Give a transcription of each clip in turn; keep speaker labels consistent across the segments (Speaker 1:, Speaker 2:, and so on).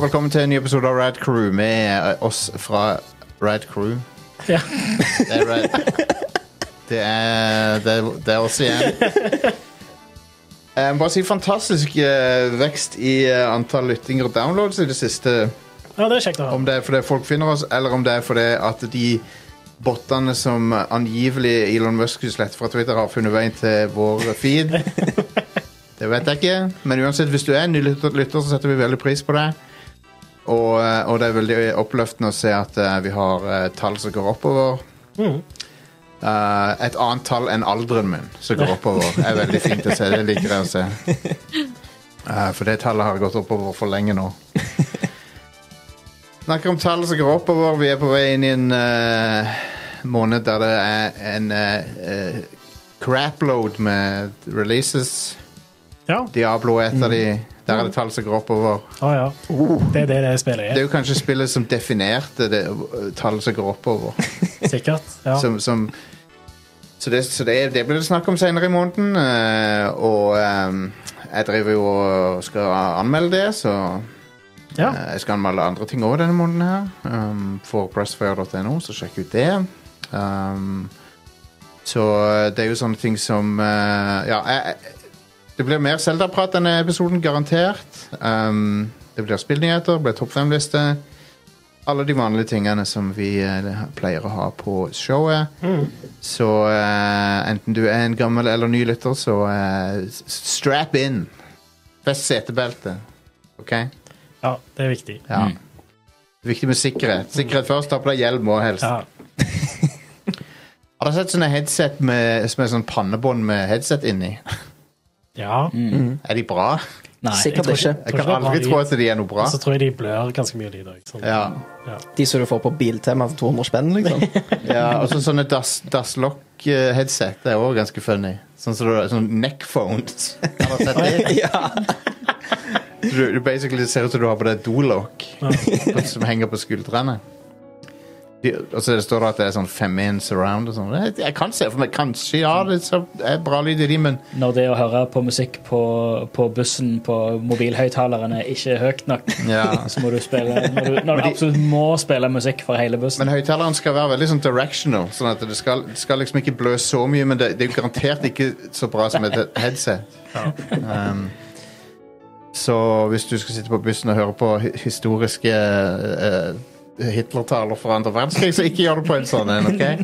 Speaker 1: velkommen til en ny episode av Rad Crew med eh, oss fra Rad Crew.
Speaker 2: Ja.
Speaker 1: Det er Rad Det er, det er, det er oss igjen. Jeg må bare si fantastisk eh, vekst i eh, antall lyttinger og downloads i det siste.
Speaker 2: ja, det er kjekt å ha.
Speaker 1: Om det er fordi folk finner oss, eller om det er fordi at de bottene som angivelig Elon Musk slett fra Twitter har funnet veien til vår feed. Det vet jeg ikke, men uansett, hvis du er en ny lytter, lytter så setter vi veldig pris på det. Og, eh, og det er veldig oppløftende å se at eh, vi har eh, tall som går oppover.
Speaker 2: Mhm.
Speaker 1: Eh, et annet tall enn alderen min som går oppover. Det er veldig fint å se. Det liker jeg å se. Eh, for det tallet har gått oppover for lenge nå. Snakker om tall som går oppover. Vi er på vei inn i en eh, måned der det er en eh, eh, crapload med releases.
Speaker 2: Ja.
Speaker 1: Diablo er et av de. Der er det tall som går oppover.
Speaker 2: Å, ja. Det er det det spillet
Speaker 1: Det
Speaker 2: er.
Speaker 1: er jo kanskje spillet som definerte det eh, tallet som går oppover.
Speaker 2: Sikkert. Ja.
Speaker 1: som, som så det, så det, det blir det snakk om senere i måneden. eh, og ehm, jeg driver jo og skal anmelde det, så
Speaker 2: ja.
Speaker 1: eh, jeg skal anmelde andre ting òg denne måneden her. ehm, for pressfire.no, så sjekk ut det. Ehm, så eh, det er jo sånne ting som eh, Ja, jeg, jeg- det blir mer Zelda-prat denne episoden, garantert. Ehm, det blir spillnyheter, det blir topp fem-liste. Alle de vanlige tingene som vi eh, pleier å ha på showet. Så eh, enten du er en gammel eller ny lytter, så eh, s- strap in. Fest setebeltet. OK?
Speaker 2: ja, det er viktig.
Speaker 1: Ja. Viktig med sikkerhet. Sikkerhet først. Ta på deg hjelm og helst.
Speaker 2: Ja.
Speaker 1: Har du sett sånne headset med, som er sånn pannebånd med headset inni?
Speaker 2: ja.
Speaker 1: Er de bra?
Speaker 3: Nei,
Speaker 2: jeg
Speaker 3: Sikkert
Speaker 2: tror
Speaker 3: ikke.
Speaker 2: ikke-
Speaker 1: Jeg kan
Speaker 2: det er bra
Speaker 1: aldri
Speaker 2: i- Altså,
Speaker 1: tro at de er noe bra.
Speaker 2: Så tror jeg de blør ganske mye, de i dag. Sånn.
Speaker 1: Ja.
Speaker 3: De som du får på Biltema for 200 spenn, liksom.
Speaker 1: ja og så sånne dass- dasslock-headset eh, er òg ganske funny. Sånn som du- sånn neckphones. Har du sett det?
Speaker 3: ja.
Speaker 1: Du, du basically ser ut som du har på deg dolokk som henger på skuldrene. De, og så står det at det er sånn 5-in surround og sånn. Jeg, jeg kan se for meg Kanskje, ja, det er så- det er bra lyd i de, men
Speaker 4: Når det å høre på musikk på, på bussen på mobilhøyttaleren er ikke høyt nok,
Speaker 1: ja.
Speaker 4: så må du spille Når du, når du absolutt må spille musikk for hele bussen.
Speaker 1: Men høyttaleren skal være veldig sånn directional, sånn at det skal, det skal liksom ikke blø så mye, men det, det er jo garantert ikke så bra som et headset. Um, så hvis du skal sitte på bussen og høre på hi- historiske eh, Hitler-taler fra andre verdenskrig, så ikke gjør det på en sånn en, OK?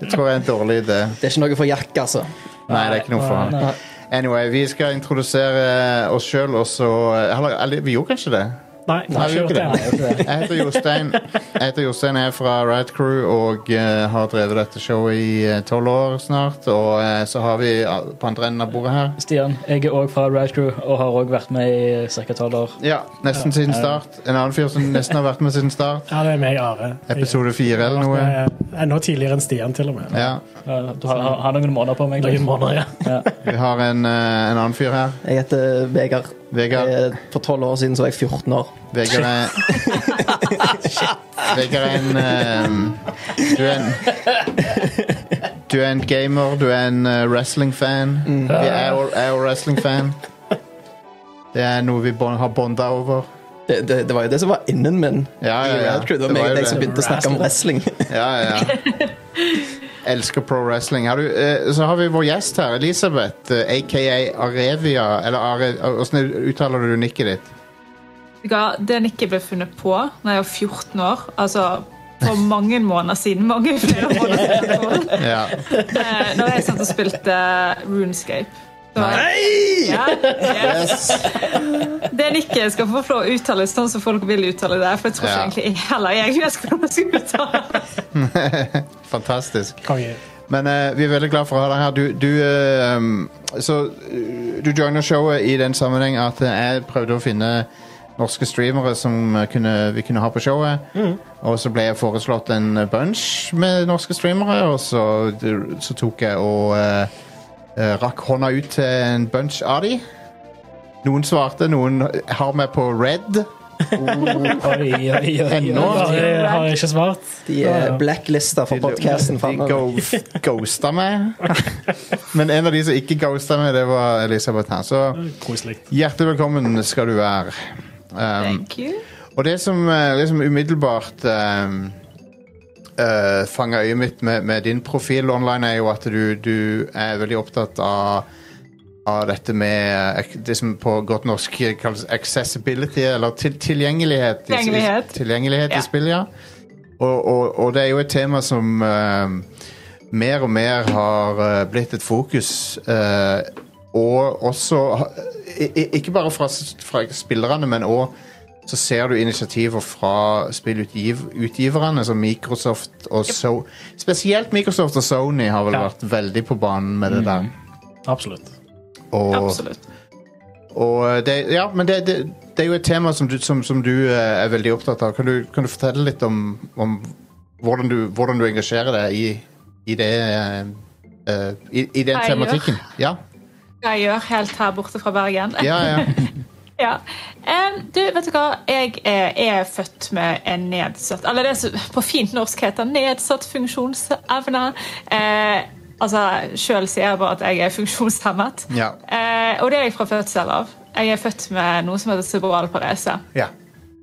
Speaker 1: Det tror jeg er en dårlig idé.
Speaker 3: Det er ikke noe for Jack, altså.
Speaker 1: Nei, det er ikke noe for han.
Speaker 4: Nei.
Speaker 1: Anyway, vi skal introdusere oss sjøl, og så Eller eller, vi gjorde kanskje det?
Speaker 2: Nei, jeg
Speaker 1: Nei,
Speaker 2: har
Speaker 1: vi gjør
Speaker 2: ikke
Speaker 1: ikke
Speaker 2: gjort det.
Speaker 1: Jeg heter Jostein. Jeg heter Jostein, jeg er fra Rad Crew og eh, har drevet dette showet i eh, tolv år snart. Og eh, så har vi eh, på andre enden av bordet her
Speaker 4: Stian, jeg er òg fra Rad Crew og har òg vært med i ca. tolv år.
Speaker 1: Ja, nesten siden start. En annen fyr som nesten har vært med siden start.
Speaker 2: Ja, det er meg, Are. Jeg-
Speaker 1: Episode fire eller noe.
Speaker 2: jeg er Enda tidligere enn Stian, til og med.
Speaker 1: Ja,
Speaker 4: Eh, Du har, har- har noen måneder på meg. du.
Speaker 2: Noen måneder, ja.
Speaker 4: Ja.
Speaker 1: Vi har en, eh, en annen fyr her.
Speaker 3: Jeg heter Vegard.
Speaker 1: Vegard.
Speaker 3: Jeg- For tolv år siden så var jeg 14 år.
Speaker 1: Vegard er Vegard er en eh, Du er en Du er en gamer, du er en eh, wrestling-fan.
Speaker 3: Mm.
Speaker 1: Jeg er jo- er jo wrestling-fan. Det er noe vi bon har bonda over.
Speaker 3: Det, det, det var jo det som var innen min.
Speaker 1: Ja, ja, ja.
Speaker 3: I Red Crew. Det var
Speaker 1: Det
Speaker 3: meg
Speaker 1: var jo
Speaker 3: og deg som
Speaker 1: det.
Speaker 3: begynte å snakke om wrestling.
Speaker 1: Ja, ja, ja. Elsker pro wrestling. Har du, eh, så har vi vår gjest her, Elisabeth, eh, aka Arevia. Eller Are, hvordan uttaler du nikket ditt?
Speaker 5: Vet du hva, Det nikket ble funnet på da jeg var 14 år. Altså for mange måneder siden. Mange flere måneder siden.
Speaker 1: Ja.
Speaker 5: Eh, Da jeg satt og spilte eh, RuneScape. Så var jeg- Ja, yes. Det nikket skal få lov å uttales sånn som folk vil uttale det. For jeg tror ikke
Speaker 1: Ja.
Speaker 5: egentlig jeg heller jeg vet hvordan jeg skal uttale det.
Speaker 1: Fantastisk.
Speaker 2: Konge.
Speaker 1: Men eh, vi er veldig glad for å ha deg her. Du, du, eh, um, så, eh, du joiner showet i den sammenheng at eh, jeg prøvde å finne norske streamere som eh, kunne, vi kunne ha på showet. Og så ble jeg foreslått en eh, bunch med norske streamere, og så, så tok jeg og eh, eh, rakk hånda ut til en bunch av de. Noen svarte, noen har meg på red.
Speaker 4: Oi, oi, oi.
Speaker 1: Ennå.
Speaker 2: Are har ikke svart.
Speaker 3: De er blacklista for podcasten altså.
Speaker 1: De
Speaker 3: framover.
Speaker 1: go- ghosta meg. Men en av de som ikke ghosta meg, det var Elisabeth her. Så
Speaker 2: Koselig.
Speaker 1: hjertelig velkommen skal du være. Um,
Speaker 5: Thank you.
Speaker 1: Og det som eh, liksom umiddelbart um, fanger øyet mitt med, med din profil online, er jo at du, du er veldig opptatt av, av dette med eh, det som på godt norsk kalles accessibility, eller til, tilgjengelighet. i- i-
Speaker 5: Tilgjengelighet.
Speaker 1: tilgjengelighet
Speaker 5: Ja.
Speaker 1: i spill, ja. Og, og, og det er jo et tema som eh, mer og mer har eh, blitt et fokus. eh, og også ha- i- i- Ikke bare fra, s- fra spillerne, men òg så ser du initiativer fra spillutgiverne, som Microsoft og so Spesielt Microsoft og Sony har vel
Speaker 2: Ja.
Speaker 1: vært veldig på banen med det der.
Speaker 2: Absolutt.
Speaker 1: Og,
Speaker 5: Absolutt.
Speaker 1: og det, ja, men det, det, det er jo et tema som du, som, som du eh, er veldig opptatt av. Kan du, kan du fortelle litt om, om hvordan, du, hvordan du engasjerer deg i, i det eh, eh, i, I den
Speaker 5: Hva jeg gjør?
Speaker 1: tematikken. Ja,
Speaker 5: Hva jeg gjør helt her borte fra Bergen.
Speaker 1: ja, ja.
Speaker 5: Ja. Em, du, vet du hva? Jeg er, er født med en nedsatt Eller det som på fint norsk heter nedsatt funksjonsevne. Eh, altså, Sjøl sier jeg bare at jeg er funksjonshemmet.
Speaker 1: Ja.
Speaker 5: Eh, og det er jeg fra fødsel av. Jeg er født med noe som heter cerebral parese.
Speaker 1: ja.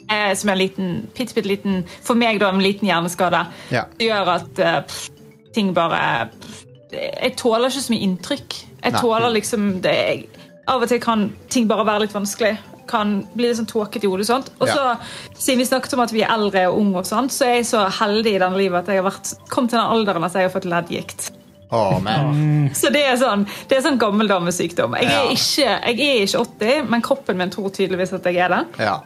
Speaker 5: Eh, som er en liten, bitte, bitte liten For meg, da, en liten hjerneskade.
Speaker 1: Ja.
Speaker 5: Det gjør at eh, pff, ting bare pff, Jeg tåler ikke så mye inntrykk. Jeg
Speaker 1: Nei.
Speaker 5: tåler liksom det, jeg, Av og til kan ting bare være litt vanskelig. Kan bli litt sånn tåkete i hodet. og sånt. Og så,
Speaker 1: Ja.
Speaker 5: Siden vi snakket om at vi er eldre og unge, og sånt, så er jeg så heldig i denne livet at jeg har vært, kom til den alderen at jeg har fått leddgikt.
Speaker 1: Å, man.
Speaker 5: Så det er sånn, det er sånn gammeldamesykdom. Jeg, er
Speaker 1: Ja.
Speaker 5: ikke- jeg er ikke 80, men kroppen min tror tydeligvis at jeg er det.
Speaker 1: Ja.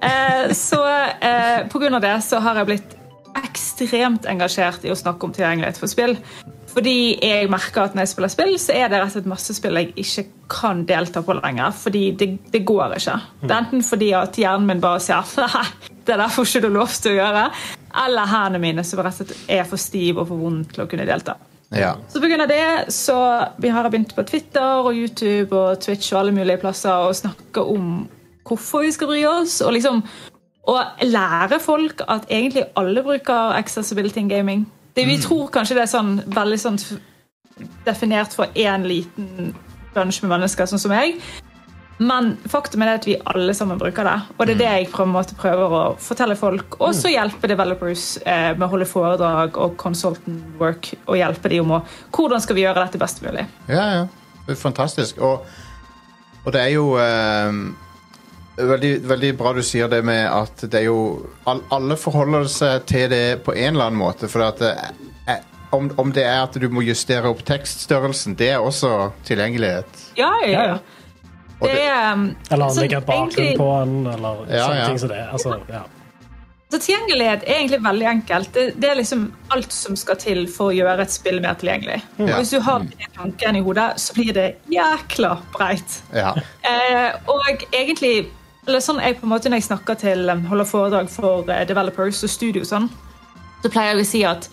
Speaker 5: Eh, så eh, på grunn av det så har jeg blitt ekstremt engasjert i å snakke om tilgjengelighet for spill. Fordi jeg merker at når jeg spiller spill, så er det rett og slett masse spill jeg ikke kan delta på lenger. Fordi det, det går ikke. Det er enten fordi at hjernen min bare sier nei, det der får ikke du lov til å gjøre. Eller hendene mine som rett og slett er for stive og for vonde til å kunne delta.
Speaker 1: ja.
Speaker 5: Så på grunn av det så vi har begynt på Twitter og YouTube og Twitch og alle mulige plasser å snakke om hvorfor vi skal bry oss, og liksom å lære folk at egentlig alle bruker accessibility in gaming. Det Vi tror kanskje det er sånn veldig sånn f- definert for én liten bunch med mennesker, sånn som meg. Men faktum er det at vi alle sammen bruker det. Og det er det jeg på en måte prøver å fortelle folk. Og så hjelpe developers eh, med å holde foredrag og consultant work. Og hjelpe de om å, hvordan skal vi gjøre dette best mulig.
Speaker 1: Ja, ja. Det er fantastisk. Og, og det er jo ehm, veldig, veldig bra du sier det med at det er jo all, Alle forholder seg til det på en eller annen måte. For at eh, eh, om, om det er at du må justere opp tekststørrelsen, det er også tilgjengelighet.
Speaker 5: Ja, ja, ja.
Speaker 1: Og
Speaker 5: Det
Speaker 1: det,
Speaker 5: er, um,
Speaker 2: Eller
Speaker 5: så
Speaker 2: anlegge en bakgrunn
Speaker 5: egentlig-
Speaker 2: på den, eller
Speaker 1: Ja,
Speaker 2: sånne
Speaker 1: ja.
Speaker 2: ting som det. Altså, ja.
Speaker 5: Så tilgjengelighet er egentlig veldig enkelt. Det, det er liksom alt som skal til for å gjøre et spill mer tilgjengelig. Og
Speaker 1: Ja.
Speaker 5: hvis du har den tanken i hodet, så blir det jækla breit.
Speaker 1: ja.
Speaker 5: Eh, og egentlig eller sånn jeg på en måte Når jeg snakker til um, holder foredrag for eh, developers og studio, og sånn, så pleier jeg å si at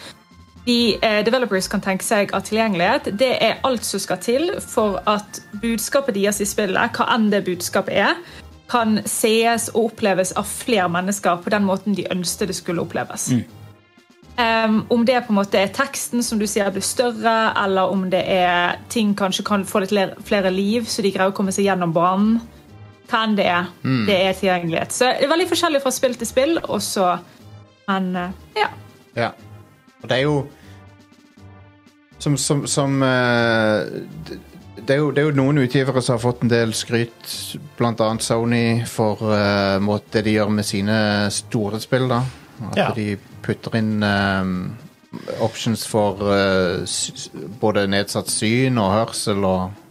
Speaker 5: de eh, developers kan tenke seg at tilgjengelighet det er alt som skal til for at budskapet deres i spillet, hva enn det budskapet er, kan sees og oppleves av flere mennesker på den måten de ønsket det skulle oppleves. Um, om det på en måte er teksten som du sier blir større, eller om det er ting kanskje kan få litt ler- flere liv, så de greier å komme seg gjennom banen. Hva enn det er. Det er tilgjengelighet. Så det er veldig forskjellig fra spill til spill, og så Men eh, ja.
Speaker 1: Ja. Og det er jo Som, som, som eh, det, det er jo, det er jo noen utgivere som har fått en del skryt, blant annet Sony, for eh, måte det de gjør med sine store spill. da. At
Speaker 2: Ja.
Speaker 1: de putter inn eh, options for eh, s- s- både nedsatt syn og hørsel og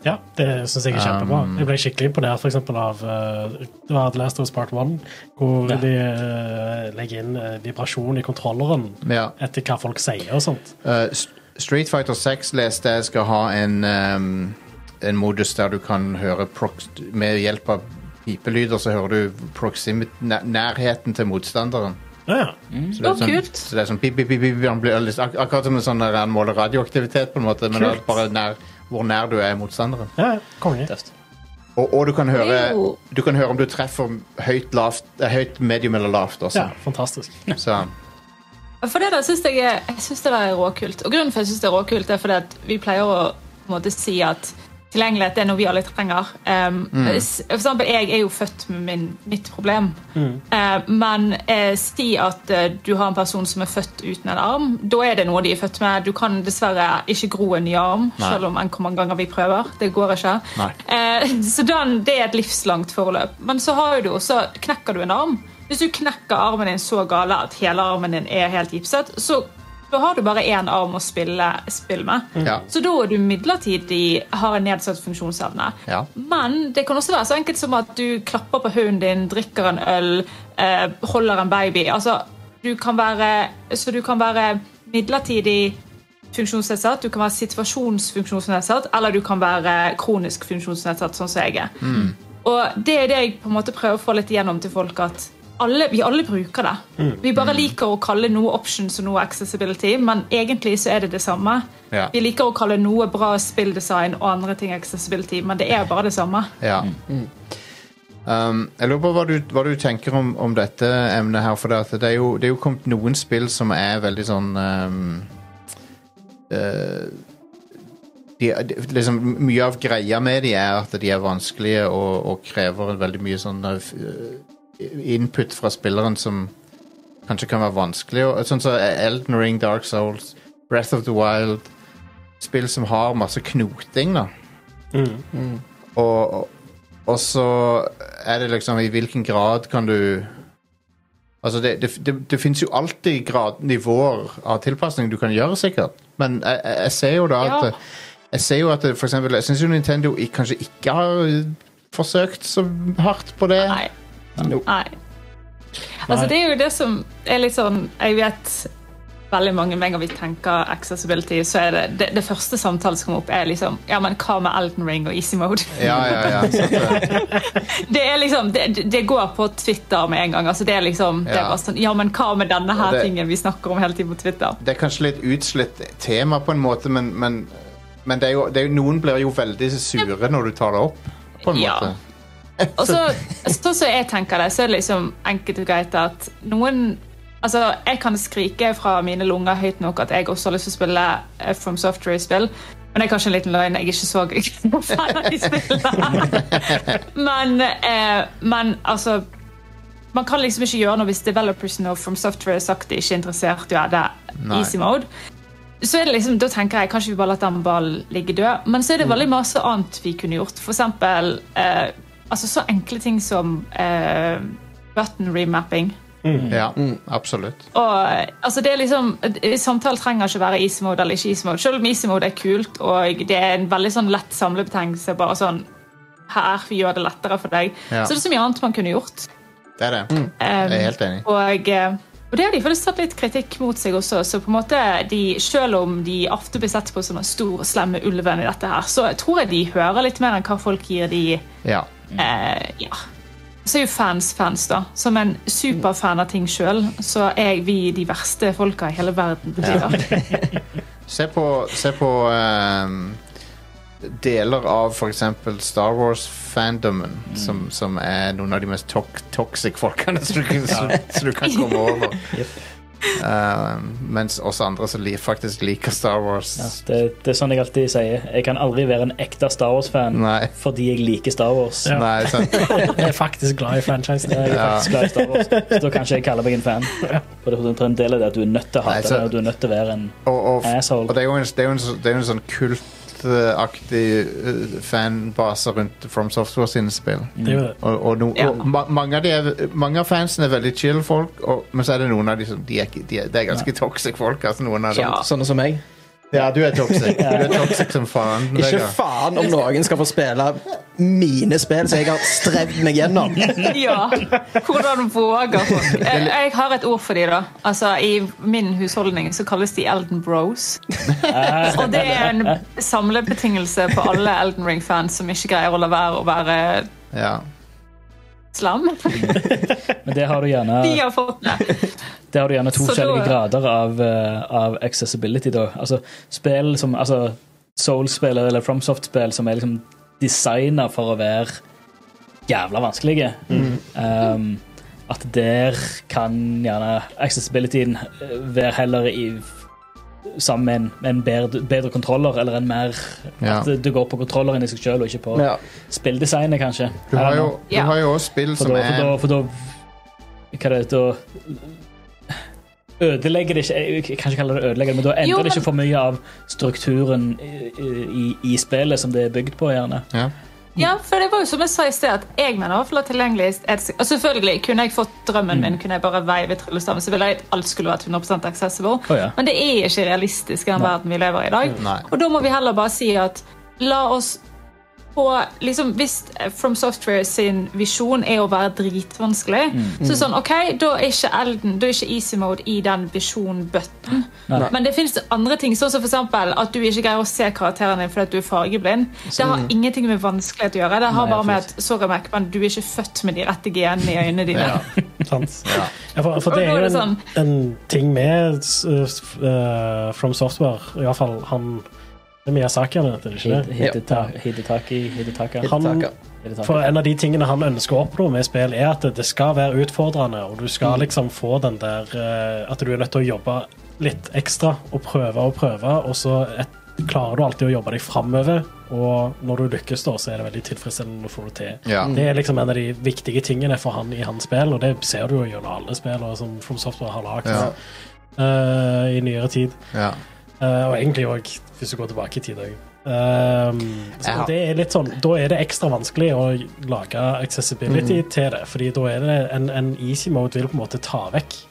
Speaker 2: Ja, det syns jeg er kjempebra. Jeg ble skikkelig imponert for eksempel, av eh, Det var The Last of Us Part 1, hvor
Speaker 4: Ja.
Speaker 2: de eh, legger inn eh, vibrasjon i kontrolleren
Speaker 1: Ja.
Speaker 2: etter hva folk sier og sånt.
Speaker 1: Eh, St- Street Fighter 6 leste jeg skal ha en, ehm, en modus der du kan høre prox med hjelp av pipelyder, så hører du proximit, næ- nærheten til motstanderen.
Speaker 2: Ja, ja.
Speaker 1: Så det er
Speaker 5: Mm. Å,
Speaker 1: sånn,
Speaker 5: kult.
Speaker 1: så det er sånn pip, pip, pip, pip, han blir litt- ak akkurat som en sånn der han måler radioaktivitet, på en måte, men det er
Speaker 2: Kult.
Speaker 1: bare nær, hvor nær du er motstanderen.
Speaker 2: ja konge.
Speaker 4: Tøft.
Speaker 1: Og, og du, kan høre,
Speaker 5: Jo.
Speaker 1: du kan høre om du treffer høyt, lavt, eh, høyt medium eller lavt også.
Speaker 2: Ja, fantastisk.
Speaker 1: Så,
Speaker 5: For det der synes jeg, er- jeg synes det der er råkult. Og grunnen for at jeg synes det er råkult, er fordi at vi pleier å på en måte, si at tilgjengelighet er noe vi alle trenger. Um,
Speaker 1: Mm.
Speaker 5: s- For eksempel, jeg er jo født med min, mitt problem. Eh, men eh, si at eh, du har en person som er født uten en arm. Da er det noe de er født med. Du kan dessverre ikke gro en ny arm,
Speaker 1: Nei.
Speaker 5: selv om enn hvor mange ganger vi prøver. Det går ikke.
Speaker 1: Nei.
Speaker 5: Eh, så den, det er et livslangt forløp. Men så har jo du også, knekker du en arm. Hvis du knekker armen din så gale at hele armen din er helt gipset, så da har du bare én arm å spille spill med.
Speaker 1: Ja.
Speaker 5: Så da er du midlertidig har en nedsatt funksjonsevne.
Speaker 1: Ja.
Speaker 5: Men det kan også være så enkelt som at du klapper på hunden din, drikker en øl, eh, holder en baby. Altså, du kan være, så du kan være midlertidig funksjonsnedsatt, du kan være situasjonsfunksjonsnedsatt, eller du kan være kronisk funksjonsnedsatt, sånn som jeg er. Og det er det jeg på en måte prøver å få litt igjennom til folk, at alle, vi alle bruker det. Vi bare liker å kalle noe options og noe accessibility, men egentlig så er det det samme.
Speaker 1: Ja.
Speaker 5: Vi liker å kalle noe bra spilldesign og andre ting accessibility, men det er bare det samme.
Speaker 1: Ja. Mm. Um, jeg lurer på hva du, hva du tenker om, om dette emnet her, for det, at det, er jo, det er jo kommet noen spill som er veldig sånn um, eh, de, de, liksom, Mye av greia med de er at de er vanskelige og, og krever veldig mye sånn eh, f- eh, input fra spilleren som kanskje kan være vanskelig. Og, sånn som Elden Ring, Dark Souls, Breath of the Wild Spill som har masse knoting, da.
Speaker 2: Mm.
Speaker 1: Og, og- og så er det liksom I hvilken grad kan du Altså, det, det, det, det fins jo alltid grad, nivåer av tilpasning du kan gjøre, sikkert. Men jeg, jeg, jeg ser jo da at
Speaker 5: Ja.
Speaker 1: Jeg ser jo at det, for eksempel, jeg syns jo Nintendo i- kanskje ikke har forsøkt så hardt på det.
Speaker 5: Nei.
Speaker 3: No.
Speaker 5: Nei. Altså, det er jo det som er litt sånn Jeg vet veldig mange med en gang vi tenker accessibility, så er det, det det første samtalen som kommer opp, er liksom Ja, men hva med Elden Ring og Easy Mode?
Speaker 1: Ja, ja, ja. sant det.
Speaker 5: Det er liksom, det, det går på Twitter med en gang. altså det er liksom, det er
Speaker 1: Ja.
Speaker 5: bare sånn, ja, men Hva med
Speaker 1: Ja,
Speaker 5: denne her
Speaker 1: det-
Speaker 5: tingen vi snakker om hele tiden på Twitter?
Speaker 1: Det er kanskje litt utslitt tema på en måte, men, men, men det er jo, det er jo, noen blir jo veldig sure når du tar det opp, på en
Speaker 5: Ja.
Speaker 1: måte.
Speaker 5: Og så, sånn som jeg tenker det, så er det liksom enkelt og greit at noen Altså, jeg kan skrike fra mine lunger høyt nok at jeg også har lyst til å spille eh, From Software-spill, men det er kanskje en liten løgn. Jeg er ikke så gøy fan av de spillene. Men, eh, men altså Man kan liksom ikke gjøre noe hvis developersen og From Software har sagt de ikke er interessert i å ha det
Speaker 1: Nei.
Speaker 5: easy mode. så er det liksom, da tenker jeg kanskje vi bare lar den ballen ligge død. Men så er det veldig masse annet vi kunne gjort. For eksempel eh, altså så enkle ting som eh, button remapping.
Speaker 1: Ja, absolutt.
Speaker 5: Og eh, altså det er liksom eh, Samtale trenger ikke være easy mode eller ikke easy mode. Selv om easy mode er kult, og det er en veldig sånn lett samlebetegnelse. Bare sånn her, vi gjør det lettere for deg.
Speaker 1: Ja.
Speaker 5: Så det er så mye annet man kunne gjort.
Speaker 1: Det er det.
Speaker 5: Um,
Speaker 1: Jeg er helt enig.
Speaker 5: Og, eh, og det har de faktisk tatt litt kritikk mot seg også. Så på en måte de, selv om de ofte blir sett på som den store, slemme ulven i dette her, så tror jeg de hører litt mer enn hva folk gir de.
Speaker 1: Ja.
Speaker 5: Eh, ja. Så er jo fans fans, da. Som en superfan av ting sjøl, så er vi de verste folka i hele verden. på tider.
Speaker 1: Se på, se på ehm, deler av for eksempel Star Wars-fandomen,
Speaker 4: Mm.
Speaker 1: som, som er noen av de mest tok toxic folkene som du, kan- som, som du kan komme over. Ehm, mens også andre som li faktisk liker Star Wars.
Speaker 4: Ja, det, det er sånn jeg alltid sier. Jeg kan aldri være en ekte Star Wars-fan
Speaker 1: Nei.
Speaker 4: fordi jeg liker Star Wars.
Speaker 2: Ja.
Speaker 1: Nei, sant.
Speaker 2: Jeg er faktisk glad i franchisen.
Speaker 4: Jeg er faktisk glad i Star Wars, så da kan ikke jeg kalle meg en fan. For det er en del av det at du er nødt til å
Speaker 1: Nei,
Speaker 4: hate
Speaker 1: så-
Speaker 4: det, og du er nødt til å være en
Speaker 1: Og, og,
Speaker 4: asshole.
Speaker 1: og det er jo en, det er jo en, så- det er jo en sånn kultaktig eh, fanbase rundt From Software sine spill.
Speaker 2: Det er jo det.
Speaker 1: Og, og, no,
Speaker 5: Ja.
Speaker 1: og ma mange, av de er, mange av fansen er veldig chill folk, og, men så er det noen av de som de er, ikke- de er, Det er ganske toxic folk. Altså, noen av dem.
Speaker 5: Ja.
Speaker 3: Sånn- Sånne som meg.
Speaker 1: ja, du er toxic. Du er toxic som faen.
Speaker 3: Ikke
Speaker 1: Vegard.
Speaker 3: faen om noen skal få spille mine spill som jeg har strevd meg gjennom.
Speaker 5: Ja. Hvordan våger folk? Jeg, jeg har et ord for de da. Altså, I min husholdning så kalles de Elden Bros. Og det er en samlebetingelse på alle Elden Ring-fans som ikke greier å la være å være
Speaker 1: Ja.
Speaker 5: slam.
Speaker 4: Men det har du gjerne,
Speaker 5: De har fått det.
Speaker 4: det har du gjerne to
Speaker 5: Så da-
Speaker 4: forskjellige grader av, eh, av accessibility, da. Altså spill som altså, Soul-spill eller FromSoft-spill som er liksom designa for å være jævla vanskelige.
Speaker 5: Mm.
Speaker 4: Um, at der kan gjerne accessibilityen eh, være heller i sammen med en, med en bedre, bedre kontroller, eller en mer
Speaker 1: Ja.
Speaker 4: At det- det går på kontrolleren i seg sjøl, og ikke på
Speaker 3: Ja.
Speaker 4: spilldesignet, kanskje.
Speaker 1: Du
Speaker 4: I don't
Speaker 1: har jo,
Speaker 4: know.
Speaker 1: du
Speaker 5: Ja.
Speaker 1: har jo også spill
Speaker 4: For
Speaker 1: som
Speaker 4: da, for da,
Speaker 1: er
Speaker 4: for da Hva er det da Ødelegger det ikke Jeg kan ikke kalle det ødelegger, men da endrer
Speaker 5: Jo,
Speaker 4: det
Speaker 5: men-
Speaker 4: ikke for mye av strukturen i, i, i spillet som det er bygd på, gjerne.
Speaker 1: ja.
Speaker 5: Ja, for det var jo som jeg sa i sted, at jeg mener i hvert fall at tilgjengelig er et- Og selvfølgelig, kunne jeg fått drømmen
Speaker 4: Mm.
Speaker 5: min, kunne jeg bare veivet tryllestaven, så ville jeg at alt skulle vært 100 accessible.
Speaker 4: Å ja.
Speaker 5: Men det er ikke realistisk i den verden vi lever i i dag.
Speaker 1: Nei.
Speaker 5: Og da må vi heller bare si at la oss på liksom, Hvis From Software sin visjon er å være dritvanskelig,
Speaker 4: Mm.
Speaker 5: så sånn, ok, da er ikke Elden, da er ikke Easy Mode i den visjon-button.
Speaker 4: Nei.
Speaker 5: Men det finnes andre ting, sånn som for eksempel at du ikke greier å se karakteren din fordi at du er fargeblind. Det har ingenting med vanskelighet å gjøre. Det har
Speaker 4: Nei,
Speaker 5: bare med at sorry, Mac, men du er ikke født med de rette genene i øynene dine.
Speaker 1: Ja.
Speaker 2: Sant? Ja, for, for det er
Speaker 5: Og nå
Speaker 2: jo
Speaker 5: er det sånn.
Speaker 2: en, en ting med s- s- eh, From Software, i hvert fall han Det er Miyazaki, han heter det ikke det?
Speaker 4: Hidetaki Hidetaki Hidetaka.
Speaker 2: Han,
Speaker 3: Hidetaka.
Speaker 4: Hidetaka.
Speaker 2: for en av de tingene han ønsker å oppnå med spill, er at det skal være utfordrende, og du skal liksom få den der eh, At du er nødt til å jobbe litt ekstra og prøve og prøve, og så et, klarer du alltid å jobbe deg framover, og når du lykkes, da, så er det veldig tilfredsstillende å få det til.
Speaker 1: Ja.
Speaker 2: Det er liksom en av de viktige tingene for han i hans spill, og det ser du jo gjennom alle spillere som From Software har lagd
Speaker 1: Ja.
Speaker 2: eh, i nyere tid.
Speaker 1: Ja.
Speaker 2: Eh, og egentlig òg hvis du går tilbake i tid. også. Ehm, så
Speaker 1: Ja.
Speaker 2: det er litt sånn, da er det ekstra vanskelig å lage accessibility
Speaker 1: Mm.
Speaker 2: til det, fordi da er det en, en easy mode vil på en måte ta vekk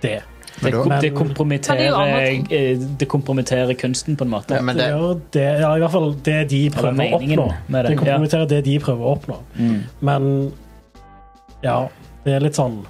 Speaker 2: det.
Speaker 1: Men da,
Speaker 4: Det, kom- det,
Speaker 2: Men-
Speaker 5: Men det er jo
Speaker 4: kompromitterer,
Speaker 5: andre
Speaker 4: eh, det kompromitterer kunsten, på en måte.
Speaker 1: men det,
Speaker 2: gjør det, ja, i hvert fall det de prøver å
Speaker 4: meningen
Speaker 2: oppnå.
Speaker 4: med det,
Speaker 2: Det kompromitterer det de prøver å oppnå.
Speaker 4: Mm.
Speaker 2: Men ja, det er litt sånn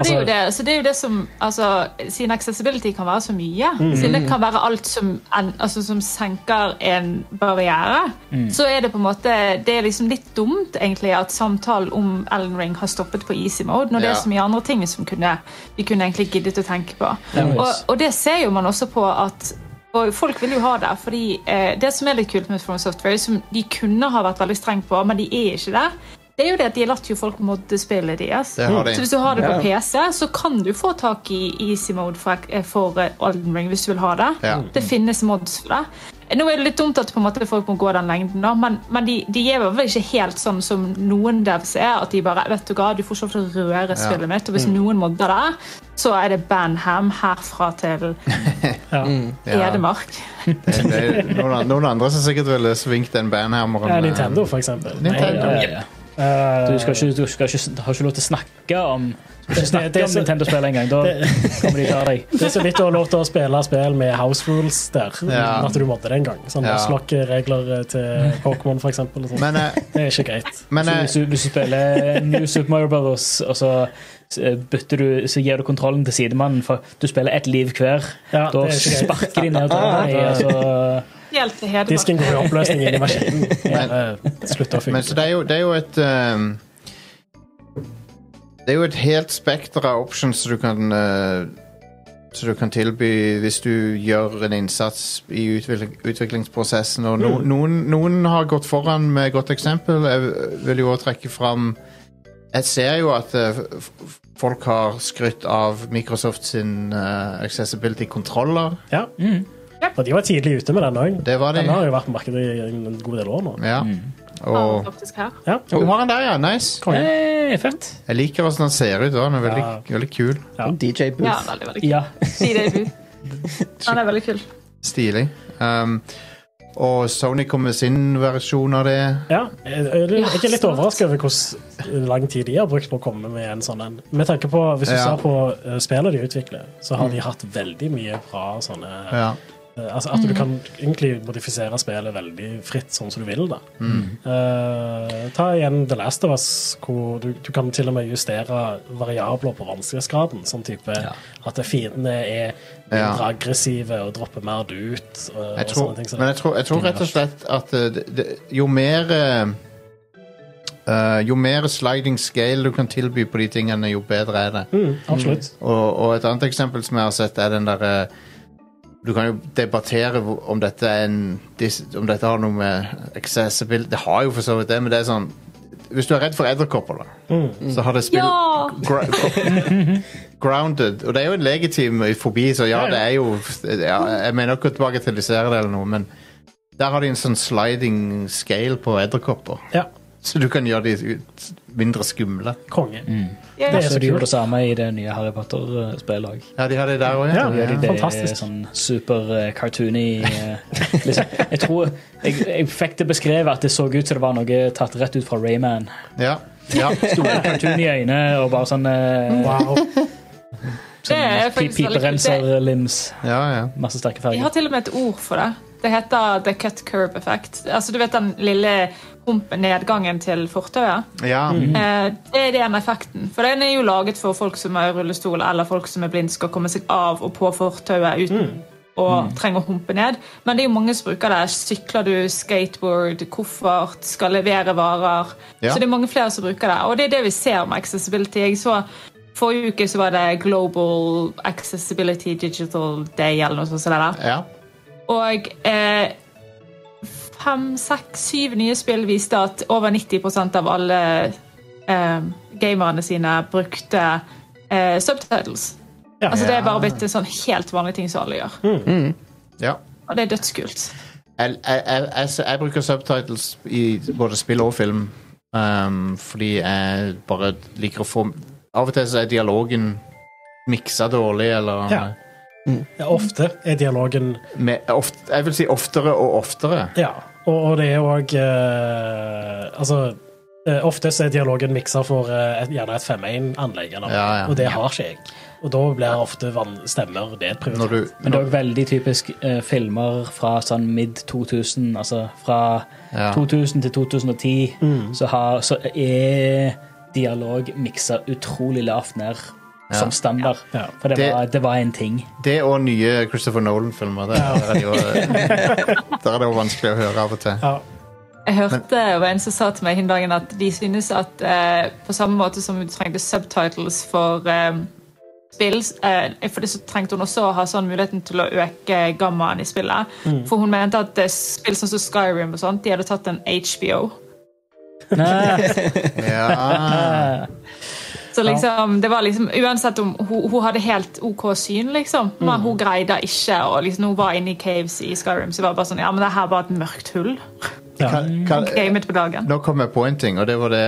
Speaker 5: Det er
Speaker 2: altså,
Speaker 5: jo det, så det er jo det som altså, Siden accessibility kan være så mye, siden det kan være alt som, en- altså, som senker en barriere, så er det på en måte Det er liksom litt dumt egentlig at samtalen om Ellen Ring har stoppet på easy mode, når det
Speaker 1: Ja.
Speaker 5: er så mye andre ting som kunne, vi kunne egentlig giddet å tenke på.
Speaker 4: Ja,
Speaker 5: Og,
Speaker 4: yes.
Speaker 5: og det ser jo man også på at og Folk vil jo ha det, fordi eh, det som er litt kult med From Software, som de kunne ha vært veldig streng på, men de er ikke det, det er jo det at de har latt jo folk modde spillet deres.
Speaker 1: det har
Speaker 5: Så
Speaker 1: de.
Speaker 5: hvis du har det på PC, så kan du få tak i easy mode for, for eh, Elden Ring hvis du vil ha det.
Speaker 1: Ja.
Speaker 5: Det finnes mods for det. Nå er det litt dumt at på en måte folk må gå den lengden, da, men, men de, de er vel ikke helt sånn som noen devs er. At de bare vet du hva, du får ikke lov til å røre spillet mitt, og
Speaker 1: Mm.
Speaker 5: hvis noen modder det, så er det Banham herfra til
Speaker 3: Mm.
Speaker 1: Ja.
Speaker 5: Edemark.
Speaker 1: Det, det er noen, noen andre som sikkert ville svingt den bandhammeren.
Speaker 2: ja,
Speaker 1: eh,
Speaker 2: Nintendo, for eksempel.
Speaker 1: Nintendo.
Speaker 4: Ja, ja, ja.
Speaker 2: Eh,
Speaker 4: Du, skal ikke, du skal ikke, du har ikke lov til å snakke om Du skal ikke
Speaker 2: Det-
Speaker 4: snakke
Speaker 2: det er
Speaker 4: om
Speaker 2: så-
Speaker 4: Nintendo-spill engang. Da kommer de til deg.
Speaker 2: Det er så vidt du har lov til å spille spill med house rules der.
Speaker 1: Ja.
Speaker 2: uten At du måtte det en gang. Sånn
Speaker 1: Ja.
Speaker 2: slokkeregler til Pokémon, for eksempel. Og sånt.
Speaker 1: Men, eh,
Speaker 2: det er ikke greit.
Speaker 1: men
Speaker 4: Så
Speaker 1: eh,
Speaker 4: hvis, du, hvis du spiller New Super Mario Brothers, og så eh, bytter du, så gir du kontrollen til sidemannen, for du spiller ett liv hver,
Speaker 2: Ja,
Speaker 4: da
Speaker 2: det er ikke greit.
Speaker 4: sparker de ned og tar deg. Altså,
Speaker 5: Helt til Hedmark.
Speaker 2: Disken går i oppløsning inni maskinen. Bare Slutt å
Speaker 1: men så
Speaker 2: funke.
Speaker 1: det er jo, det er jo et eh, Det er jo et helt spekter av options du kan eh, Så du kan tilby hvis du gjør en innsats i utvikling, utviklingsprosessen. Og no, noen, noen har gått foran med godt eksempel. Jeg vil jo også trekke fram Jeg ser jo at eh, f- f- folk har skrytt av Microsoft sin eh, accessibility-kontroller.
Speaker 2: Ja. Og de var tidlig ute med den òg.
Speaker 1: Det var de.
Speaker 2: Den har jo vært på markedet i en en god del år nå.
Speaker 1: Ja.
Speaker 5: Har vi
Speaker 1: Og
Speaker 5: faktisk her.
Speaker 2: Ja.
Speaker 1: Du har den der, ja. Nice.
Speaker 4: eh, fett.
Speaker 1: Jeg liker hvordan den ser ut. da. Den er veldig,
Speaker 2: Ja.
Speaker 1: veldig kul.
Speaker 3: DJ
Speaker 5: Ja,
Speaker 3: Booth.
Speaker 5: veldig, veldig kul.
Speaker 4: Ja.
Speaker 5: Si det, du. Han er veldig kul.
Speaker 1: Stilig. Um, og Sony kom med sin versjon av det.
Speaker 2: Ja, jeg jeg er ikke litt
Speaker 5: sant.
Speaker 2: overrasket over hvor lang tid de har brukt på å komme med en sånn en. Med tanke på, Hvis du
Speaker 1: Ja. Mm.
Speaker 2: ser på eh, spillet de utvikler, så har de hatt veldig mye bra sånne
Speaker 1: Ja.
Speaker 2: Eh, Altså At du kan egentlig modifisere spillet veldig fritt, sånn som du vil. da
Speaker 1: Mm.
Speaker 2: Eh, Ta igjen The Last of Us, hvor du, du kan til og med justere variabler på vanskelighetsgraden. Sånn type at fiendene er mindre
Speaker 1: Ja.
Speaker 2: aggressive og dropper mer dut. Og,
Speaker 1: Jeg
Speaker 2: og
Speaker 1: tror,
Speaker 2: sånne ting. Så
Speaker 1: men jeg tror, jeg tror rett og slett at uh, det, det, jo mer uh, uh, Jo mer sliding scale du kan tilby på de tingene, jo bedre er det.
Speaker 2: mm, absolutt.
Speaker 1: Og, og et annet eksempel som jeg har sett, er den derre Du kan jo debattere hvor- om dette er en dis- Om dette har noe med accessibility Det har jo for så vidt det, men det er sånn Hvis du er redd for edderkopper, da, så har det spill
Speaker 5: Ja!
Speaker 1: Gra- gro- Grounded. Og det er jo en legitim fobi, så ja,
Speaker 2: Ja, ja.
Speaker 1: det er jo ja, Jeg mener ikke å bagatellisere det eller noe, men der har de en sånn sliding scale på edderkopper.
Speaker 2: Ja,
Speaker 1: Så du kan gjøre de ut- mindre skumle.
Speaker 2: konge.
Speaker 1: Mm.
Speaker 5: Ja,
Speaker 2: Det
Speaker 4: Så
Speaker 2: så
Speaker 4: de
Speaker 2: kult.
Speaker 4: gjorde det samme i det nye Harry Potter-spillet òg.
Speaker 1: Ja, de har det der òg,
Speaker 2: Ja,
Speaker 4: Gjør de det
Speaker 2: fantastisk.
Speaker 4: sånn super eh, cartoony eh, liksom. Jeg tror jeg, jeg fikk det beskrevet at det så ut som det var noe tatt rett ut fra Rayman.
Speaker 1: Ja. ja.
Speaker 4: Store cartoony øyne og bare sånn eh, sånn
Speaker 2: Wow.
Speaker 5: det er
Speaker 4: pi-
Speaker 5: faktisk veldig kult. Det-
Speaker 4: piperenser-lims.
Speaker 1: ja, ja.
Speaker 4: Masse sterke
Speaker 5: Jeg har
Speaker 4: farger.
Speaker 5: til og med et ord for det. Det heter the cut curve effect. Altså, du vet den lille humpen nedgangen til fortauet?
Speaker 1: ja.
Speaker 5: Eh, Det er den effekten. For den er jo laget for folk som er i rullestol, eller folk som er blind, skal komme seg av og på fortauet uten å trenge å humpe ned. Men det er jo mange som bruker det. Sykler du, skateboard, koffert, skal levere varer.
Speaker 1: Ja.
Speaker 5: Så det er mange flere som bruker det. Og det er det vi ser med accessibility. Jeg så Forrige uke så var det Global Accessibility Digital Day eller noe sånt. som det der.
Speaker 1: ja.
Speaker 5: Og eh, fem, seks, syv nye spill viste at over 90 av alle eh, gamerne sine brukte eh, subtitles.
Speaker 2: Ja. Mm.
Speaker 5: Altså Det er bare blitt en sånn helt vanlig ting som alle gjør.
Speaker 1: ja.
Speaker 5: Og det er dødskult.
Speaker 1: Jeg, jeg, jeg, jeg, jeg bruker subtitles i både spill og film ehm, fordi jeg bare liker å få Av og til så er dialogen miksa dårlig, eller
Speaker 2: Ja. Ja, Ofte er dialogen
Speaker 1: med, oft, Jeg vil si oftere og oftere.
Speaker 2: Ja, og, og det er òg eh, Altså, eh, ofte så er dialogen miksa for eh, et, gjerne et 5-1-anlegg, eller noe,
Speaker 1: Ja, ja.
Speaker 2: og det har ikke jeg. Og da blir ofte van stemmer nedprioritert.
Speaker 1: Når du
Speaker 4: Men det er òg veldig typisk eh, filmer fra sånn mid 2000, altså fra
Speaker 1: Ja.
Speaker 4: 2000 til 2010,
Speaker 2: Mm.
Speaker 4: så, har, så er dialog miksa utrolig lavt ned som standard.
Speaker 2: Ja.
Speaker 4: For det,
Speaker 1: Det-
Speaker 4: var, det var en ting.
Speaker 1: Det og nye Christopher Nolan-filmer. Der, er det jo- der er det jo vanskelig å høre av og til.
Speaker 2: Ja,
Speaker 5: Jeg hørte det var en som sa til meg den dagen at de synes at eh, på samme måte som hun trengte subtitles for eh, spill, eh, for det så trengte hun også å ha sånn muligheten til å øke gammaen i spillet. For hun mente at eh, spill sånn som Skyrim og sånt, de hadde tatt en HBO.
Speaker 1: Ja.
Speaker 5: Så liksom, det var liksom, uansett om hun, hun hadde helt OK syn, liksom. Men hun greide ikke å liksom, Hun var inne i caves i Skyrim, så det var bare sånn Ja, men det her var et mørkt hull.
Speaker 1: Kan, kan,
Speaker 5: Gamet på dagen.
Speaker 1: nå kom jeg på en ting, og det var det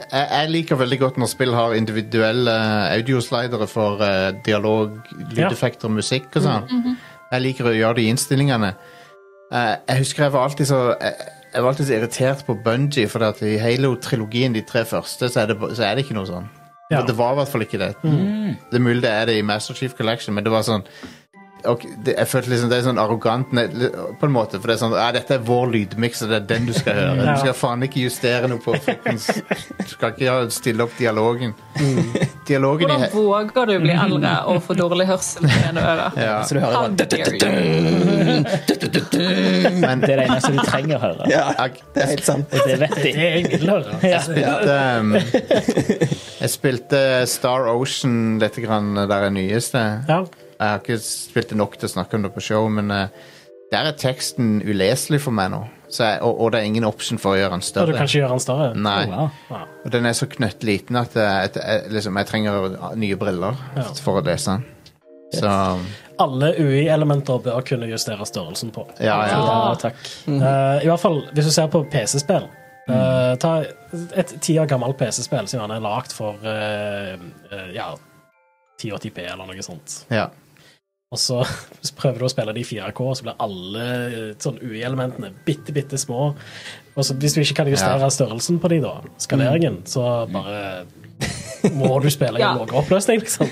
Speaker 1: Jeg, jeg liker veldig godt når spill har individuelle audioslidere for eh, dialog, lydeffekter, musikk og sånn. Jeg liker å gjøre det i innstillingene. Eh, jeg husker jeg var alltid så jeg, jeg var alltid så irritert på Bungie, for at i Halo-trilogien, de tre første, så er det, ba- så er det ikke noe sånn.
Speaker 2: ja.
Speaker 1: Og Det var i hvert fall ikke det. Det er mulig det er det i Master Chief Collection, men det var sånn ok, det, Jeg følte liksom det er sånn arrogant ne- li- på en måte, for det er sånn ja, Dette er vår lydmiks, og det er den du skal høre.
Speaker 2: Mm. Ja.
Speaker 1: Du skal faen ikke justere noe på fuckings Du skal ikke ha- stille opp dialogen.
Speaker 2: Mm.
Speaker 1: Dialogen i
Speaker 5: Hvordan
Speaker 1: he-
Speaker 5: våger du å bli eldre og få dårlig hørsel med ene øret?
Speaker 1: ja,
Speaker 3: Så du hører
Speaker 5: How
Speaker 3: bare
Speaker 5: dare you?
Speaker 1: men
Speaker 4: Det er det eneste de trenger å høre.
Speaker 3: Ja,
Speaker 1: jeg,
Speaker 3: det er helt sant.
Speaker 4: Og det vet de.
Speaker 2: Det er Altså, jeg vil høre.
Speaker 1: spilte um, Jeg spilte Star Ocean lite grann eh, der er nyeste.
Speaker 2: Ja.
Speaker 1: Jeg har ikke spilt det nok til å snakke om det på show, men eh, der er teksten uleselig for meg nå. Så jeg, og, og det er ingen option for å gjøre den
Speaker 2: Og du
Speaker 1: større.
Speaker 2: kan ikke gjøre den større?
Speaker 1: Nei.
Speaker 4: Wow.
Speaker 1: Og den er så knøttliten at jeg, at jeg, liksom, jeg trenger nye briller
Speaker 2: Ja.
Speaker 1: for å lese den. Så
Speaker 2: Alle UI-elementer bør kunne justere størrelsen på.
Speaker 1: ja, ja.
Speaker 4: Ja, takk.
Speaker 2: Eh, I hvert fall hvis du ser på PC-spill.
Speaker 1: Mm.
Speaker 2: Eh, ta et ti år gammelt PC-spill som gjerne er lagd for eh, eh, ja, 1080p eller noe sånt.
Speaker 1: ja.
Speaker 2: Og så prøver du å spille det i 4K, og så blir alle eh, sånn UI-elementene bitte, bitte små. Og så hvis du ikke kan justere
Speaker 1: Ja.
Speaker 2: størrelsen på de da, skaleringen, så bare må du spille i
Speaker 5: Ja.
Speaker 2: en lavere oppløsning, liksom.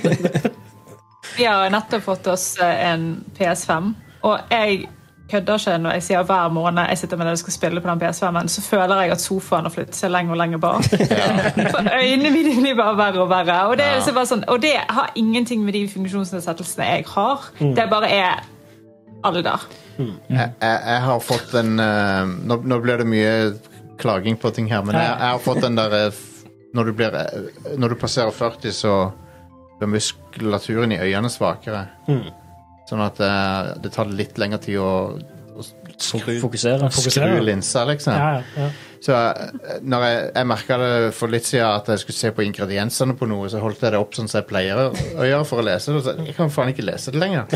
Speaker 5: Vi har nettopp fått oss eh, en PS5, og jeg kødder ikke når jeg sier hver måned jeg sitter med det jeg skal spille på den PS5-en, så føler jeg at sofaen har flyttet seg lenger og lenger bak. For øynene mine blir bare verre og verre. Og det, er liksom bare sånn, og det har ingenting med de funksjonsnedsettelsene jeg har. Det bare er alder.
Speaker 1: Jeg, jeg, jeg har fått en eh, nå, nå blir det mye klaging på ting her, men jeg, jeg har fått den der eh, f- når, du blir, eh, når du passerer 40, så blir muskulaturen i øynene svakere. Sånn at eh, det tar litt lengre tid å, å skru,
Speaker 4: Fokusere.
Speaker 2: Fokusere.
Speaker 1: skru linsa, liksom.
Speaker 2: Ja, ja, ja.
Speaker 1: Så eh, når jeg, jeg merka det for litt siden at jeg skulle se på ingrediensene på noe, så holdt jeg det opp sånn som jeg pleier å å gjøre for å lese det. og Så jeg kan faen ikke lese det lenger.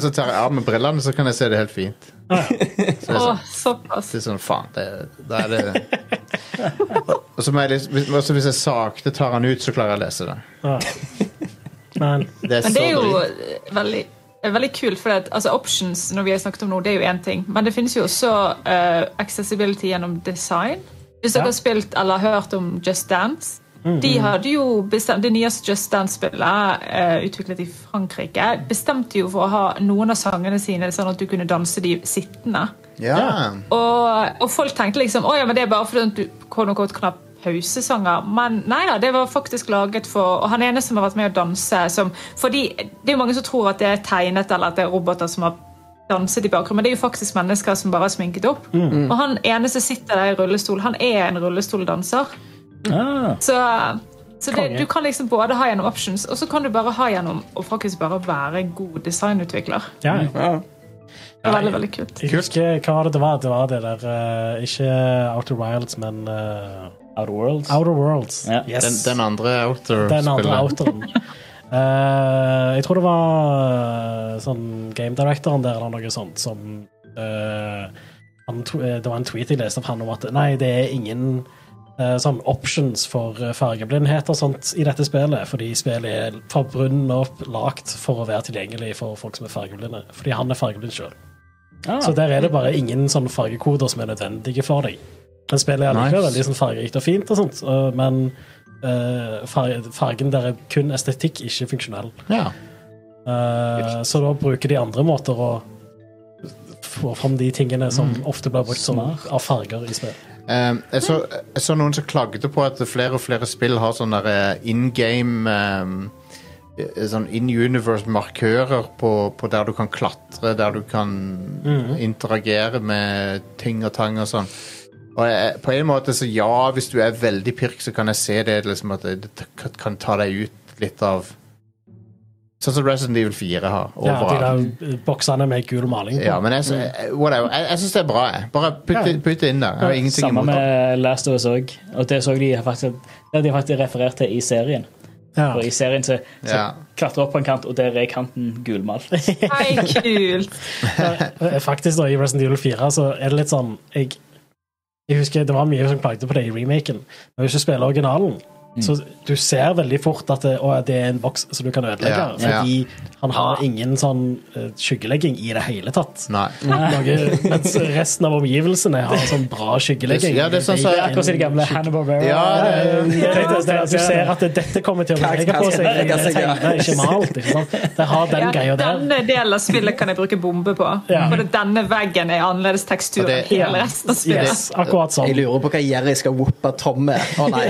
Speaker 1: så tar jeg av meg brillene, så kan jeg se det helt fint.
Speaker 2: Ah,
Speaker 1: Så jeg,
Speaker 5: Å,
Speaker 1: sånn,
Speaker 5: såpass.
Speaker 1: det er sånn, faen, det, da er det Og så må jeg liksom, hvis- også hvis jeg sakte tar den ut, så klarer jeg å lese det.
Speaker 2: Ja. Ah. Men
Speaker 1: Det er,
Speaker 5: Men det er
Speaker 1: så
Speaker 5: jo
Speaker 1: drit.
Speaker 5: eh, veldig, eh, veldig kult, for at, altså, options når vi har snakket om nå, det er jo én ting. Men det finnes jo også eh, accessibility gjennom design. Hvis dere
Speaker 2: Ja.
Speaker 5: har spilt eller hørt om Just Dance de
Speaker 1: Mhm.
Speaker 5: hadde jo bestemt, Det nyeste Just Dance-spillet, eh, utviklet i Frankrike, bestemte jo for å ha noen av sangene sine sånn at du kunne danse de sittende.
Speaker 1: Ja.
Speaker 5: Og, og folk tenkte liksom Å ja, men det er bare fordi at du quote unquote, kan ha pausesanger. Men nei da, det var faktisk laget for Og han ene som har vært med å danse som Fordi det er jo mange som tror at det er tegnet, eller at det er roboter som har danset i bakgrunnen, men det er jo faktisk mennesker som bare har sminket opp. Og han ene som sitter der i rullestol, han er en rullestoldanser.
Speaker 4: Ah,
Speaker 5: Så, så det,
Speaker 2: Konge.
Speaker 5: du kan liksom både ha gjennom options, og så kan du bare ha gjennom å faktisk bare være en god designutvikler.
Speaker 2: ja, ja.
Speaker 3: Ja.
Speaker 5: Det er veldig, veldig kult.
Speaker 2: jeg husker hva var det det var. Det var det der eh, Ikke Outer Wilds, men eh,
Speaker 4: Outer Worlds.
Speaker 2: Outer Worlds.
Speaker 4: Ja.
Speaker 2: Yes.
Speaker 1: Den, den andre
Speaker 2: Den andre
Speaker 1: outer-spilleren.
Speaker 2: outeren. Eh, jeg tror det var eh, sånn game directoren der eller noe sånt som eh, han, tw- eh, Det var en tweet jeg leste av han om at nei, det er ingen eh, sånn options for eh, fargeblindhet og sånt i dette spillet, fordi spillet er fra bunnen opp lagt for å være tilgjengelig for folk som er fargeblinde. Fordi han er fargeblind sjøl.
Speaker 4: Ah,
Speaker 2: Så der er det bare ingen sånne fargekoder som er nødvendige for deg. Men spillet er allikevel
Speaker 1: Nice.
Speaker 2: veldig sånn fargerikt og fint, og sånt, øh, men øh, farge- fargen der er kun estetikk, ikke funksjonell.
Speaker 1: Ja.
Speaker 2: Eh, så da bruker de andre måter å få fram de tingene som ofte blir brukt som av farger i spill.
Speaker 1: Um, jeg, så, jeg så noen som klagde på at flere og flere spill har sånne der, eh, in game um, eh, Sånn in universe-markører på, på der du kan klatre, der du kan interagere med ting og tang og sånn. Og jeg, på en måte så ja, hvis du er veldig pirk, så kan jeg se det liksom at det, det kan- kan ta deg ut litt av Sånn som Resident Evil 4 har.
Speaker 2: Ja, de
Speaker 1: overalt.
Speaker 2: der boksene med gul maling på.
Speaker 1: Ja, men jeg, sy- whatever. Jeg, jeg syns det er bra. jeg. Bare putt det putt det inn der. Jeg har ingenting
Speaker 4: Samme
Speaker 1: imot det.
Speaker 4: med Last of Us òg. Og det så de faktisk, det har de faktisk referert til i serien.
Speaker 2: Ja.
Speaker 4: For I serien så, så
Speaker 1: Ja.
Speaker 4: klatrer opp på en kant, og der er kanten gulmalt.
Speaker 5: Hei, kult!
Speaker 2: Eh, Faktisk da, i Resident Evil 4 så er det litt sånn jeg, jeg husker det var mye som klagde på det i remaken. Men hvis du spiller originalen,
Speaker 1: Mm.
Speaker 2: så du ser veldig fort at det, å, det er en boks som du kan ødelegge.
Speaker 1: Ja, ja.
Speaker 2: Fordi han har ingen sånn eh, skyggelegging i det hele tatt.
Speaker 1: Nei.
Speaker 2: Noe, mens resten av omgivelsene har sånn bra skyggelegging.
Speaker 1: Ja, det er sånn som-
Speaker 4: Det er akkurat som de gamle Hannibal Barrow.
Speaker 1: Ja, det er-
Speaker 2: Jeg tenkte at det- Du ser at det- dette kommer til å bevege på seg. Det er tegnet, ikke malt. Ikke sant? Det har den
Speaker 5: Ja,
Speaker 2: greia der.
Speaker 5: denne delen av spillet kan jeg bruke bombe på.
Speaker 2: Ja.
Speaker 5: For denne veggen er annerledes tekstur
Speaker 1: Og det-
Speaker 5: enn hele resten av spillet.
Speaker 2: Yes, akkurat sånn.
Speaker 3: Jeg lurer på hva Jerry skal whoope Tom med. Å nei,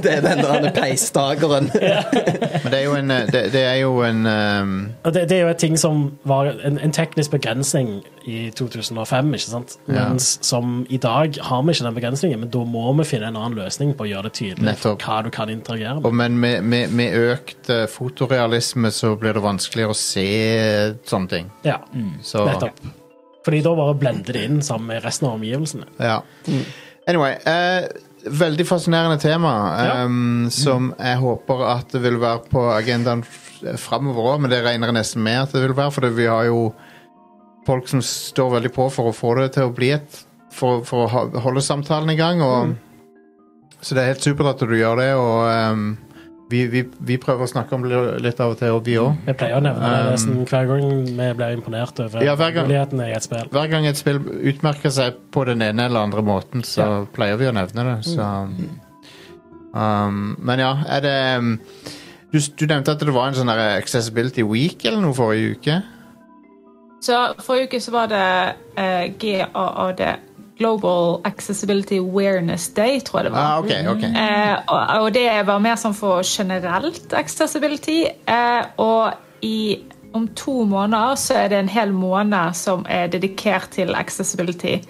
Speaker 3: det er den der peisdageren.
Speaker 1: Men det er jo en eh, Det, det er jo en ehm,
Speaker 2: Og det, det er jo et ting som var en, en teknisk begrensning i 2005, ikke sant? Mens som i dag har vi ikke den begrensningen, men da må vi finne en annen løsning på å gjøre det tydelig
Speaker 1: Nettopp.
Speaker 2: hva du kan interagere med.
Speaker 1: og Men med, med, med økt eh, fotorealisme så blir det vanskeligere å se sånne ting.
Speaker 2: Ja,
Speaker 1: Så
Speaker 2: nettopp. Fordi da bare blender det inn sammen med resten av omgivelsene.
Speaker 1: Ja. Anyway. eh, veldig fascinerende tema
Speaker 2: Ja.
Speaker 1: ehm, som jeg håper at det vil være på agendaen framover òg, men det regner jeg nesten med at det vil være, for vi har jo folk som står veldig på for å få det til å bli et For, for å ha- holde samtalen i gang. Og, Så det er helt supert at du gjør det, og ehm, vi, vi, vi prøver å snakke om det litt av og til, og vi òg.
Speaker 2: Jeg pleier å nevne det
Speaker 1: Um,
Speaker 2: nesten hver gang vi blir imponert over
Speaker 1: Ja, hver gang.
Speaker 2: mulighetene i et spill.
Speaker 1: Hver gang et spill utmerker seg på den ene eller andre måten, så pleier vi å nevne det. Så. Um, men ja, er det um, du, du nevnte at det var en sånn der accessibility week eller noe forrige uke.
Speaker 5: Så Forrige uke så var det eh, GAAD, Global Accessibility Awareness Day, tror jeg det var.
Speaker 1: Ah, ok, ok.
Speaker 5: Eh, og, og det var mer sånn for generelt accessibility. Eh, og i, om to måneder så er det en hel måned som er dedikert til accessibility.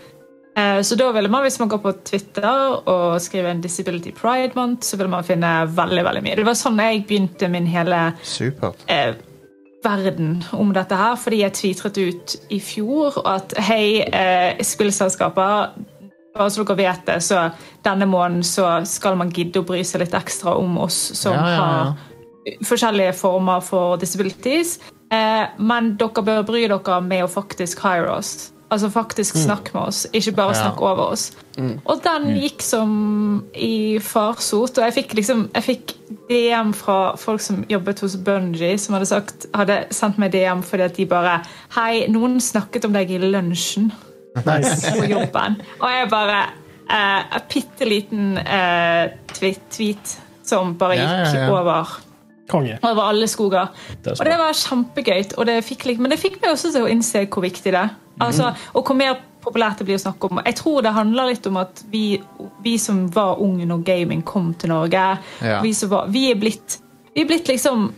Speaker 5: Eh, så da ville man, hvis man går på Twitter og skriver en Disability Pride Month, så vil man finne veldig, veldig mye. Det var sånn jeg begynte min hele
Speaker 1: Supert.
Speaker 5: eh, verden om dette her, fordi jeg tvitret ut i fjor at hei, eh, spillselskaper, Bare så dere vet det, så denne måneden så skal man gidde å bry seg litt ekstra om oss som
Speaker 1: Ja, ja, ja.
Speaker 5: har forskjellige former for disabilities. Eh, men dere bør bry dere med å faktisk hire oss. Altså faktisk snakke med oss, ikke bare
Speaker 1: Mm. Ja.
Speaker 5: snakke over oss. Og den
Speaker 1: Mm.
Speaker 5: gikk som i farsot, og jeg fikk liksom jeg fikk DM fra folk som jobbet hos Bungie, som hadde, sagt, hadde sendt meg DM fordi at de bare Hei, noen snakket om deg i lunsjen
Speaker 2: Nice.
Speaker 5: på jobben. Og jeg bare eh, En bitte liten eh, tweet, tweet som bare
Speaker 1: Ja,
Speaker 5: gikk
Speaker 1: ja, ja.
Speaker 5: over
Speaker 2: Konge.
Speaker 5: over alle skoger.
Speaker 4: Det er
Speaker 5: og det var kjempegøy. Og det fikk, lik- men det fikk meg også til å innse hvor viktig det er. Altså,
Speaker 4: Mhm.
Speaker 5: og hvor mer populært det blir å snakke om. Jeg tror det handler litt om at vi, vi som var unge når gaming kom til Norge,
Speaker 1: Ja.
Speaker 5: vi, som var, vi, er blitt, vi er blitt liksom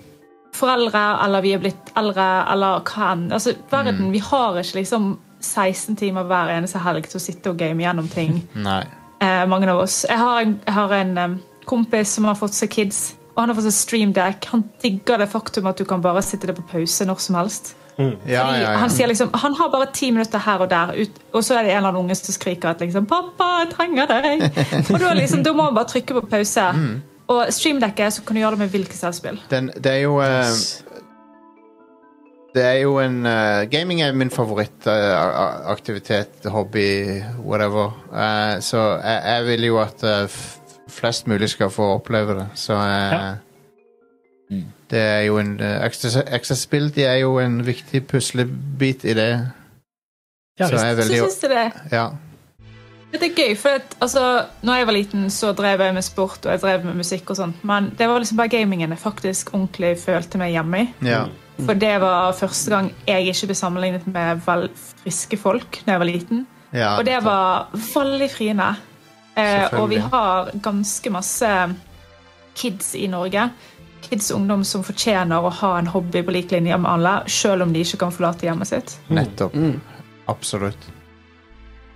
Speaker 5: foreldre, eller vi er blitt eldre, eller hva enn. Altså, verden,
Speaker 4: Mhm.
Speaker 5: vi har ikke liksom 16 timer hver eneste helg til å sitte og game gjennom ting
Speaker 1: Nei.
Speaker 5: eh, mange av oss. Jeg har en, jeg har en em, kompis som har fått seg kids, og han har fått seg streamdeck. Han digger det faktum at du kan bare sitte det på pause når som helst.
Speaker 1: Ja,
Speaker 5: Fordi
Speaker 1: ja, ja.
Speaker 5: Han sier liksom, han har bare ti minutter her og der, ut, og så er det en eller annen unge som skriker at liksom, 'Pappa, jeg trenger deg!' Og da, liksom, da må han bare trykke på pause. Og streamdekket så kan du gjøre det med hvilket selvspill.
Speaker 1: Den, Mm. det er jo eh, Det er jo en eh, Gaming er min eh, favorittaktivitet, hobby, whatever. Eh, så jeg, jeg vil jo at eh, f flest mulig skal få oppleve det. Så eh,
Speaker 2: Ja.
Speaker 5: Mm.
Speaker 1: Det er jo en eh, access- Accessibility er jo en viktig puslebit i det.
Speaker 2: Ja,
Speaker 1: så
Speaker 2: visst.
Speaker 1: jeg er
Speaker 5: Så
Speaker 1: veldig
Speaker 5: synes jeg det
Speaker 1: Ja.
Speaker 5: Men Det er gøy, for at, altså, når jeg var liten, så drev jeg med sport og jeg drev med musikk. og sånt, Men det var liksom bare gamingen jeg faktisk ordentlig følte meg hjemme i.
Speaker 1: ja.
Speaker 5: For det var første gang jeg ikke ble sammenlignet med vel friske folk da jeg var liten.
Speaker 1: ja
Speaker 5: Og det var veldig friende. Eh, og vi
Speaker 1: Selvfølgelig.
Speaker 5: har ganske masse kids i Norge. Kids og ungdom som fortjener å ha en hobby på lik linje med alle, selv om de ikke kan forlate hjemmet sitt.
Speaker 1: Nettopp. Absolutt. Mm.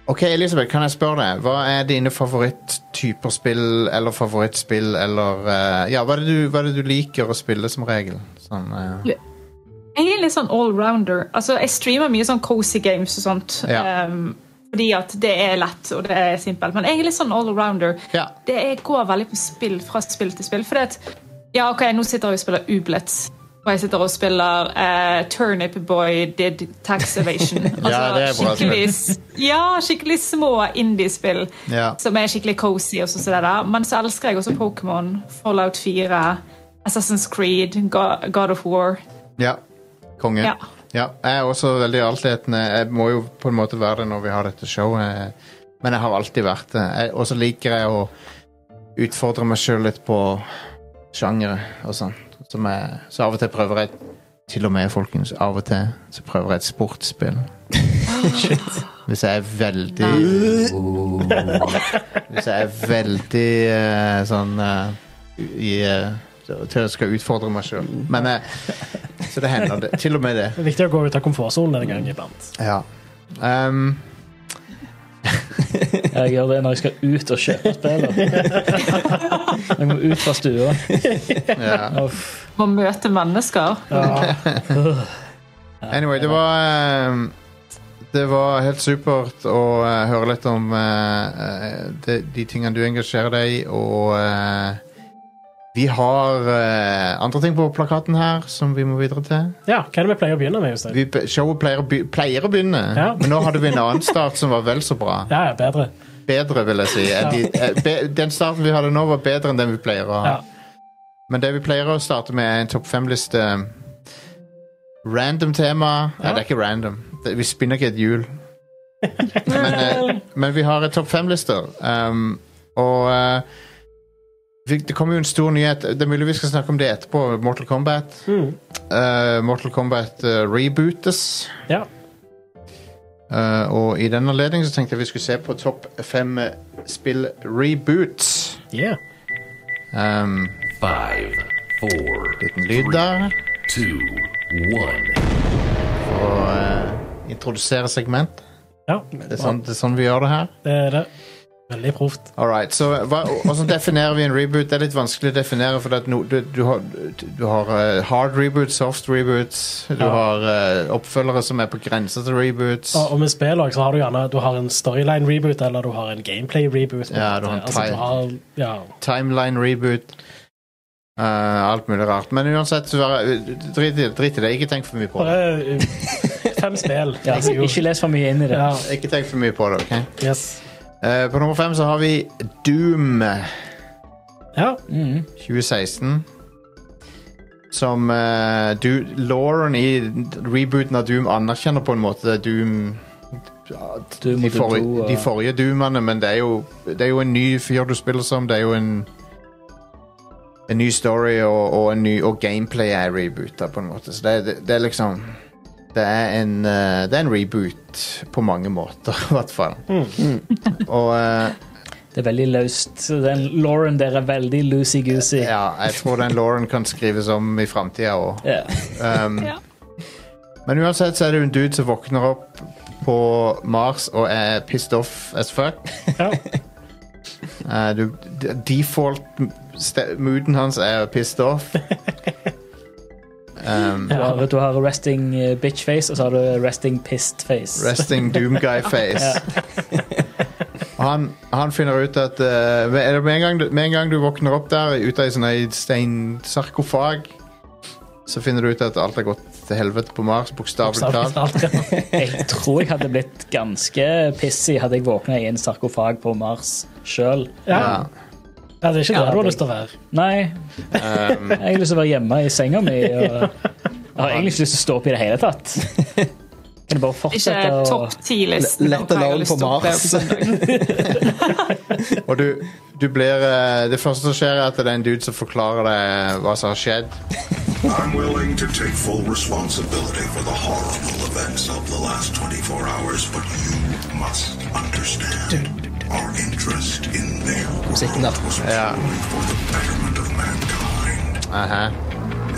Speaker 1: Ok, Elisabeth, kan jeg spørre deg? Hva er dine favoritttyper spill eller favorittspill eller eh, Ja, hva er, det du, hva er det du liker å spille som regel? Sånn, eh,
Speaker 5: Jeg er litt sånn allrounder. Altså, jeg streamer mye sånn cozy games og sånt.
Speaker 1: Ja.
Speaker 5: ehm, fordi at det er lett og det er simpelt. Men jeg er litt sånn allrounder.
Speaker 1: Ja.
Speaker 5: Det er, går veldig på spill fra spill til spill. Fordi at Ja, OK, nå sitter jeg og spiller Ublets. Og jeg sitter og spiller eh, Turnip Boy Did Tax Evasion. Altså,
Speaker 1: Ja, det er bra spill.
Speaker 5: skikkelig, s- ja, skikkelig små indie-spill
Speaker 1: Ja.
Speaker 5: som er skikkelig cozy. og sånn som det der. Men så elsker jeg også Pokémon, Fallout 4, Assassin's Creed, Go- God of War.
Speaker 1: ja. Konge. Ja.
Speaker 5: Ja.
Speaker 1: Jeg er også veldig altetende. Jeg må jo på en måte være det når vi har dette showet, eh, men jeg har alltid vært det. Jeg- Og så liker jeg å utfordre meg sjøl litt på sjangere og sånn. Som jeg- Så av og til prøver jeg Til og med, folkens, av og til så prøver jeg et sportsspill. Hvis jeg er veldig Hvis jeg er veldig eh, sånn eh, i, eh, Til jeg skal utfordre meg sjøl. Men eh, Så det hender, det. Til og med det.
Speaker 2: Det er viktig å gå ut av komfortsonen en gang iblant.
Speaker 1: Ja. Um,
Speaker 4: Jeg gjør det når jeg skal ut og kjøpe spill. Jeg må ut fra stua.
Speaker 1: ja.
Speaker 4: Uff.
Speaker 5: Må møte mennesker.
Speaker 2: Ja.
Speaker 1: Anyway, det var ehm, Det var helt supert å eh, høre litt om eh, eh, de, de tingene du engasjerer deg i, og eh, vi har eh, andre ting på plakaten her som vi må videre til.
Speaker 2: ja, hva er det vi pleier å begynne med? Jostein?
Speaker 1: Vi, be- showet pleier, å be- pleier å begynne,
Speaker 2: Ja.
Speaker 1: men nå hadde vi en annen start som var vel så bra.
Speaker 2: Ja, ja, bedre.
Speaker 1: Bedre, vil jeg si. enn De, eh, be, den starten vi hadde nå, var bedre enn den vi pleier å ha.
Speaker 2: Ja.
Speaker 1: Men det vi pleier å starte med, er en topp fem-liste. Random tema. Nei,
Speaker 2: Ja.
Speaker 1: det er ikke random. Det- Vi spinner ikke et hjul. men, eh, men vi har et topp fem-lister. Um, og eh, vi, det kommer jo en stor nyhet. Det er mulig vi skal snakke om det etterpå. Mortal Kombat.
Speaker 2: Mm.
Speaker 1: Eh, Mortal Kombat eh, rebootes.
Speaker 2: Ja.
Speaker 1: Eh, og i den anledning så tenkte jeg vi skulle se på topp fem eh, spill-reboots.
Speaker 2: Yeah.
Speaker 1: Um,
Speaker 6: Five, four,
Speaker 1: liten lyd der.
Speaker 6: two, one.
Speaker 1: og eh, introdusere segment.
Speaker 2: ja.
Speaker 1: Det er, sånn, det er sånn vi gjør det her.
Speaker 2: Det er det. Veldig proft.
Speaker 1: All right, så hva, Hvordan definerer vi en reboot? Det er litt vanskelig å definere. For at no, du, du har, du har eh, hard reboots, soft reboots. Du
Speaker 2: Ja.
Speaker 1: har eh, oppfølgere som er på grensa til reboots.
Speaker 2: Og, og med spill også, så har du gjerne du har en storyline-reboot eller du har en gameplay-reboot. på
Speaker 1: Ja,
Speaker 2: en
Speaker 1: du har en
Speaker 2: måte. altså,
Speaker 1: tri-
Speaker 2: du har, ja,
Speaker 1: Timeline reboot. eh, alt mulig rart. Men uansett, så er- drit, i- drit i det. Ikke tenk for mye på det.
Speaker 2: bare eh, fem spill.
Speaker 4: Ja,
Speaker 2: Altså, jo.
Speaker 4: ikke les for mye inn i det.
Speaker 2: ja,
Speaker 1: Ikke tenk for mye på det, ok?
Speaker 2: yes.
Speaker 1: Eh, på nummer fem så har vi Doom
Speaker 2: ja,
Speaker 4: Mhm.
Speaker 1: 2016. Som uh, du, Lauren i rebooten av Doom anerkjenner på en måte Doom
Speaker 4: Doom
Speaker 1: de,
Speaker 4: og Doom to,
Speaker 1: forrige,
Speaker 4: og-
Speaker 1: de forrige Doomene, men det er, jo, det er jo en ny fyr du spiller som. Det er jo en En ny story og, og, en ny, og gameplay er reboota, på en måte. Så det, det, det er liksom det er, en, eh, det er en reboot på mange måter, i hvert fall. Og eh,
Speaker 4: Det er veldig løst. Den Lauren der er veldig loosey-goosey.
Speaker 1: ja, jeg tror den Lauren kan skrives om i framtida òg.
Speaker 4: Ja.
Speaker 1: Um,
Speaker 5: Ja.
Speaker 1: Men uansett så er det jo en dude som våkner opp på Mars og er pissed off as fuck.
Speaker 2: ja.
Speaker 1: Eh, du, d- default ste- mooden hans er pissed off. Um,
Speaker 4: Du, har, du har resting eh, bitch face, og så har du resting pissed face.
Speaker 1: resting doomguy face. Og han, han finner ut at eh, med- er det med, en gang, du- med en gang du våkner opp der ute i sånn ei steinsarkofag, så finner du ut at alt har gått til helvete på Mars, bokstavelig
Speaker 2: Bokstavelig
Speaker 1: talt.
Speaker 2: talt, ja.
Speaker 4: Jeg tror jeg hadde blitt ganske pissig hadde jeg våkna i en sarkofag på Mars sjøl.
Speaker 2: Ja. Ja, det er ikke
Speaker 4: Ja,
Speaker 2: det du har
Speaker 4: det-
Speaker 2: lyst til å være.
Speaker 4: Nei,
Speaker 1: Ja, um,
Speaker 4: jeg har lyst til å være hjemme i senga mi. Og jeg har egentlig ikke lyst til å stå opp i det hele tatt. Kan du bare
Speaker 5: Ikke
Speaker 4: fortsette å
Speaker 5: topp ti-listen.
Speaker 3: Let alone på Mars.
Speaker 1: Og du, du blir eh, Det første som skjer, er at det er en dude som forklarer deg hva som har skjedd.
Speaker 7: I'm willing to take full responsibility for the horrible events of the last 24 hours, but you must understand our interest in their
Speaker 3: Musikken
Speaker 7: world
Speaker 3: der.
Speaker 7: was
Speaker 1: Ja.
Speaker 7: purely for the betterment of mankind.
Speaker 1: Aha.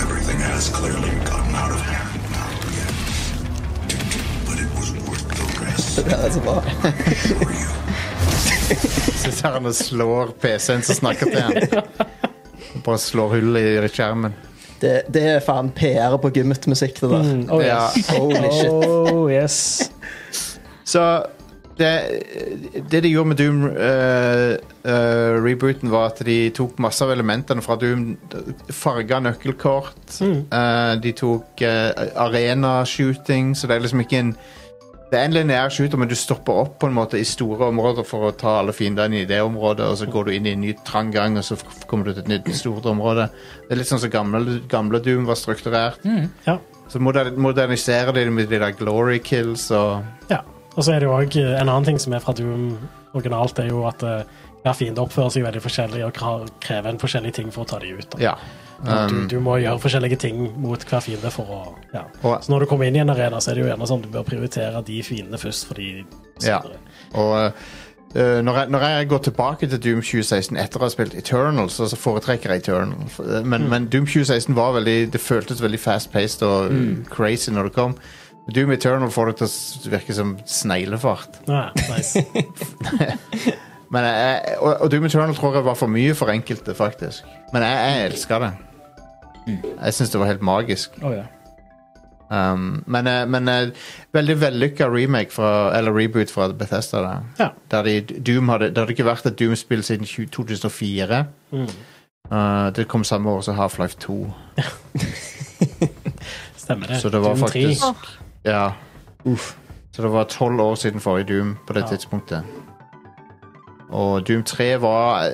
Speaker 7: Everything has clearly gotten out of hand now, yes. But it was worth the risk,
Speaker 3: Ja, det er så bra.
Speaker 7: for you.
Speaker 1: Så tar han og slår PC-en som snakker til han. Bare slår hull i skjermen.
Speaker 3: Det, det er faen PR på gymmet-musikk, det der.
Speaker 4: Oh yes.
Speaker 3: Holy shit.
Speaker 4: Oh yes.
Speaker 1: Så det, det de gjorde med Doom-rebooten, var at de tok masse av elementene fra Doom. Farga nøkkelkort. Eh, de tok eh, arena-shooting, så det er liksom ikke en Det er en lineær shooter, men du stopper opp på en måte i store områder for å ta alle fiendene i det området, og så går du inn i en ny trang gang, og så f- kommer du til et nytt stort område. Det er litt sånn som gamle, gamle Doom var strukturert.
Speaker 2: Ja.
Speaker 1: Så moder- moderniserer de det med de der glory kills og
Speaker 2: ja. Og så er det jo òg en annen ting som er fra Doom originalt, er jo at eh, hver fiende oppfører seg veldig forskjellig og kra- krever en forskjellig ting for å ta de ut. da.
Speaker 1: Ja. um,
Speaker 2: Du, du må gjøre forskjellige ting mot hver fiende for å ja.
Speaker 1: Og-
Speaker 2: Så når du kommer inn i en arena, så er det jo gjerne sånn du bør prioritere de fiendene først, fordi
Speaker 1: Ja. Og eh, når, jeg, når jeg går tilbake til Doom 2016 etter å ha spilt Eternal, så, så foretrekker jeg Eternal. F- eh, Men, men Doom 2016 var veldig Det føltes veldig fast-paced og crazy når det kom. Doom Eternal får det til å s- virke som sneglefart.
Speaker 2: Ja, Ah, nice.
Speaker 1: Men jeg, og, og Doom Eternal tror jeg var for mye for enkelte, faktisk. Men jeg, jeg elska det. Jeg syns det var helt magisk.
Speaker 4: Oh, ja.
Speaker 1: Um, men eh, men eh, veldig vellykka remake fra, eller reboot fra Bethesda. Der,
Speaker 2: Ja.
Speaker 1: der de, Doom hadde, det hadde ikke vært et Doom-spill siden 20- 2004.
Speaker 2: Mm.
Speaker 1: Uh, det kom samme år som Half-Life 2.
Speaker 2: Stemmer det.
Speaker 1: Så det var
Speaker 2: Doom 3.
Speaker 1: faktisk Ja.
Speaker 3: Uff.
Speaker 1: Så det var tolv år siden forrige Doom på det
Speaker 2: Ja.
Speaker 1: tidspunktet. Og Doom 3 var eh,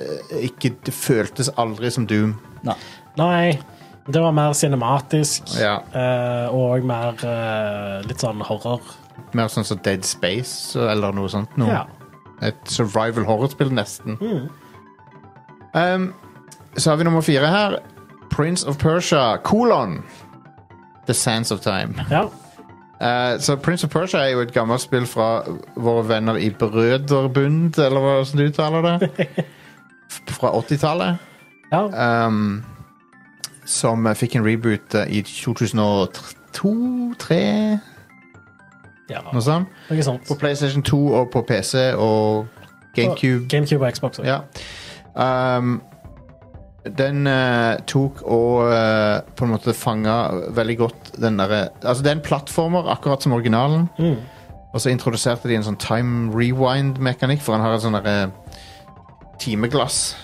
Speaker 1: ikke Det føltes aldri som Doom.
Speaker 2: Nei, det var mer cinematisk.
Speaker 1: Ja.
Speaker 2: eh, og mer eh, litt sånn horror.
Speaker 1: Mer sånn som Dead Space eller noe sånt. Noe.
Speaker 2: Ja.
Speaker 1: Et survival horror-spill, nesten.
Speaker 2: Mm.
Speaker 1: Um, så har vi nummer fire her. Prince of Persia, kolon. The Sands of Time.
Speaker 2: ja.
Speaker 1: Eh, så Prince of Persia er jo et gammelt spill fra våre venner i Brøderbund, eller hva som du uttaler det. F- Fra 80-tallet.
Speaker 2: ja.
Speaker 1: Um, som eh, fikk en reboot eh, i 2002-2003,
Speaker 2: ja.
Speaker 1: noe sånt.
Speaker 2: Noe sånt.
Speaker 1: sånn På PlayStation 2 og på PC og GameCube.
Speaker 2: GameCube og Xbox. også.
Speaker 1: Ja. Ehm, den eh, tok og eh, på en måte fanga veldig godt den derre Altså, det er en plattformer, akkurat som originalen.
Speaker 2: Mm.
Speaker 1: Og så introduserte de en sånn time rewind-mekanikk, for han har et sånn derre timeglass.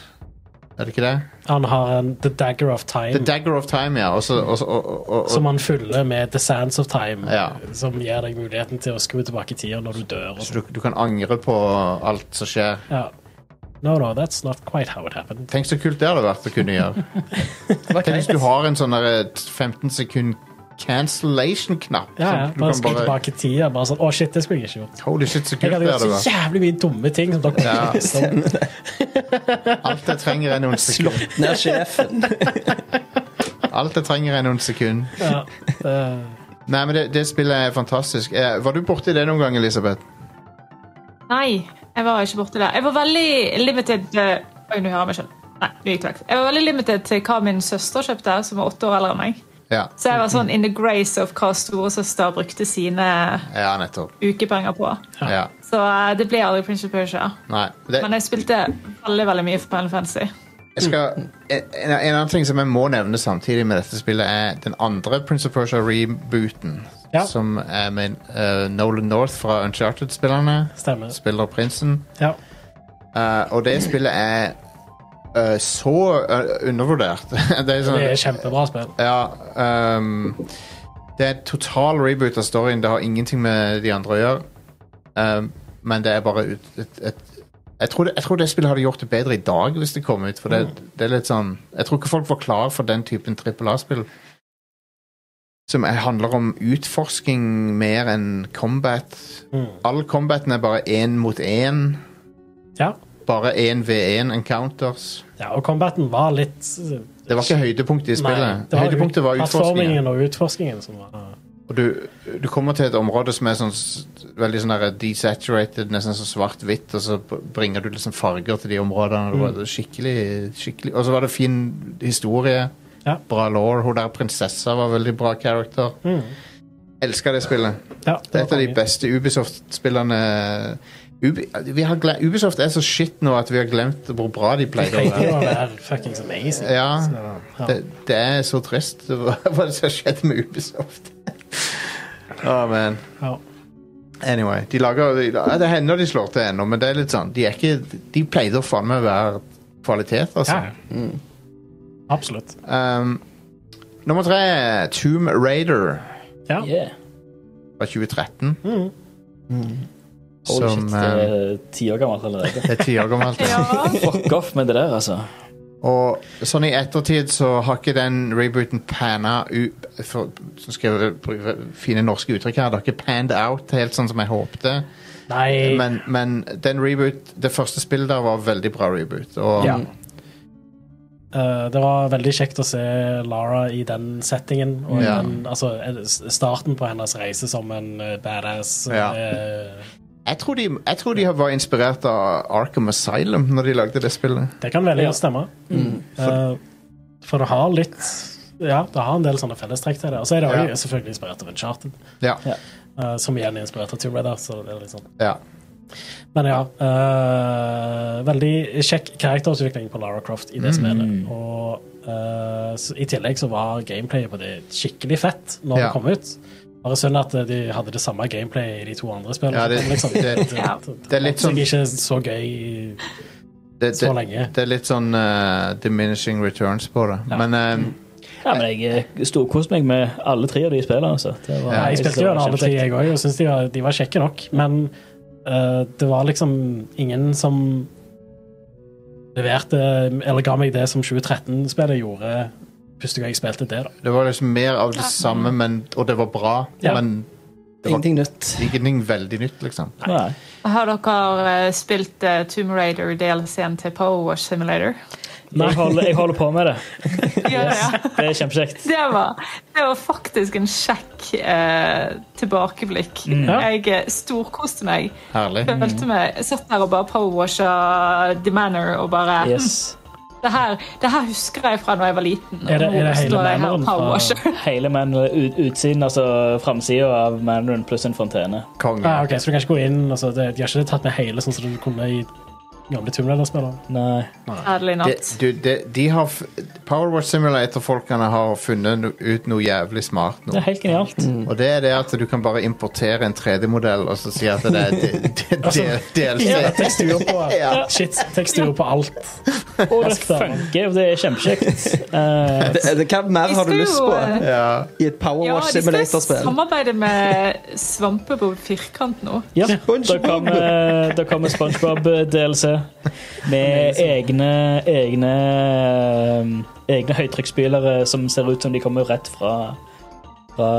Speaker 1: Er det ikke det?
Speaker 2: Han har en The Dagger of Time,
Speaker 1: The Dagger of Time, ja. Og så og så- og- og- og-
Speaker 2: Mm. som han fyller med The Sands of Time,
Speaker 1: Ja.
Speaker 2: som gir deg muligheten til å skru tilbake i tida når du dør. Og sånn.
Speaker 1: så du,
Speaker 2: sånt.
Speaker 1: du kan angre på alt som skjer.
Speaker 2: ja. No, no, that's not quite how it happened.
Speaker 1: Tenk så kult det hadde vært å kunne gjøre. Tenk hvis du har en sånn der, eh, 15 sekund cancellation-knapp.
Speaker 2: Ja, ja.
Speaker 1: som du
Speaker 2: Bare
Speaker 1: kan
Speaker 2: skru
Speaker 1: bare-
Speaker 2: tilbake i tida. Bare sånn, å shit, det skulle jeg ikke gjort.
Speaker 1: Holy shit, så
Speaker 2: Jeg
Speaker 1: kult
Speaker 2: hadde
Speaker 1: det hadde
Speaker 2: gjort
Speaker 1: vært.
Speaker 2: så jævlig mye dumme ting som dere liksom.
Speaker 1: Ja.
Speaker 2: som-
Speaker 1: Alt jeg trenger er noen sekund.
Speaker 3: Slått ned sjefen.
Speaker 1: Alt jeg trenger er noen sekund.
Speaker 2: ja. Eh,
Speaker 1: Nei, men det, det spillet er fantastisk. Eh, var du borti det noen gang, Elisabeth?
Speaker 5: Nei, jeg var ikke borte der. Jeg var veldig limited eh, Oi, nå hører jeg meg selv. Nei, nå gikk det vekk. Jeg var veldig limited til hva min søster kjøpte, som var åtte år eldre enn meg.
Speaker 1: Ja,
Speaker 5: Så jeg var sånn in the grace of hva storesøster brukte sine
Speaker 1: ja nettopp.
Speaker 5: ukepenger på.
Speaker 1: Ja.
Speaker 5: Så eh, det ble aldri Prince of Persia.
Speaker 1: Nei. Det,
Speaker 5: Men jeg spilte veldig veldig mye for Final Fantasy.
Speaker 1: jeg skal, en, en annen ting som jeg må nevne samtidig med dette spillet, er den andre Prince of Persia-rebooten.
Speaker 2: Ja.
Speaker 1: Som er med eh, Nolan North fra Uncharted-spillerne.
Speaker 2: stemmer.
Speaker 1: Spiller prinsen.
Speaker 2: Ja.
Speaker 1: Eh, og det spillet er eh, så eh, undervurdert. det er sånn
Speaker 2: Det er kjempebra spill.
Speaker 1: Ja, ehm, det er et total reboot av storyen. Det har ingenting med de andre å gjøre. Ehm, men det er bare ut, et, et jeg, tror det, jeg tror det spillet hadde gjort det bedre i dag hvis det kom ut. For
Speaker 2: Mm.
Speaker 1: det, det er litt sånn Jeg tror ikke folk var klar for den typen trippel A-spill. Som er- handler om utforsking mer enn combat.
Speaker 2: Mm.
Speaker 1: All combaten er bare én mot én.
Speaker 2: Ja.
Speaker 1: Bare én v1 encounters.
Speaker 2: ja, og combaten var litt eh,
Speaker 1: Det var ikke høydepunktet i
Speaker 2: Nei,
Speaker 1: spillet.
Speaker 2: det var
Speaker 1: høydepunktet
Speaker 2: ut-
Speaker 1: var utforskningen.
Speaker 2: plattformingen og utforskningen som var
Speaker 1: Og du, du kommer til et område som er sånn, s- veldig sånn der desaturated, nesten så svart-hvitt, og så b- bringer du liksom farger til de områdene. og Det var
Speaker 2: Mm.
Speaker 1: skikkelig, skikkelig. Og så var det fin historie.
Speaker 2: Ja.
Speaker 1: Bra law. Hun der prinsessa var veldig bra character. Elska det spillet.
Speaker 2: Ja,
Speaker 1: Det er et av de
Speaker 2: Mm. konge.
Speaker 1: beste Ubisoft-spillene Ubi, vi har gle- Ubisoft er så shit nå at vi har glemt hvor bra de pleide å
Speaker 2: Det
Speaker 1: være.
Speaker 2: var der fuckings amazing.
Speaker 1: Ja,
Speaker 2: Ja.
Speaker 1: det, det er så trist hva hva som har skjedd med Ubisoft. Å, man.
Speaker 2: Ja.
Speaker 1: Anyway, de lager de, ja, Det hender de slår til ennå, men det er litt sånn De, er ikke, de pleide å faen meg være kvalitet, altså.
Speaker 2: Ja. Absolutt.
Speaker 1: Um, nummer tre Tomb Raider
Speaker 2: Ja.
Speaker 4: Yeah.
Speaker 1: fra 2013.
Speaker 2: Mhm.
Speaker 4: Holy
Speaker 1: som
Speaker 4: shit, det
Speaker 1: eh,
Speaker 4: er ti år gammelt allerede.
Speaker 1: er ti år gammelt.
Speaker 5: Ja.
Speaker 4: Fuck off med det der, altså.
Speaker 1: Og sånn i ettertid så har ikke den rebooten panna ut for, Så skal jeg bruke fine norske uttrykk her. Det har ikke panned out helt sånn som jeg håpte.
Speaker 2: Nei
Speaker 1: Men, men den reboot, det første spillet der var veldig bra reboot. Og
Speaker 2: Ja. Eh, Det var veldig kjekt å se Lara i den settingen. Og
Speaker 1: Ja.
Speaker 2: den, altså, eh, s- starten på hennes reise som en eh, badass.
Speaker 1: Ja.
Speaker 2: eh,
Speaker 1: Jeg tror, de, jeg tror de var inspirert av Arkham Asylum når de lagde det spillet.
Speaker 2: Det kan veldig
Speaker 4: Ja.
Speaker 2: godt stemme.
Speaker 1: Mm.
Speaker 2: Eh, For det har litt Ja, det har en del sånne fellestrekk til det. Og så er det
Speaker 1: Ja.
Speaker 2: også selvfølgelig inspirert av Uncharted,
Speaker 1: Ja.
Speaker 2: eh, som igjen er inspirert av Tomb Raider. Så det er litt sånn.
Speaker 1: ja.
Speaker 2: Men ja, eh, veldig kjekk karakterutvikling på Lara Croft i det spillet.
Speaker 1: Mm.
Speaker 2: Og eh, så, i tillegg så var gameplayet på det skikkelig fett når
Speaker 1: Ja.
Speaker 2: det kom ut. Bare synd at eh, de hadde det samme gameplayet i de to andre spillene. liksom
Speaker 1: Ja, det- det-
Speaker 2: eh,
Speaker 1: det er litt
Speaker 2: holdt seg
Speaker 1: sånn-
Speaker 2: ikke så gøy i-
Speaker 1: Det,
Speaker 2: så
Speaker 1: det,
Speaker 2: lenge.
Speaker 1: det er litt sånn eh, diminishing returns på det.
Speaker 2: Ja.
Speaker 1: Men eh,
Speaker 4: Ja, men jeg eh, storkoste meg med alle tre av de spillene. Altså. Det var,
Speaker 2: Nei, jeg spilte
Speaker 4: det
Speaker 2: jo
Speaker 4: var
Speaker 2: den alle tre,
Speaker 4: kjempekjekt.
Speaker 2: jeg òg, og syntes de, var- de var kjekke nok. Men eh, det var liksom ingen som leverte Eller ga meg det som 2013-spillet gjorde første gang jeg spilte det. da
Speaker 1: det var liksom mer av det samme, men, og det var bra.
Speaker 2: Ja.
Speaker 1: Men
Speaker 3: Ingenting nytt.
Speaker 1: ingenting veldig nytt, liksom.
Speaker 4: Nei.
Speaker 5: Har dere eh, spilt eh, Tomb Raider DLC-en til Power Wash Simulator?
Speaker 4: Jeg, holder, jeg holder på med det.
Speaker 5: Ja, ja.
Speaker 4: Det er kjempekjekt.
Speaker 5: Det var, det var faktisk en kjekk eh, tilbakeblikk. Jeg eh, storkoste meg.
Speaker 1: Herlig.
Speaker 5: Følte meg jeg satt der og bare powerwasha The Manor og bare
Speaker 4: Yes.
Speaker 5: det, her, det her husker jeg fra da jeg var liten.
Speaker 2: Er det-
Speaker 5: og nå
Speaker 2: er det hele
Speaker 5: står jeg her og
Speaker 2: Manoren fra-
Speaker 5: powerwasher.
Speaker 4: Hele man, ut, utsiden, altså framsida av Mandarin pluss en fontene.
Speaker 1: Konge.
Speaker 2: Ah, ok, Så du kan ikke gå inn altså, det, De har ikke tatt med hele sånn som du kunne i gamle Tomb Raider-spilleren.
Speaker 4: Nei.
Speaker 1: De,
Speaker 5: Ærlig natt.
Speaker 1: du, de, de har f Powerwatch Simulator-folkene har funnet no ut noe jævlig smart nå.
Speaker 4: Det er helt genialt.
Speaker 1: Og det er det at du kan bare importere en 3D-modell og så si at det er de, de,
Speaker 4: Altså,
Speaker 1: de,
Speaker 2: Ja,
Speaker 1: DLC.
Speaker 2: teksturer på
Speaker 1: Ja.
Speaker 2: Shit, teksturer på alt.
Speaker 4: Og det funker, og det er kjempekjekt. Eh,
Speaker 3: Det, det, hva mer har du lyst på
Speaker 5: eh,
Speaker 1: Ja.
Speaker 3: i et
Speaker 5: ja,
Speaker 3: Powerwash
Speaker 5: de skal jo
Speaker 3: Simulator-spill?
Speaker 5: samarbeide med Svampebob Firkant nå.
Speaker 4: ja, da
Speaker 3: SpongeBob.
Speaker 4: kommer, da kommer SpongeBob eh, DLC med egne egne, eh, egne høytrykksspylere som ser ut som de kommer rett fra, fra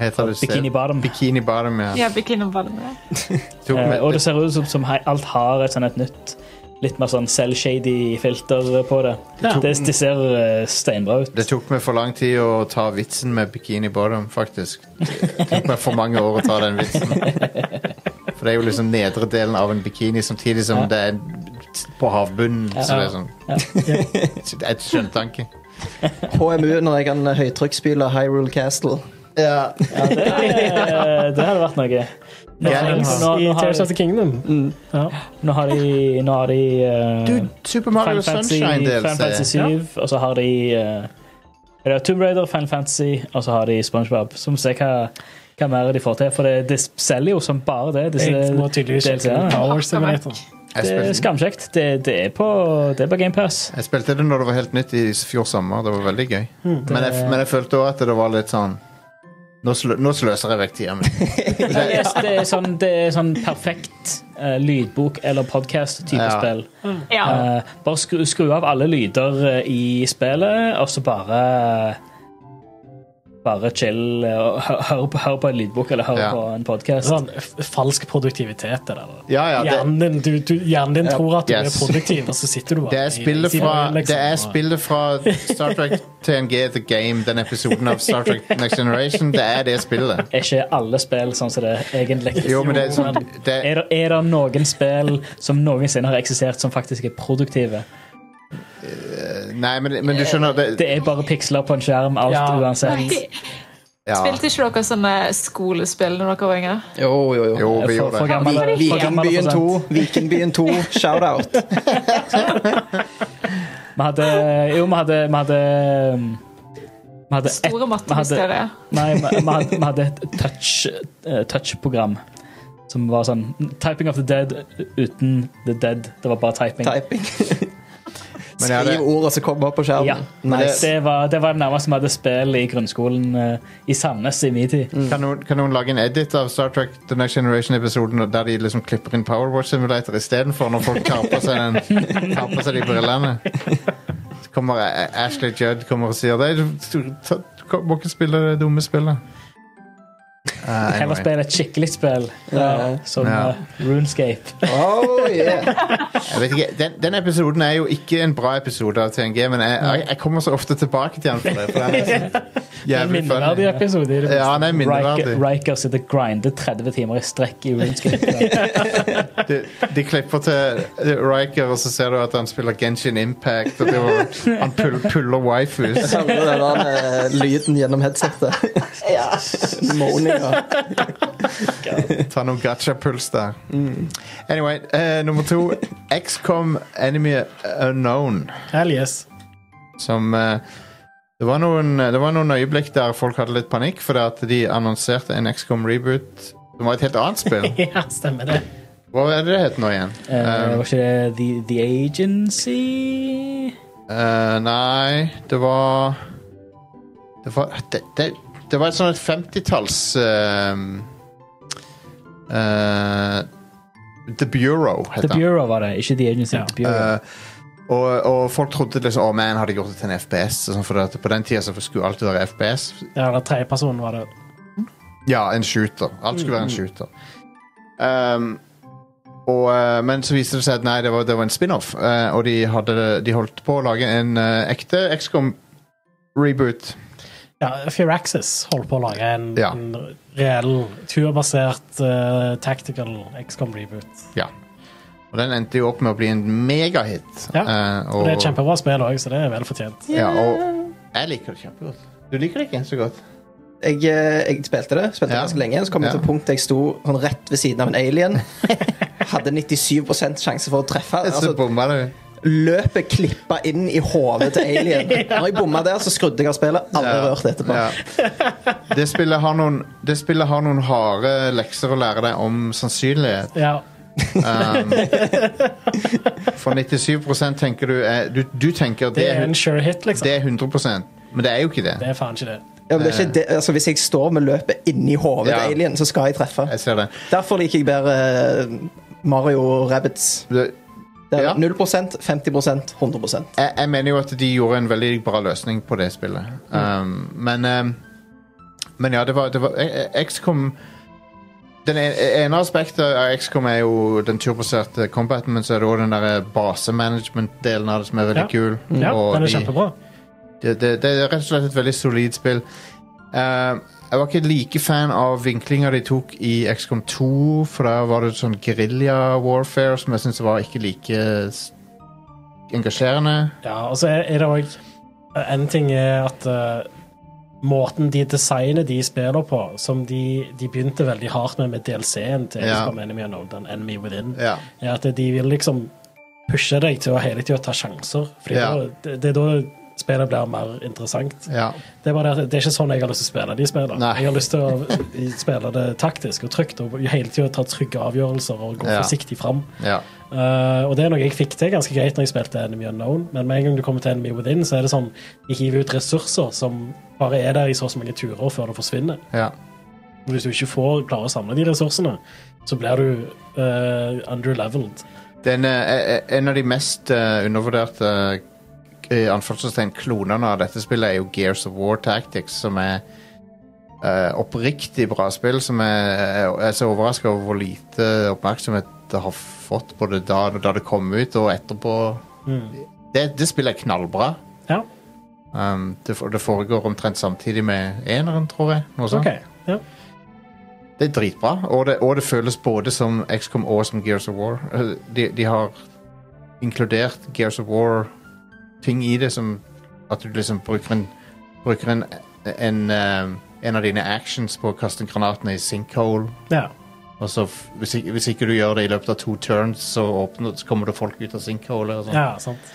Speaker 1: Heter det
Speaker 4: Bikini Bottom.
Speaker 1: Bikini Bottom, ja.
Speaker 5: Ja, Bikiniballen.
Speaker 1: Tok
Speaker 4: Eh,
Speaker 1: med-
Speaker 4: og det ser ut som, som he- alt har et, sånn, et nytt, litt mer sånn cell-shady filter på det. Det, det ser eh, steinbra ut.
Speaker 1: Det tok meg for lang tid å ta vitsen med bikini bottom, faktisk. Det tok meg for mange år å ta den vitsen. For det er jo liksom nedre delen av en bikini, samtidig som det er på havbunnen. Så det er sånn Så det er Et skjønntanke.
Speaker 3: HMU når jeg kan høytrykksspyle Hyrule Castle.
Speaker 1: Ja.
Speaker 4: Ja, det, eh, det hadde vært noe. Nå,
Speaker 1: Ja,
Speaker 4: nå,
Speaker 1: den
Speaker 4: nå,
Speaker 2: I
Speaker 4: har, Mm,
Speaker 2: Tears of the Kingdom.
Speaker 4: nå har de, nå har de eh,
Speaker 1: Du, Super Mario
Speaker 4: Final Fantasy, Final Fantasy
Speaker 1: Sunshine-DLC.
Speaker 4: 7, og så har de eh, er det Tomb Raider, Final Fantasy, og så har de SpongeBob. Så må vi se hva, hva mer de får til, for det, det selger jo som bare det. Disse
Speaker 2: Jeg må tydeligvis sjekke
Speaker 4: DLC-ene.
Speaker 2: ut Power Simulator.
Speaker 1: Jeg
Speaker 4: Det er
Speaker 1: spilte,
Speaker 4: skamkjekt. Det, det er på, det er på GamePass.
Speaker 1: jeg spilte det når det var helt nytt i fjor sommer. Det var veldig gøy.
Speaker 4: Hmm.
Speaker 1: Men jeg, men jeg følte òg at det var litt sånn Nå, slø, nå sløser jeg vekk tida mi.
Speaker 4: Yes, det, er sånn, det er sånn perfekt eh, lydbok- eller podkast-type
Speaker 1: Ja.
Speaker 4: spill.
Speaker 5: Ja.
Speaker 4: Eh, bare skru, skru av alle lyder eh, i spillet, og så bare Bare chill eh, og hør, hør, på, hør på en lydbok eller hør
Speaker 1: Ja.
Speaker 4: på en podkast.
Speaker 2: Sånn f- falsk produktivitet. Det der.
Speaker 1: Ja, ja, det,
Speaker 2: Hjernen din, du, du, hjernen din tror at du
Speaker 1: Yes.
Speaker 2: er produktiv, og så sitter du bare
Speaker 1: Det er
Speaker 2: i-
Speaker 1: spillet
Speaker 2: i-
Speaker 1: fra,
Speaker 2: liksom,
Speaker 1: det er
Speaker 2: og-
Speaker 1: spillet fra Star Trek TNG The Game, den episoden av Star Trek Next Generation. Det er det spillet.
Speaker 4: Er ikke alle spill sånn som det er egentlig
Speaker 1: Jo, men det er sånn det,
Speaker 4: er, det, er det noen spill som noensinne har eksistert, som faktisk er produktive?
Speaker 1: Nei, men, men du skjønner det,
Speaker 4: Det er bare piksler på en skjerm, alt
Speaker 2: Ja.
Speaker 4: uansett.
Speaker 5: De-
Speaker 1: ja,
Speaker 5: Spilte ikke dere sånne skolespill når dere var yngre?
Speaker 3: Jo, jo, jo.
Speaker 1: Jo, vi
Speaker 4: For,
Speaker 1: gjorde
Speaker 4: for
Speaker 1: det.
Speaker 4: gamle,
Speaker 5: Vi- vi-
Speaker 4: for gamle
Speaker 3: Vikenbyen
Speaker 4: prosent.
Speaker 3: 2. Vikenbyen 2. Shout-out.
Speaker 4: Vi hadde Jo, vi hadde Vi hadde, um, vi hadde et-
Speaker 5: Store
Speaker 4: vi hadde-
Speaker 5: mattemysterier.
Speaker 4: Nei, vi vi hadde, vi hadde et touch, eh, touch-program som var sånn Typing of the dead uten the dead. Det var bare typing.
Speaker 3: Typing.
Speaker 1: Men jeg hadde-
Speaker 3: Skriv ordet som kommer opp på
Speaker 4: Ja.
Speaker 3: skjermen. Nice.
Speaker 4: Det var det var det nærmeste vi hadde spill i grunnskolen eh, i Sandnes i min tid.
Speaker 1: Kan noen, kan noen lage en edit av Star Trek The Next Generation-episoden der de liksom klipper inn Power Watch Simulator istedenfor, når folk tar på seg, den, tar på seg de brillene? Så kommer A- Ashley Judd kommer og sier Nei, du, du, ta- du må ikke spille det dumme spillet. Uh,
Speaker 4: Heller
Speaker 1: anyway.
Speaker 4: spille et skikkelig spill, eh, som
Speaker 1: Ja.
Speaker 4: eh, Runescape.
Speaker 3: Oh, yeah.
Speaker 1: Jeg vet ikke, den, den episoden er jo ikke en bra episode av TNG, men jeg, jeg, jeg kommer så ofte tilbake til den. For det, for den er så jævlig funny.
Speaker 4: Minneverdig episode. i det minste.
Speaker 1: Ja, han er minneverdig.
Speaker 4: Riker, Riker sitter og grinder 30 timer i strekk i Runescape.
Speaker 1: De, de klipper til Riker, og så ser du at han spiller Genshin Impact. Og det var, han pull, puller waifus.
Speaker 3: Savner den der eh, lyden gjennom headsetet. ja. Moaninga.
Speaker 1: Ta noen gacha-puls der. Anyway, eh, nummer to. XCOM Enemy Unknown.
Speaker 2: Hell yes.
Speaker 1: Som eh, det, var noen, det var noen øyeblikk der folk hadde litt panikk fordi at de annonserte en XCOM reboot. Det var et helt annet spill.
Speaker 2: Ja, stemmer det.
Speaker 1: Hva er det det heter nå igjen?
Speaker 4: Eh,
Speaker 1: Um,
Speaker 4: var ikke det The, The Agency?
Speaker 1: eh, nei, det var Det var Det, det, det var et sånn et 50-talls ehm, eh, The Bureau,
Speaker 4: The
Speaker 1: heter han.
Speaker 4: Bureau var det, ikke The Agency.
Speaker 2: Ja.
Speaker 4: The Bureau.
Speaker 1: Eh, og, og folk trodde liksom Å, man, hadde gjort det til en FPS. og Sånn, for at på den tida så skulle alt være FPS.
Speaker 2: Ja, den tredjepersonen var det.
Speaker 1: Ja, en shooter. Alt skulle være
Speaker 4: Mm.
Speaker 1: en shooter. Ehm, og, eh, men så viste det seg at nei, det var, det var en spin-off, eh, og de, hadde, de holdt på å lage en eh, ekte XCOM-reboot.
Speaker 2: Ja, Firaxis holdt på å lage en,
Speaker 1: Ja.
Speaker 2: en reell turbasert eh, tactical XCOM reboot.
Speaker 1: Ja. Og den endte jo opp med å bli en megahit.
Speaker 2: Ja,
Speaker 1: Eh,
Speaker 2: Og det er et kjempebra spill òg, så det er vel fortjent.
Speaker 1: Ja, og jeg liker det kjempegodt. Du liker det ikke så godt?
Speaker 3: Jeg, eh, jeg spilte det spilte det
Speaker 1: Ja.
Speaker 3: ganske lenge. Så kom jeg
Speaker 1: Ja.
Speaker 3: til et punkt der jeg sto sånn rett ved siden av en alien. hadde 97 sjanse for å treffe.
Speaker 1: Så
Speaker 3: Altså,
Speaker 1: bomma du.
Speaker 3: løpet klippa inn i hodet til alien. Når jeg bomma der, så skrudde jeg av spillet. Aldri rørt etterpå.
Speaker 1: Ja. Det spillet har noen, det spillet har noen harde lekser å lære deg om sannsynlighet.
Speaker 2: Ja.
Speaker 1: For 97 tenker du, er, du Du tenker det,
Speaker 2: Det er
Speaker 1: er
Speaker 2: en
Speaker 1: hun-
Speaker 2: sure hit, liksom.
Speaker 1: det er 100 men det er jo ikke det.
Speaker 2: Det er faen ikke det.
Speaker 3: Ja, men det er ikke det, altså, hvis jeg står med løpet inni hodet
Speaker 1: Ja.
Speaker 3: til alien, så skal jeg treffe.
Speaker 1: Jeg ser det.
Speaker 3: Derfor liker jeg bedre eh, Mario og Rabbits.
Speaker 1: det
Speaker 3: Det er
Speaker 1: Ja.
Speaker 3: 0 50 100
Speaker 1: jeg, jeg mener jo at de gjorde en veldig bra løsning på det spillet.
Speaker 2: Mm.
Speaker 1: Um, men, um, men ja, det var, det var eh, eh, XCOM Den en- ene aspektet av XCOM er jo den turbaserte combaten, men så er det òg den der basemanagement-delen av det som er veldig
Speaker 2: Ja.
Speaker 1: kul.
Speaker 2: Ja,
Speaker 1: Mm, Og
Speaker 2: den er
Speaker 1: de-
Speaker 2: kjempebra.
Speaker 1: det, det, det er rett og slett et veldig solid spill. Eh, jeg var ikke like fan av vinklinga de tok i XCOM 2, for der var det sånn guerrilla warfare som jeg syns var ikke like s- engasjerende.
Speaker 2: Ja, og så er, er det òg En ting er at eh, måten de designer de spiller på, som de, de begynte veldig hardt med med DLC-en til
Speaker 1: Ja.
Speaker 2: XCOM Enemy Unknown, den Enemy Within,
Speaker 1: Ja.
Speaker 2: er at de vil liksom pushe deg til å hele tida ta sjanser. Fordi
Speaker 1: Ja.
Speaker 2: da, det, det er da spillet blir mer interessant.
Speaker 1: ja.
Speaker 2: Det er bare det at det er ikke sånn jeg har lyst til å spille de spillene.
Speaker 1: Nei.
Speaker 2: Jeg har lyst til å spille det taktisk og trygt og hele tida ta trygge avgjørelser og gå
Speaker 1: Ja.
Speaker 2: forsiktig fram.
Speaker 1: Ja.
Speaker 2: Eh, og det er noe jeg fikk til ganske greit når jeg spilte Enemy Unknown, men med en gang du kommer til Enemy Within, så er det sånn de hiver ut ressurser som bare er der i så og så mange turer før det forsvinner.
Speaker 1: ja.
Speaker 2: Og Hvis du ikke får klare å samle de ressursene, så blir du eh, underleveled.
Speaker 1: Den, eh, eh, en av de mest eh, undervurderte eh, anførselstegn klonene av dette spillet er jo Gears of War Tactics, som er eh, oppriktig bra spill. Som er, eh, jeg er så overraska over hvor lite oppmerksomhet det har fått både da, da det kom ut, og etterpå.
Speaker 2: Mm.
Speaker 1: Det, det spillet er knallbra.
Speaker 2: Ja,
Speaker 1: Um, det, for- det foregår omtrent samtidig med eneren, tror jeg. Noe sånt.
Speaker 2: OK. Ja.
Speaker 1: Det er dritbra, og det, og det føles både som XCOM og som Gears of War. Eh, De, de har inkludert Gears of War-ting i det, som at du liksom bruker en Bruker en, en, eh, en av dine actions på å kaste granatene i sinkhole.
Speaker 2: ja.
Speaker 1: Og så f- hvis, ikke, hvis ikke du gjør det i løpet av to turns, så, åpner, så kommer det folk ut av sinkhole. Og sånn.
Speaker 2: ja sant.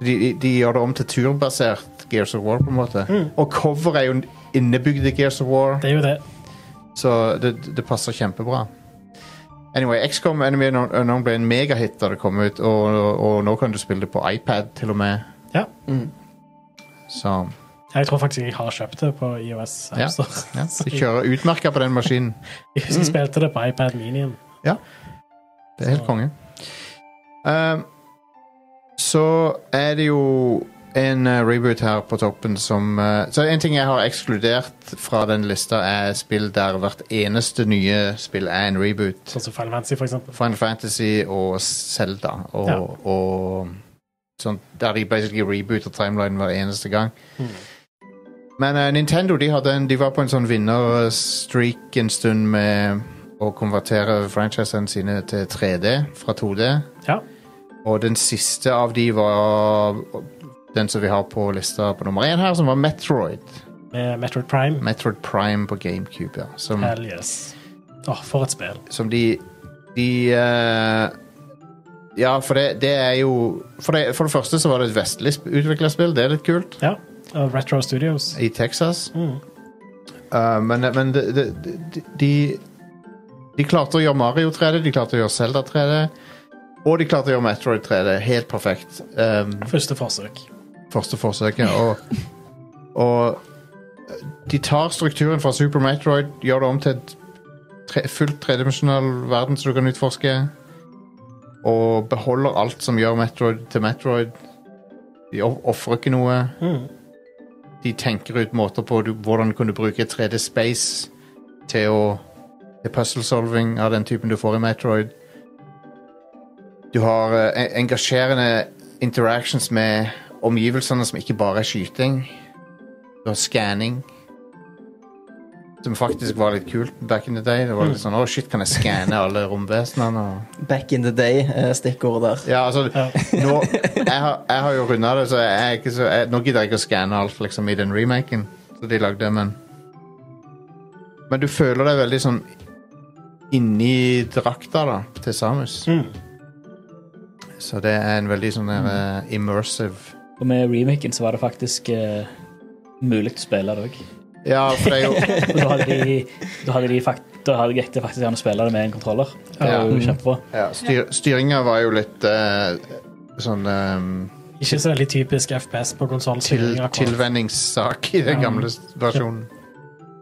Speaker 1: de, de, de gjør det om til turbasert Gears of War, på en måte. Og cover er jo innebygde Gears of War.
Speaker 2: Det er jo det.
Speaker 1: Så det, det passer kjempebra. Anyway, XCOM Enemy Unknown- Unknown ble en megahit da det kom ut, og, og, og nå kan du spille det på iPad til og med.
Speaker 2: Ja.
Speaker 3: Mm.
Speaker 1: Så
Speaker 2: Jeg tror faktisk jeg har kjøpt det på IOS
Speaker 1: Ja,
Speaker 2: Appstore.
Speaker 1: ja, det kjører utmerka på den maskinen.
Speaker 2: Jeg husker jeg spilte det på iPad Minien.
Speaker 1: Det er helt konge. Ehm, så er det jo en eh, reboot her på toppen som eh, Så en ting jeg har ekskludert fra den lista, er spill der hvert eneste nye spill er en reboot.
Speaker 2: Sånn som Final Fantasy, for eksempel.
Speaker 1: Final Fantasy og Zelda og,
Speaker 2: Ja.
Speaker 1: og sånn, der de basically rebooter timelinen hver eneste gang. Men eh, Nintendo de, hadde en, de var på en sånn vinnerstreak en stund med å konvertere franchisene sine til 3D fra 2D.
Speaker 2: Ja.
Speaker 1: Og den siste av de var den som vi har på lista på nummer én her, som var Metroid.
Speaker 2: Med Metroid Prime.
Speaker 1: Metroid Prime på GameCube. Ja, som,
Speaker 2: Hell yes. Åh, for et spill.
Speaker 1: som de De eh, Ja, for det, det er jo for det, for det første så var det et vestlig utvikla spill. Det er litt kult.
Speaker 2: Ja. Og Retro Studios.
Speaker 1: I Texas. Eh, men men det- det- de, de De klarte å gjøre Mario 3D, de klarte å gjøre Zelda 3D. Og de klarte å gjøre Metroid 3D. Helt perfekt. Um,
Speaker 2: Første forsøk.
Speaker 1: første forsøket. Og, og de tar strukturen fra Super Metroid, gjør det om til et tre, fullt tredimensjonal verden som du kan utforske, og beholder alt som gjør Metroid til Metroid. De of- ofrer ikke noe. De tenker ut måter på du, hvordan kan du bruke 3D Space til å til puzzle solving av den typen du får i Metroid. Du har eh, en- engasjerende interactions med omgivelsene som ikke bare er skyting. Du har scanning. Som faktisk var litt kult back in the day. Det var litt sånn, Å, shit, kan jeg skanne alle romvesenene? Og...
Speaker 3: Back in the day, eh, stikkordet der.
Speaker 1: Ja, altså, nå, jeg, har, jeg har jo runda det, så, jeg er ikke så jeg, nå gidder jeg ikke å skanne alt liksom, i den remaken. Så de lagde, men Men du føler deg veldig sånn inni drakta da, til Samus.
Speaker 2: Mm.
Speaker 1: Så det er en veldig sånn der, eh, immersive
Speaker 4: Og med remaken så var det faktisk eh, mulig å spille det òg.
Speaker 1: Ja, for det er jo
Speaker 4: Da hadde de, da hadde de fakt, da hadde gikk det faktisk an å spille det med en kontroller. Det var jo kjempebra.
Speaker 1: ja, styr, Styringa var jo litt eh, sånn ehm,
Speaker 2: Ikke så veldig typisk FPS på konsoll.
Speaker 1: til, tilvenningssak i den gamle s- versjonen.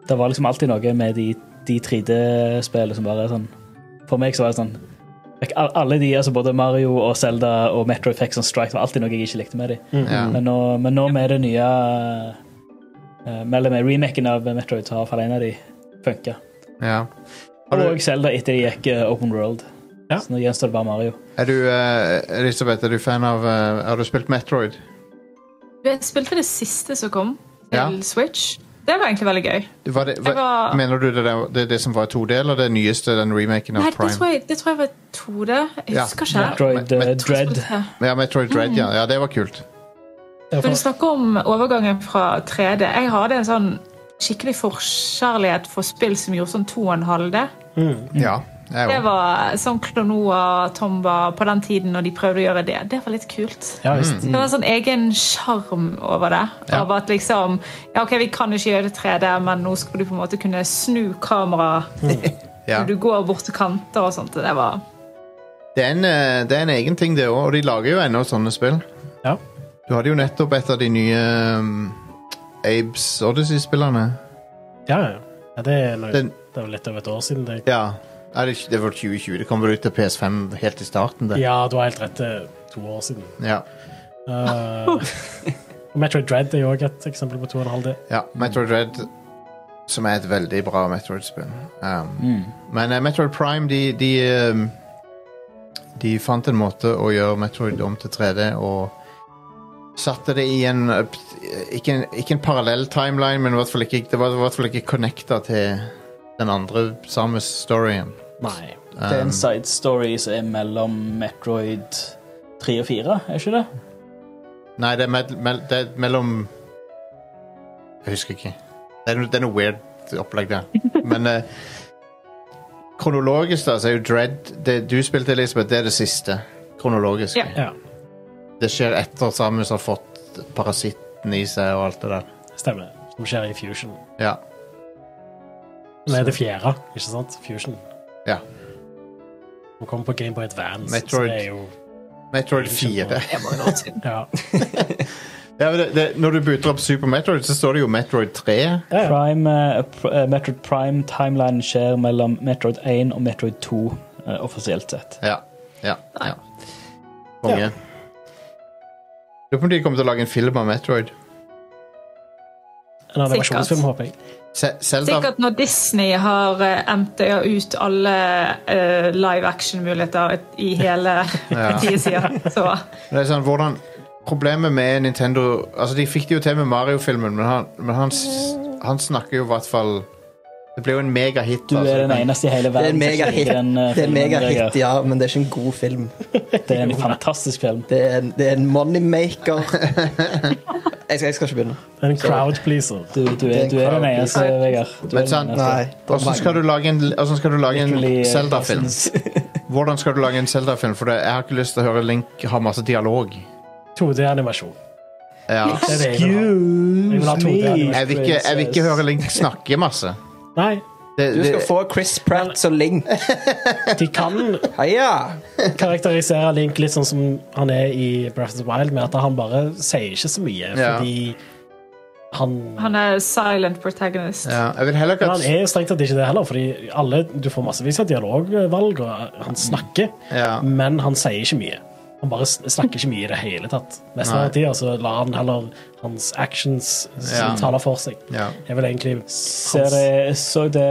Speaker 4: Det var liksom alltid noe med de, de 3D-spillene som bare er sånn For meg så var det sånn like, al- Alle de, altså både Mario og Zelda og Metro Effects og Strike, var alltid noe jeg ikke likte med de.
Speaker 2: Mm.
Speaker 1: Ja.
Speaker 4: Men, nå, men nå med det nye eh, Mellom med remaken av Metroid så har iallfall en av de funka.
Speaker 1: Ja. Har du,
Speaker 4: Og Zelda etter de gikk eh, Open World.
Speaker 2: Ja.
Speaker 4: Så nå gjenstår det bare Mario.
Speaker 1: er du, eh, Elisabeth, er du fan av eh, Har du spilt Metroid?
Speaker 5: Jeg spilte det siste som kom til
Speaker 1: Ja.
Speaker 5: Switch. Det var egentlig veldig gøy.
Speaker 1: Var det, var,
Speaker 5: Jeg var-
Speaker 1: Mener du det, der- det, er det som var 2D, eller det nyeste, den remaken av
Speaker 5: Nei, det tror
Speaker 1: Prime?
Speaker 5: jeg, det tror jeg var 2D. Jeg
Speaker 1: Ja.
Speaker 5: husker ikke.
Speaker 4: Metroid eh,
Speaker 1: Met-
Speaker 4: Dread.
Speaker 1: Ja, Metroid Dread,
Speaker 5: Mm.
Speaker 1: ja. ja. Det var kult.
Speaker 5: Når du snakker om overgangen fra 3D Jeg hadde en sånn skikkelig forkjærlighet for spill som gjorde sånn 2,5D.
Speaker 1: Ja. Jeg
Speaker 5: Det
Speaker 1: òg.
Speaker 5: var sånn Klonoa, Tomba på den tiden når de prøvde å gjøre det. Det var litt kult.
Speaker 2: Ja, visst.
Speaker 5: Det var en sånn egen sjarm over det.
Speaker 1: Mm. Ja.
Speaker 5: Av at liksom Ja, OK, vi kan ikke gjøre det 3D, men nå skal du på en måte kunne snu kameraet
Speaker 1: Ja. Sånn
Speaker 5: når du går bort til kanter og sånt. Det var
Speaker 1: Det, er en, eh, det er en egen ting, det òg, og de lager jo ennå sånne spill.
Speaker 2: Ja.
Speaker 1: Du hadde jo nettopp et av de nye um, Abes Odyssey-spillerne.
Speaker 2: Ja, ja. ja, det er noe,
Speaker 1: Den-
Speaker 2: det er vel litt over et år siden. Det.
Speaker 1: Ja. Er det, ikke- det var 2020. Det kom vel ut til PS5 helt i starten, det.
Speaker 2: Ja, du har helt rett. Det er to år siden.
Speaker 1: Ja.
Speaker 2: Uh, Metroid Dread er jo også et eksempel på 2,5D.
Speaker 1: ja. Metroid Red, som er et veldig bra Metroid-spill. Um,
Speaker 4: Mm.
Speaker 1: Men eh, Metroid Prime, de de, ehm, de fant en måte å gjøre Metroid om til 3D og satte det i en eh, p- Ikke en, ikke en parallell timeline, men i hvert fall ikke, det var i hvert fall ikke connecta til den andre Samus-storyen.
Speaker 4: Nei. Det er en side story som er mellom Metroid 3 og 4, er ikke det?
Speaker 1: Nei, det er, med, mell- det er mellom Jeg husker ikke. Det er, no- det er noe weird opplegg der. Men eh, kronologisk, da, så er jo Dread det, Du spilte Elisabeth, det er det siste. Kronologisk.
Speaker 5: Ja.
Speaker 2: Ja,
Speaker 1: Det skjer etter Samus har fått parasitten i seg og alt det der.
Speaker 2: stemmer. Som skjer i Fusion.
Speaker 1: Ja.
Speaker 2: Nei, det fjerde, ikke sant? Fusion.
Speaker 1: Ja.
Speaker 2: Hun kommer på Gameboy Advance.
Speaker 1: Metroid.
Speaker 2: Så det er jo,
Speaker 1: Metroid 4.
Speaker 2: ja.
Speaker 1: Ja, men det, det, når du buter opp Super Metroid, så står det jo Metroid 3.
Speaker 2: Ja, ja.
Speaker 4: Prime, eh, pr- eh, Metroid Prime timeline skjer mellom Metroid 1 og Metroid 2, eh, offisielt sett.
Speaker 1: Ja. Ja. ja. Konge. Lurer på om de kommer til å lage en film av Metroid.
Speaker 2: En animasjonsfilm, håper jeg.
Speaker 1: Se- Zelda,
Speaker 5: Sikkert når Disney har eh, MTA ut alle eh, live action-muligheter i hele
Speaker 1: Ja.
Speaker 5: tida, så
Speaker 1: det er sånn, hvordan Problemet med Nintendo Altså, de fikk det jo til med Mario-filmen, men, han, men han, s- han snakker jo i hvert fall Det ble jo en megahit.
Speaker 4: Du
Speaker 1: altså.
Speaker 4: er den eneste i hele
Speaker 3: Det er en
Speaker 4: verden som
Speaker 3: megahit,
Speaker 4: liker den, eh,
Speaker 3: det er en
Speaker 4: filmen,
Speaker 3: megahit,
Speaker 4: Vegard.
Speaker 3: ja, men det er ikke en god film.
Speaker 4: Det er en fantastisk film.
Speaker 3: Det er en, det er en moneymaker. Jeg skal, jeg skal ikke begynne.
Speaker 2: Det er En crowd pleaser.
Speaker 4: Du, du, er,
Speaker 3: en
Speaker 4: du er den
Speaker 3: crowd
Speaker 4: eneste,
Speaker 5: pleaser.
Speaker 4: Vegard. Du er
Speaker 1: Men
Speaker 4: den
Speaker 1: sant,
Speaker 4: eneste.
Speaker 3: Nei.
Speaker 1: Hvordan skal du lage en, hvordan skal du lage
Speaker 4: Literally,
Speaker 1: en
Speaker 4: eh,
Speaker 1: Zelda-film? Hvordan skal du lage en Zelda-film? For det, jeg har ikke lyst til å høre Link ha masse dialog.
Speaker 2: 2D-animasjon.
Speaker 1: Ja.
Speaker 2: Det er det jeg vil ha. Jeg vil ha 2D-animasjon.
Speaker 1: Jeg, vil ikke, jeg vil ikke høre Link snakke masse.
Speaker 2: Nei,
Speaker 1: Det,
Speaker 3: Du
Speaker 1: det,
Speaker 3: skal få Chris Pratt som Link.
Speaker 2: de kan
Speaker 3: Heia!
Speaker 2: karakterisere Link litt sånn som han er i Breath of the Wild, med at han bare sier ikke så mye,
Speaker 1: Ja.
Speaker 2: fordi han
Speaker 5: han er silent protagonist.
Speaker 1: ja, jeg vil heller ikke
Speaker 2: men han
Speaker 1: at
Speaker 2: er strengt tatt ikke det heller, fordi alle, du får massevis av dialogvalg, og han snakker,
Speaker 1: Ja.
Speaker 2: men han sier ikke mye. Han bare sn- snakker ikke mye i det hele tatt. Mest
Speaker 1: Nei.
Speaker 2: av tida så lar han heller hans actions s-
Speaker 1: Ja.
Speaker 2: tale for seg.
Speaker 1: Ja.
Speaker 2: Jeg vil egentlig
Speaker 4: Ser det, så det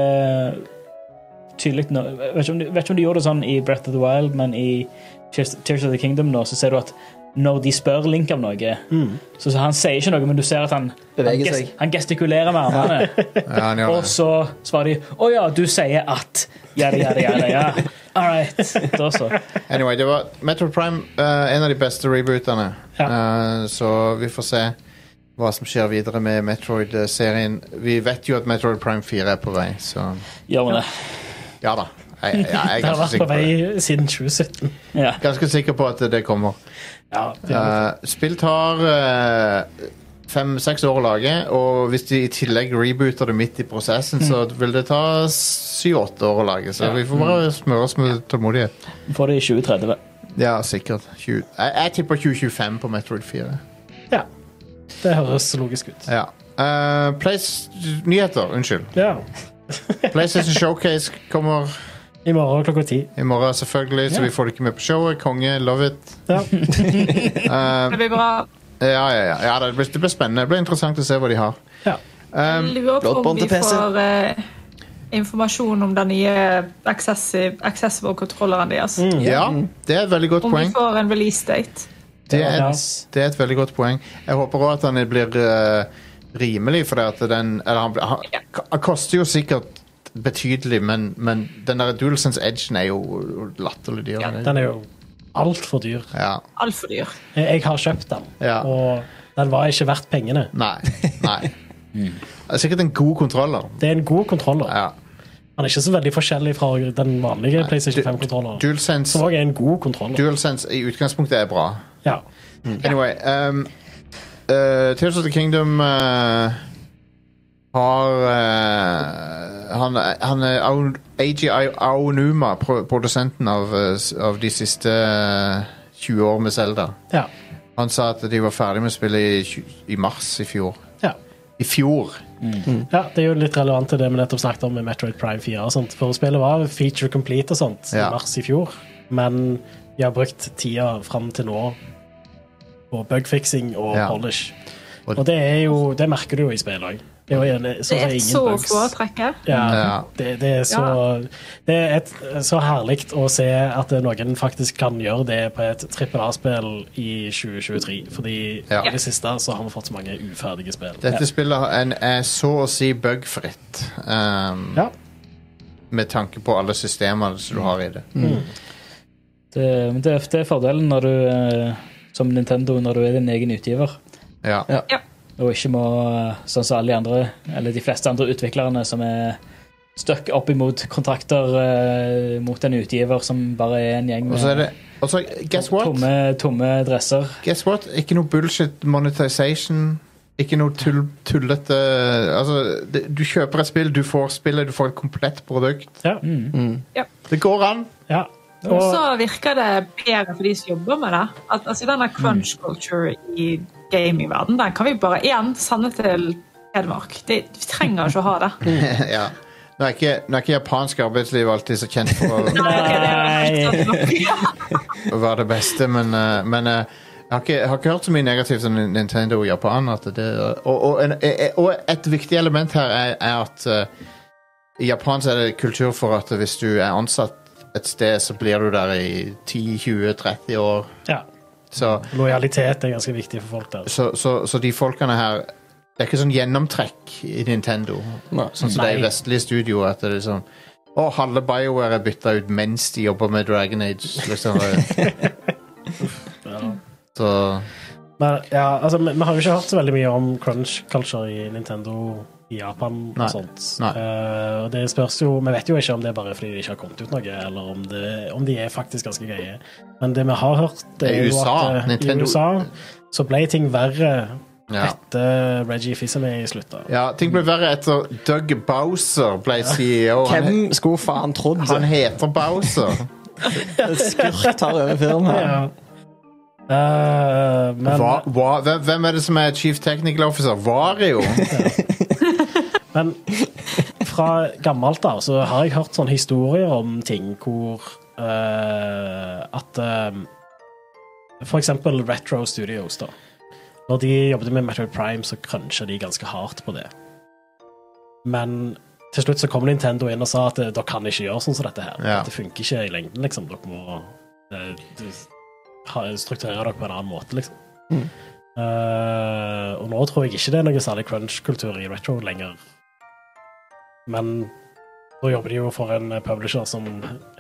Speaker 4: tydelig nå Jeg vet ikke om de- vet ikke om de gjorde det sånn i Breath of the Wild, men i Tears, Tears of the Kingdom nå, så ser du at når de spør Link om noe
Speaker 2: Mm.
Speaker 4: så, så Han sier ikke noe, men du ser at han, han,
Speaker 3: Beveger
Speaker 4: gest-
Speaker 3: seg.
Speaker 4: han gestikulerer med armene.
Speaker 1: ja, han gjør
Speaker 4: Og
Speaker 1: det.
Speaker 4: så svarer de 'Å ja, du sier at Jada, jada, jada. Ja. All right. Da så.
Speaker 1: Anyway, det var Metroid Prime, eh, en av de beste rebootene. Eh, så vi får se hva som skjer videre med Metroid-serien. Vi vet jo at Metroid Prime 4 er på vei, så
Speaker 4: Gjør vi det.
Speaker 1: ja da. Jeg, jeg, jeg er
Speaker 2: Det
Speaker 1: ganske
Speaker 2: har vært på
Speaker 1: sikker på det.
Speaker 2: vei siden 2017.
Speaker 4: Ja.
Speaker 1: Ganske sikker på at det kommer.
Speaker 2: Ja, det er-
Speaker 1: Eh, spill tar eh, fem-seks år å lage, og hvis de i tillegg rebooter det midt i prosessen, så
Speaker 2: Mm.
Speaker 1: vil det ta syv-åtte år å lage. Så vi får bare
Speaker 2: Mm.
Speaker 1: smøre oss med tålmodighet.
Speaker 4: Får det i 2030.
Speaker 1: Ja, sikkert. Tju- jeg, jeg tipper 2025 på Metroid 4.
Speaker 2: ja. Det høres logisk ut.
Speaker 1: Ja. Eh, Plays- nyheter, unnskyld.
Speaker 2: Ja.
Speaker 1: PlayStation Showcase kommer
Speaker 2: I morgen klokka ti.
Speaker 1: i morgen, selvfølgelig, så
Speaker 2: Ja.
Speaker 1: vi får det ikke med på showet. Konge, love it.
Speaker 2: Ja.
Speaker 5: Det blir bra.
Speaker 1: Ja, ja, ja. ja det, blir, det blir spennende. Det blir interessant å se hva de har.
Speaker 2: ja.
Speaker 1: Um,
Speaker 5: Lurer på om
Speaker 3: Bloodborne
Speaker 5: vi
Speaker 3: til PC.
Speaker 5: får eh, informasjon om den nye accessi- accessible-kontrolleren deres.
Speaker 1: ja, det er et veldig godt
Speaker 5: Om vi
Speaker 1: Mm. poeng.
Speaker 5: får en release-date.
Speaker 1: Det er,
Speaker 2: Ja.
Speaker 1: det er et veldig godt poeng. Jeg håper òg at han blir eh, rimelig, for det at den Eller han, blir- han, han koster jo sikkert betydelig, men, men den der DualSense Edgen er jo latterlig dyr. er den ikke?
Speaker 2: Den er jo altfor dyr.
Speaker 1: Ja.
Speaker 5: Altfor dyr.
Speaker 2: Jeg, jeg har kjøpt den,
Speaker 1: Ja.
Speaker 2: og den var ikke verdt pengene.
Speaker 1: Nei. nei. Det er sikkert en god kontroller.
Speaker 2: Det er en god kontroller.
Speaker 1: Ja.
Speaker 2: Den er ikke så veldig forskjellig fra den vanlige PlayStation 5-kontrolleren. Som
Speaker 1: DualSense,
Speaker 2: også er en god kontroller.
Speaker 1: DualSense i utgangspunktet er bra.
Speaker 2: Ja. Mm.
Speaker 1: Anyway um, uh, Tears of the Kingdom uh, har uh, han, han er Aon- AG Aonuma, pro produsenten av, uh, s- av de siste uh, 20 år med Zelda.
Speaker 2: Ja.
Speaker 1: Han sa at de var ferdig med spillet i, tju- i mars i fjor.
Speaker 2: Ja.
Speaker 1: I fjor!
Speaker 2: ja, Det er jo litt relevant til det vi nettopp snakket om med Metroid Prime 4. og sånt. For spillet var feature complete og sånt
Speaker 1: Ja.
Speaker 2: i mars i fjor, men de har brukt tida fram til nå på bugfixing og
Speaker 1: Ja.
Speaker 2: polish.
Speaker 1: Og-
Speaker 2: Og det er jo, det merker du jo i spillet òg. Det er jo en- sånn
Speaker 5: Det
Speaker 2: som
Speaker 5: er
Speaker 2: ingen
Speaker 5: så å
Speaker 2: bugs.
Speaker 5: foretrekke.
Speaker 1: Ja.
Speaker 2: Ja, det, det er så Det er et, så herlig å se at noen faktisk kan gjøre det på et trippel A-spill i 2023. Fordi
Speaker 1: Ja.
Speaker 2: i det siste så har vi fått så mange uferdige spill.
Speaker 1: Dette spillet har- en- er så å si bugfritt. Um,
Speaker 2: Ja.
Speaker 1: Med tanke på alle systemene som du har i det.
Speaker 4: Det, men det, er- det er fordelen når du, eh, som Nintendo når du er din egen utgiver.
Speaker 1: Ja.
Speaker 3: Ja.
Speaker 4: Og ikke må, sånn som alle de andre, eller de fleste andre utviklerne som er stuck opp imot kontrakter eh, mot en utgiver som bare er en gjeng
Speaker 1: Og
Speaker 4: med
Speaker 1: så er det og så, Guess what?
Speaker 4: tomme, tomme dresser.
Speaker 1: Guess what? Ikke noe bullshit monetization. Ikke noe tull, tullete Altså, det, du kjøper et spill, du får spillet, du får et komplett produkt.
Speaker 2: Ja.
Speaker 1: Det går an!
Speaker 2: ja.
Speaker 5: Og
Speaker 2: Og,
Speaker 5: så virker det bedre for de som jobber med det. At altså, Denne crunch culture i gamingverden, den kan vi bare igjen sende til Hedmark. Det, vi trenger ikke å ha det.
Speaker 1: ja. Nå er ikke, nå er ikke japansk arbeidsliv alltid så kjent for å,
Speaker 5: Nei, ok, det er helt sant nok.
Speaker 1: å være det beste, men, eh, men eh, jeg har, ikke, jeg har ikke hørt så mye negativt om Nintendo i Japan. At det, og, og, en, eh, og et viktig element her er, er at eh, i Japan så er det kultur for at hvis du er ansatt et sted, så blir du der i 10-20-30 år.
Speaker 2: ja.
Speaker 1: Så
Speaker 2: Lojalitet er ganske viktig for folk der.
Speaker 1: så, så, så de folkene her Det er ikke sånn gjennomtrekk i Nintendo, sånn som det er i
Speaker 2: Nei.
Speaker 1: vestlige studio. At det er sånn Å, halve BioWare er bytta ut mens de jobber med Dragon Age. Liksom. så
Speaker 2: Men ja, altså, vi, vi har jo ikke hørt så veldig mye om crunch culture i Nintendo i Japan og
Speaker 1: Nei.
Speaker 2: sånt.
Speaker 1: Nei.
Speaker 2: Eh, og det spørs jo Vi vet jo ikke om det er bare fordi de ikke har kommet ut noe, eller om, det, om de er faktisk ganske greie. Men det vi har hørt, det
Speaker 1: I
Speaker 2: er jo
Speaker 1: USA,
Speaker 2: at eh,
Speaker 1: Nintendo-
Speaker 2: i USA så ble ting verre
Speaker 1: ja.
Speaker 2: etter Reggie Fils-Aimé slutta.
Speaker 1: ja. Ting ble verre etter Doug Bowser ble CEO. Han,
Speaker 3: Hvem skulle faen trodd
Speaker 1: han
Speaker 3: det?
Speaker 1: heter Bowser.
Speaker 3: En skurk tar over firmaet?
Speaker 2: Ja. Eh, men,
Speaker 1: Hva, hva, hvem- hvem er det som er chief technical officer? Vario?
Speaker 2: men fra gammelt av så har jeg hørt sånne historier om ting hvor eh, At eh, For eksempel Retro Studios, da. Når de jobbet med Metroid Prime, så cruncha de ganske hardt på det. Men til slutt så kom Nintendo inn og sa at eh, dere kan ikke gjøre sånn som dette her.
Speaker 1: Ja.
Speaker 2: Det funker ikke i lengden, liksom. Dere må eh, du- ha- strukturere dere på en annen måte, liksom. Eh, og nå tror jeg ikke det er noe særlig crunch-kultur i retro lenger. Men nå jobber de jo for en publisher som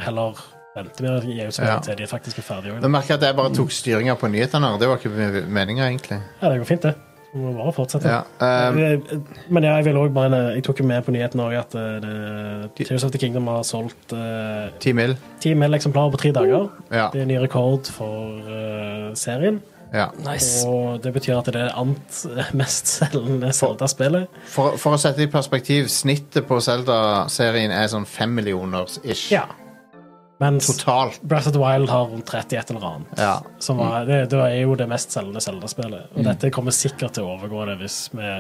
Speaker 2: heller venter med å gi ut spill
Speaker 1: Ja.
Speaker 2: til de faktisk er ferdige.
Speaker 1: Nå merker jeg at jeg bare tok styringa på nyhetene. her. Det var ikke meninga, egentlig.
Speaker 2: Ja, det går fint, det. Vi må bare fortsette.
Speaker 1: Ja, ehm.
Speaker 2: Eh, Men ja, jeg vil også bare Jeg tok jo med på nyheten også at eh, det, Tears of the Kingdom har solgt eh,
Speaker 1: Ti mil.
Speaker 2: ti mill. eksemplarer på tre dager.
Speaker 1: Ja.
Speaker 2: Det er en ny rekord for eh, serien.
Speaker 1: Ja.
Speaker 2: Og det betyr at det er det annet mest selgende Zelda-spillet.
Speaker 1: For, for å sette det i perspektiv, snittet på Zelda-serien er sånn fem millioner ish.
Speaker 2: Ja. Mens
Speaker 1: Totalt.
Speaker 2: Breath of the Wild har rundt 30 et eller annet.
Speaker 1: Ja. Mm.
Speaker 2: Som var, det, det er jo det mest selgende Zelda-spillet. Og dette kommer sikkert til å overgå det hvis vi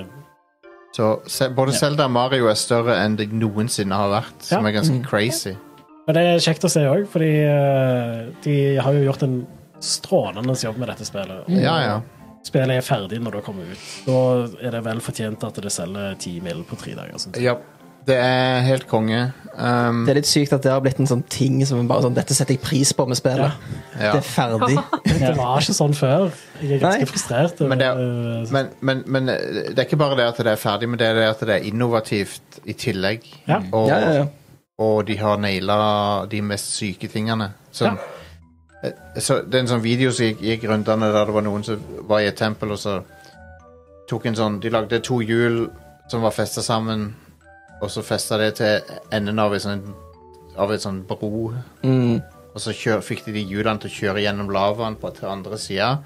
Speaker 1: Så se, både Zelda og Mario er større enn det noensinne har vært, som
Speaker 2: Ja.
Speaker 1: er
Speaker 3: Mm.
Speaker 1: ganske crazy.
Speaker 2: Men det er kjekt å se òg, fordi eh, de har jo gjort en strålende jobb med dette spillet. Og
Speaker 1: Ja, ja.
Speaker 2: Spillet er ferdig når det kommer ut. Da er det vel fortjent at det selger ti mil på tre dager. Sånn.
Speaker 1: Ja. Det er helt konge. Um,
Speaker 3: Det er litt sykt at det har blitt en sånn ting som bare sånn Dette setter jeg pris på med spillet.
Speaker 1: ja.
Speaker 3: Det er ferdig.
Speaker 2: Det var ikke sånn før. Jeg er ganske
Speaker 3: Nei.
Speaker 2: frustrert. eh, over-
Speaker 1: Men det, er- men, men, men eh, det er ikke bare det at det er ferdig, men det er det at det er innovativt i tillegg.
Speaker 2: Ja.
Speaker 1: Og,
Speaker 3: Ja, ja, ja.
Speaker 1: og de har naila de mest syke tingene. Sånn. Eh, Så det er en sånn video som gikk, gikk rundene der det var noen som var i et tempel, og så tok en sånn De lagde to hjul som var festa sammen, og så festa det til enden av en sånn, av en sånn bro.
Speaker 3: Mm.
Speaker 1: Og så kjør, fikk de de hjulene til å kjøre gjennom lavaen på til andre sida.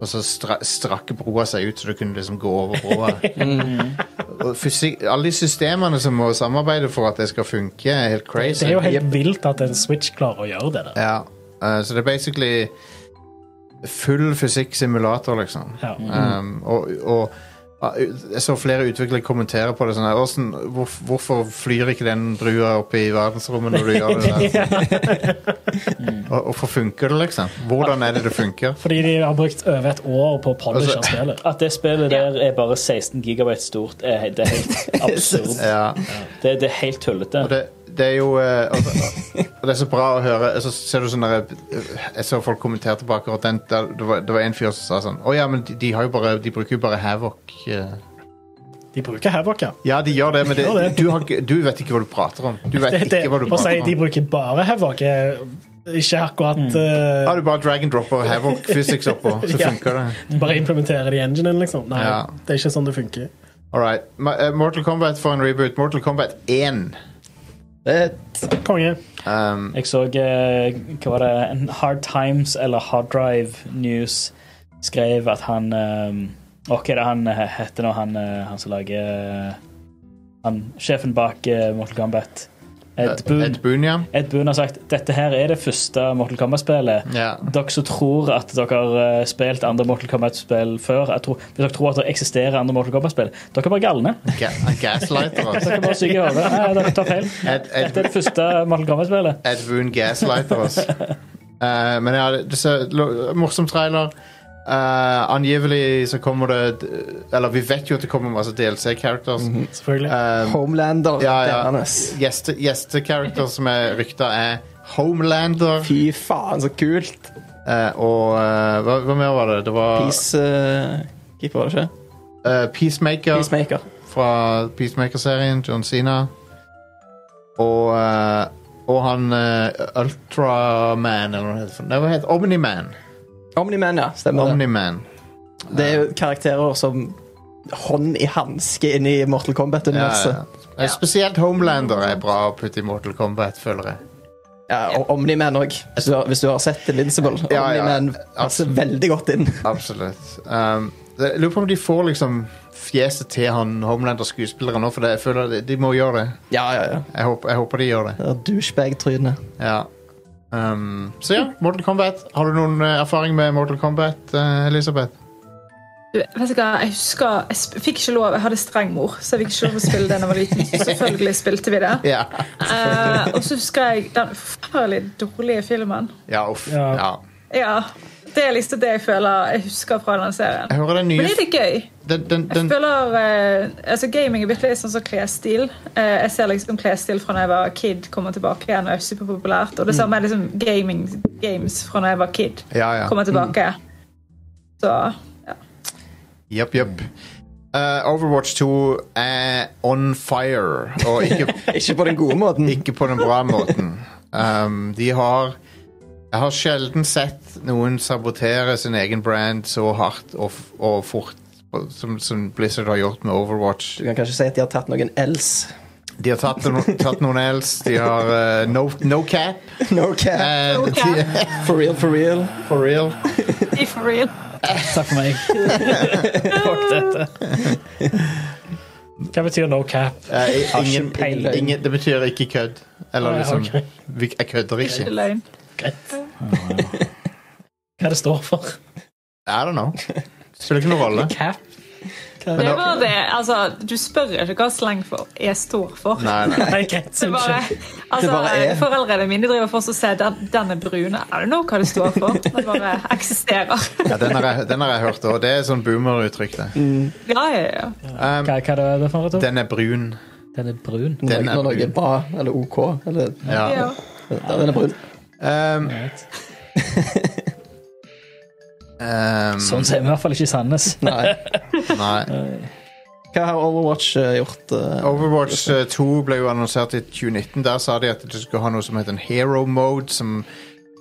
Speaker 1: Og så stra, strakk broa seg ut, så du kunne liksom gå over broa.
Speaker 3: Mm.
Speaker 1: Og fysikk, alle de systemene som må samarbeide for at det skal funke, er helt crazy.
Speaker 2: det er jo helt vilt at en Switch klarer å gjøre det. der.
Speaker 1: ja. eh, Så det er basically full fysikksimulator, liksom.
Speaker 2: Ja.
Speaker 1: Um, og, og ah, jeg så flere utviklere kommentere på det sånn her «Åssen- hvor, Hvorfor flyr ikke den brua opp i verdensrommet når du gjør det der? og, hvorfor funker det, liksom? Hvordan er det det funker?
Speaker 2: Fordi de har brukt over et år på å polish
Speaker 1: Altså-
Speaker 2: spillet.
Speaker 4: At det spillet der er bare 16 gigabyte stort, er, det er helt absurd.
Speaker 1: Ja,
Speaker 4: Det, det er helt tullete.
Speaker 1: og det, det er jo eh, og, og det er så bra å høre Så ser du sånn der Jeg så folk kommentere tilbake og den, der, det, var, det var en fyr som sa sånn Å ja, men de, de, har jo bare, de bruker jo bare Havoc eh.»
Speaker 2: De bruker Havoc, ja.
Speaker 1: Ja, de gjør det, men det,
Speaker 2: Gjør det.
Speaker 1: du, har, ikke- du vet ikke hva du prater om Du vet
Speaker 2: Det, det,
Speaker 1: ikke hva du
Speaker 2: å si
Speaker 1: prater om
Speaker 2: de bruker bare Havoc, er ikke akkurat eh,
Speaker 1: Ja, du bare drag and dropper Havoc Physics oppå, så
Speaker 2: Ja.
Speaker 1: funker det.
Speaker 2: Bare implementere det i enginen, liksom. Nei,
Speaker 1: Ja.
Speaker 2: det er ikke sånn det funker.
Speaker 1: Alright. Ma- eh, Mortal Kombat får en reboot. Mortal Kombat 1.
Speaker 3: Det-
Speaker 2: Konge.
Speaker 1: Um,
Speaker 4: Jeg så eh, hva var det, en Hard Times eller Hard Drive News skrev at han eh, Ok, det er han eh, heter nå han, eh, han som lager eh, han, Sjefen bak eh, Mortal Kombat. Ed Boon.
Speaker 1: Ed Boon, ja.
Speaker 4: Ed Boon har sagt dette her er det første Mortal Kombat-spillet.
Speaker 1: Ja.
Speaker 4: Dere som tror at dere har eh, spilt andre Mortal Kombat-spill før, jeg tror, hvis dere tror at det eksisterer andre Mortal Kombat-spill, dere er bare galne.
Speaker 1: Ga han gaslighter oss.
Speaker 4: Dere er bare syke i hodet. Nei, Dere tar feil.
Speaker 1: Ed, Ed,
Speaker 4: Dette er det første Mortal Kombat-spillet.
Speaker 1: Ed Boon gaslighter oss. Eh, men ja, det- det ser lo- morsom trailer. Eh, angivelig så kommer det Eller vi vet jo at det kommer masse DLC-characters.
Speaker 2: Selvfølgelig.
Speaker 1: Um,
Speaker 3: Homelander.
Speaker 1: ja, ja.
Speaker 3: Dennes.
Speaker 1: Gjeste- Gjeste-characters som er rykta, er Homelander
Speaker 3: Fy faen, så kult.
Speaker 1: eh, og eh, hva, hva mer var det? Det var
Speaker 3: Peacekeeper, var det eh, ikke?
Speaker 1: eh, Peacemaker.
Speaker 3: Peacemaker.
Speaker 1: fra Peacemaker-serien, John Cena. Og, eh, og han eh, Ultraman, eller hva det heter. for- Nei, hva heter Omniman.
Speaker 3: Omni-Man, ja. Stemmer det.
Speaker 1: Omniman.
Speaker 3: Det er jo karakterer som hånd i hanske inn i Mortal
Speaker 1: Ja,
Speaker 3: Kombat-universet.
Speaker 1: ja. Eh, Spesielt Homelander er bra å putte i Mortal Kombat, føler jeg.
Speaker 3: Ja, og Omni-Man òg, hvis, du har- hvis du har sett Invincible.
Speaker 1: Ja, ja.
Speaker 3: Omni-Man passer veldig godt inn.
Speaker 1: Absolutt. Um, jeg lurer på om de får liksom fjeset til han Homelander-skuespilleren nå, for det, jeg føler de, de må gjøre det.
Speaker 3: Ja, ja, ja.
Speaker 1: Jeg håper, jeg håper de gjør det.
Speaker 3: Det er douchebag-trynet.
Speaker 1: Ja. Um, så ja, Mortal Kombat. Har du noen eh, erfaring med Mortal Kombat, eh, Elisabeth?
Speaker 5: Du, vet du hva, jeg husker, jeg sp- fikk ikke lov, jeg hadde streng mor, så jeg fikk ikke lov å spille det da jeg var liten. Så Selvfølgelig spilte vi det.
Speaker 1: Ja.
Speaker 5: Eh, og så husker jeg den forferdelig dårlige filmen.
Speaker 1: Ja, uff.
Speaker 2: Ja.
Speaker 1: Ja.
Speaker 5: Ja, det er liksom det jeg føler jeg husker fra den serien.
Speaker 1: Jeg hører den nye
Speaker 5: Men det er litt gøy.
Speaker 1: den, den,
Speaker 5: Jeg
Speaker 1: den,
Speaker 5: føler, eh, altså Gaming er blitt litt sånn som klesstil. Eh, jeg ser liksom klesstil fra da jeg var kid, kommer tilbake igjen og er superpopulært. Og det samme er liksom gaming games fra da jeg var kid,
Speaker 1: Ja, ja.
Speaker 5: kommer tilbake. Så ja.
Speaker 1: Jepp, jepp. Eh, Overwatch 2 er on fire, og ikke,
Speaker 3: Ikke på den gode måten.
Speaker 1: ikke på den bra måten. Um, de har Jeg har sjelden sett noen sabotere sin egen brand så hardt og, f- og fort og- som, som Blizzard har gjort med Overwatch.
Speaker 3: Du kan kanskje si at de har tatt noen else.
Speaker 1: De har tatt, no, tatt noen else, de har eh, no, no cap.
Speaker 3: No cap.
Speaker 1: Eh,
Speaker 5: No cap.
Speaker 1: de-
Speaker 3: For real, for real.
Speaker 1: for real.
Speaker 5: I for real.
Speaker 4: Takk for meg. Fuck dette.
Speaker 2: Hva betyr no cap?
Speaker 1: Eh, i-
Speaker 4: Har ikke
Speaker 1: ingen,
Speaker 4: peiling.
Speaker 1: ingen, det betyr ikke kødd. Eller
Speaker 2: Ah, ja,
Speaker 1: liksom
Speaker 2: ok.
Speaker 1: vi, Jeg kødder
Speaker 5: Det er
Speaker 1: ikke.
Speaker 5: løgn.
Speaker 2: Greit. Hva det står for?
Speaker 1: I don't know. Spiller ikke noen rolle.
Speaker 4: Cap.
Speaker 1: Men
Speaker 5: Det
Speaker 1: da-
Speaker 5: var det. Altså, du spør ikke hva slang for jeg står for.
Speaker 1: Nei, nei.
Speaker 2: Nei, greit.
Speaker 5: Det bare,
Speaker 2: Unnskyld.
Speaker 5: altså,
Speaker 3: bare er.
Speaker 5: Foreldrene mine driver fortsatt og sier den, den er brun. I don't know hva det står for. Det bare eksisterer.
Speaker 1: Ja, den, har jeg, den har jeg hørt òg. Det er sånn boomer-uttrykk, det.
Speaker 5: Ja, ja, ja.
Speaker 1: Um,
Speaker 4: Hva, hva er det for noe?
Speaker 1: den er brun.
Speaker 4: Den er brun.
Speaker 1: Den
Speaker 3: Når
Speaker 1: er
Speaker 3: når noe er
Speaker 1: brun.
Speaker 3: bra eller OK. Eller,
Speaker 1: Ja.
Speaker 5: ja.
Speaker 3: den er brun.
Speaker 1: Um, um,
Speaker 4: Sånn ser vi i hvert fall ikke i Sandnes.
Speaker 3: Nei.
Speaker 1: Nei.
Speaker 3: Hva har Overwatch eh, gjort? eh?
Speaker 1: Overwatch eh, 2 ble jo annonsert i 2019. Der sa de at du skulle ha noe som het en hero mode, som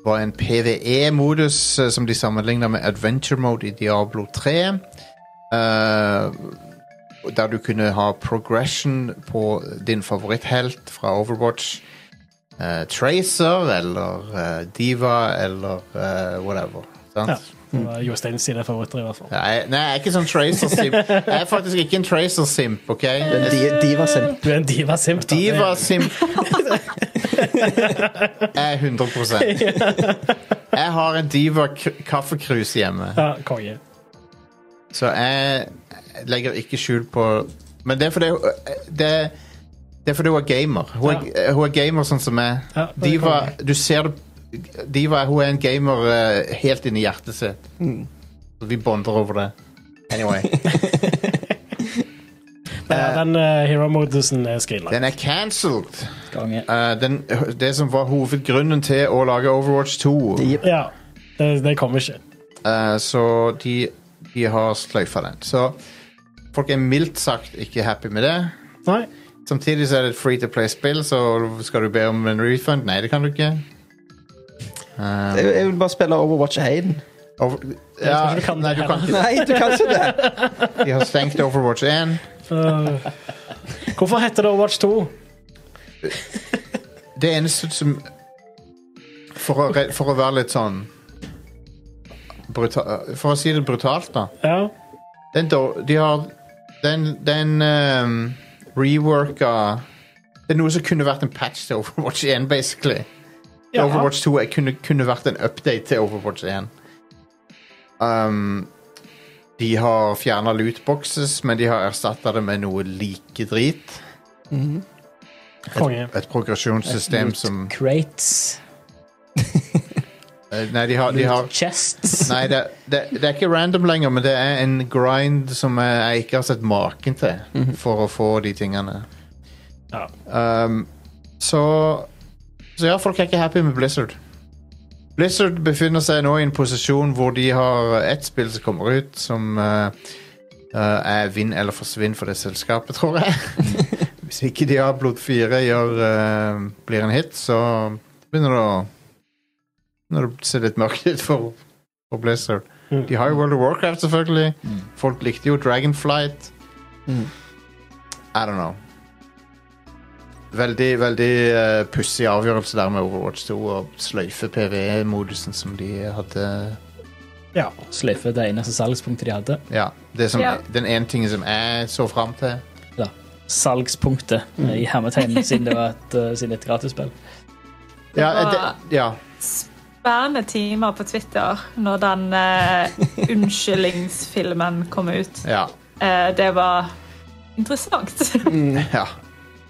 Speaker 1: var en PVE-modus eh, som de sammenligna med adventure mode i Diablo 3. Eh, der du kunne ha progression på din favoritthelt fra Overwatch. Eh, Tracer eller eh, Diva eller eh, whatever. Sant?
Speaker 2: Ja. Det var Jostein sine favoritter, i hvert fall.
Speaker 1: Nei, nei, jeg er ikke sånn Tracer-simp. Jeg er faktisk ikke en Tracer-simp, OK?
Speaker 3: Men de, de var simp.
Speaker 2: Du er en diva simp. da.
Speaker 1: Diva-simp er 100 Jeg har en diva-kaffekrus hjemme,
Speaker 2: Ja, konge.
Speaker 1: så jeg legger ikke skjul på Men det er fordi det, det er fordi hun er gamer. Hun er, hun er gamer sånn som meg.
Speaker 2: Ja, det er
Speaker 1: Diva,
Speaker 2: konge.
Speaker 1: du ser det Diva hun er en gamer eh, helt inni hjertet sitt.
Speaker 3: Mm.
Speaker 1: Så vi bonder over det. Anyway.
Speaker 2: Ja, Den eh, hero-modusen er skrinlagt.
Speaker 1: Den er cancelled.
Speaker 4: Gange.
Speaker 1: Eh, den, det som var hovedgrunnen til å lage Overwatch 2.
Speaker 2: Ja. Det, det kommer ikke.
Speaker 1: Eh, så de, de har sløyfa den. Så folk er mildt sagt ikke happy med det.
Speaker 2: Nei.
Speaker 1: Samtidig så er det et free to play-spill, så skal du be om en refund? Nei, det kan du ikke. Eh,
Speaker 3: Jeg, jeg vil bare spille Overwatch 1.
Speaker 1: Over, ja,
Speaker 2: ikke du kan
Speaker 1: nei,
Speaker 2: det
Speaker 1: du kan ikke.
Speaker 3: Nei, du kan ikke det!
Speaker 1: De har stengt Overwatch 1.
Speaker 2: Øh. Hvorfor heter det Overwatch 2?
Speaker 1: Det eneste som For å, re- for å være litt sånn bruta, For å si det brutalt, da.
Speaker 2: Ja.
Speaker 1: Den, dår- de har Den, den ehm, reworka Det er noe som kunne vært en patch til Overwatch 1, basically.
Speaker 2: ja.
Speaker 1: Overwatch 2 er- kunne, kunne vært en update til Overwatch 1. Um, de har fjerna lootboxes, men de har erstatta det med noe like drit.
Speaker 2: Konge.
Speaker 1: Et progresjonssystem som
Speaker 4: Crates.
Speaker 1: eh, Nei, de har, de har
Speaker 4: Chests.
Speaker 1: Nei, det, det, det er ikke random lenger, men det er en grind som jeg, jeg ikke har sett maken til for å få de tingene.
Speaker 2: Ja.
Speaker 1: Um, så Så ja, folk er ikke happy med Blizzard. Blizzard befinner seg nå i en posisjon hvor de har ett spill som kommer ut, som eh, eh, er vinn eller forsvinn for det selskapet, tror jeg. Hvis ikke Diablo 4 gjør, eh, blir en hit, så begynner det å begynner det å se litt mørkt ut for, for Blizzard.
Speaker 5: Mm.
Speaker 1: De har jo World of Warcraft, selvfølgelig. Folk likte jo Dragonflight. I don't know. Veldig veldig eh, pussig avgjørelse der med Overwatch 2 å sløyfe PVE-modusen som de hadde
Speaker 2: ja.
Speaker 4: Sløyfe det eneste salgspunktet de hadde.
Speaker 1: Ja. Det som,
Speaker 5: Ja.
Speaker 1: Den ene tingen som jeg så fram til.
Speaker 4: Eller salgspunktet, eh, i hermetegn, siden det var et, eh, siden det er et gratisspill.
Speaker 1: Ja,
Speaker 5: Det var-
Speaker 1: det, ja.
Speaker 5: Spennende timer på Twitter når den eh, unnskyldningsfilmen kom ut.
Speaker 1: ja,
Speaker 5: Eh, det var interessant.
Speaker 1: ja. Det,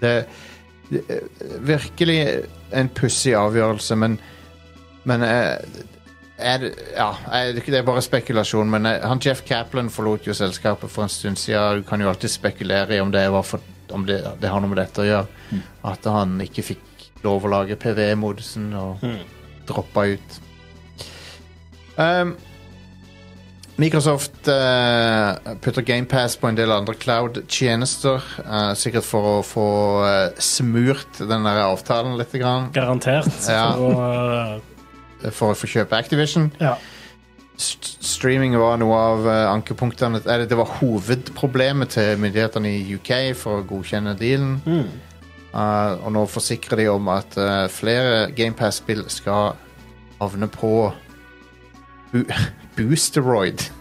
Speaker 1: det er Virkelig en pussig avgjørelse, men Men eh, er, det- ja, jeg- det er bare spekulasjon, men eh, han Jeff Kaplan forlot jo selskapet for en stund siden. Du kan jo alltid spekulere i om det, var for, om det, det har noe med dette å gjøre. At han ikke fikk lov å lage PVE-modusen og droppa ut. Um, Microsoft eh, putter GamePass på en del andre cloud-tjenester. eh, sikkert for å få eh, smurt den der avtalen litt. Grann,
Speaker 2: Garantert.
Speaker 1: Ja.
Speaker 2: Så, øh,
Speaker 1: for å få kjøpe Activision.
Speaker 2: ja.
Speaker 1: st streaming var noe av eh, ankepunktene Eller det var hovedproblemet til myndighetene i UK for å godkjenne dealen.
Speaker 2: mm.
Speaker 1: Eh, og nå forsikrer de om at eh, flere GamePass-spill skal havne på bu Boosteroid.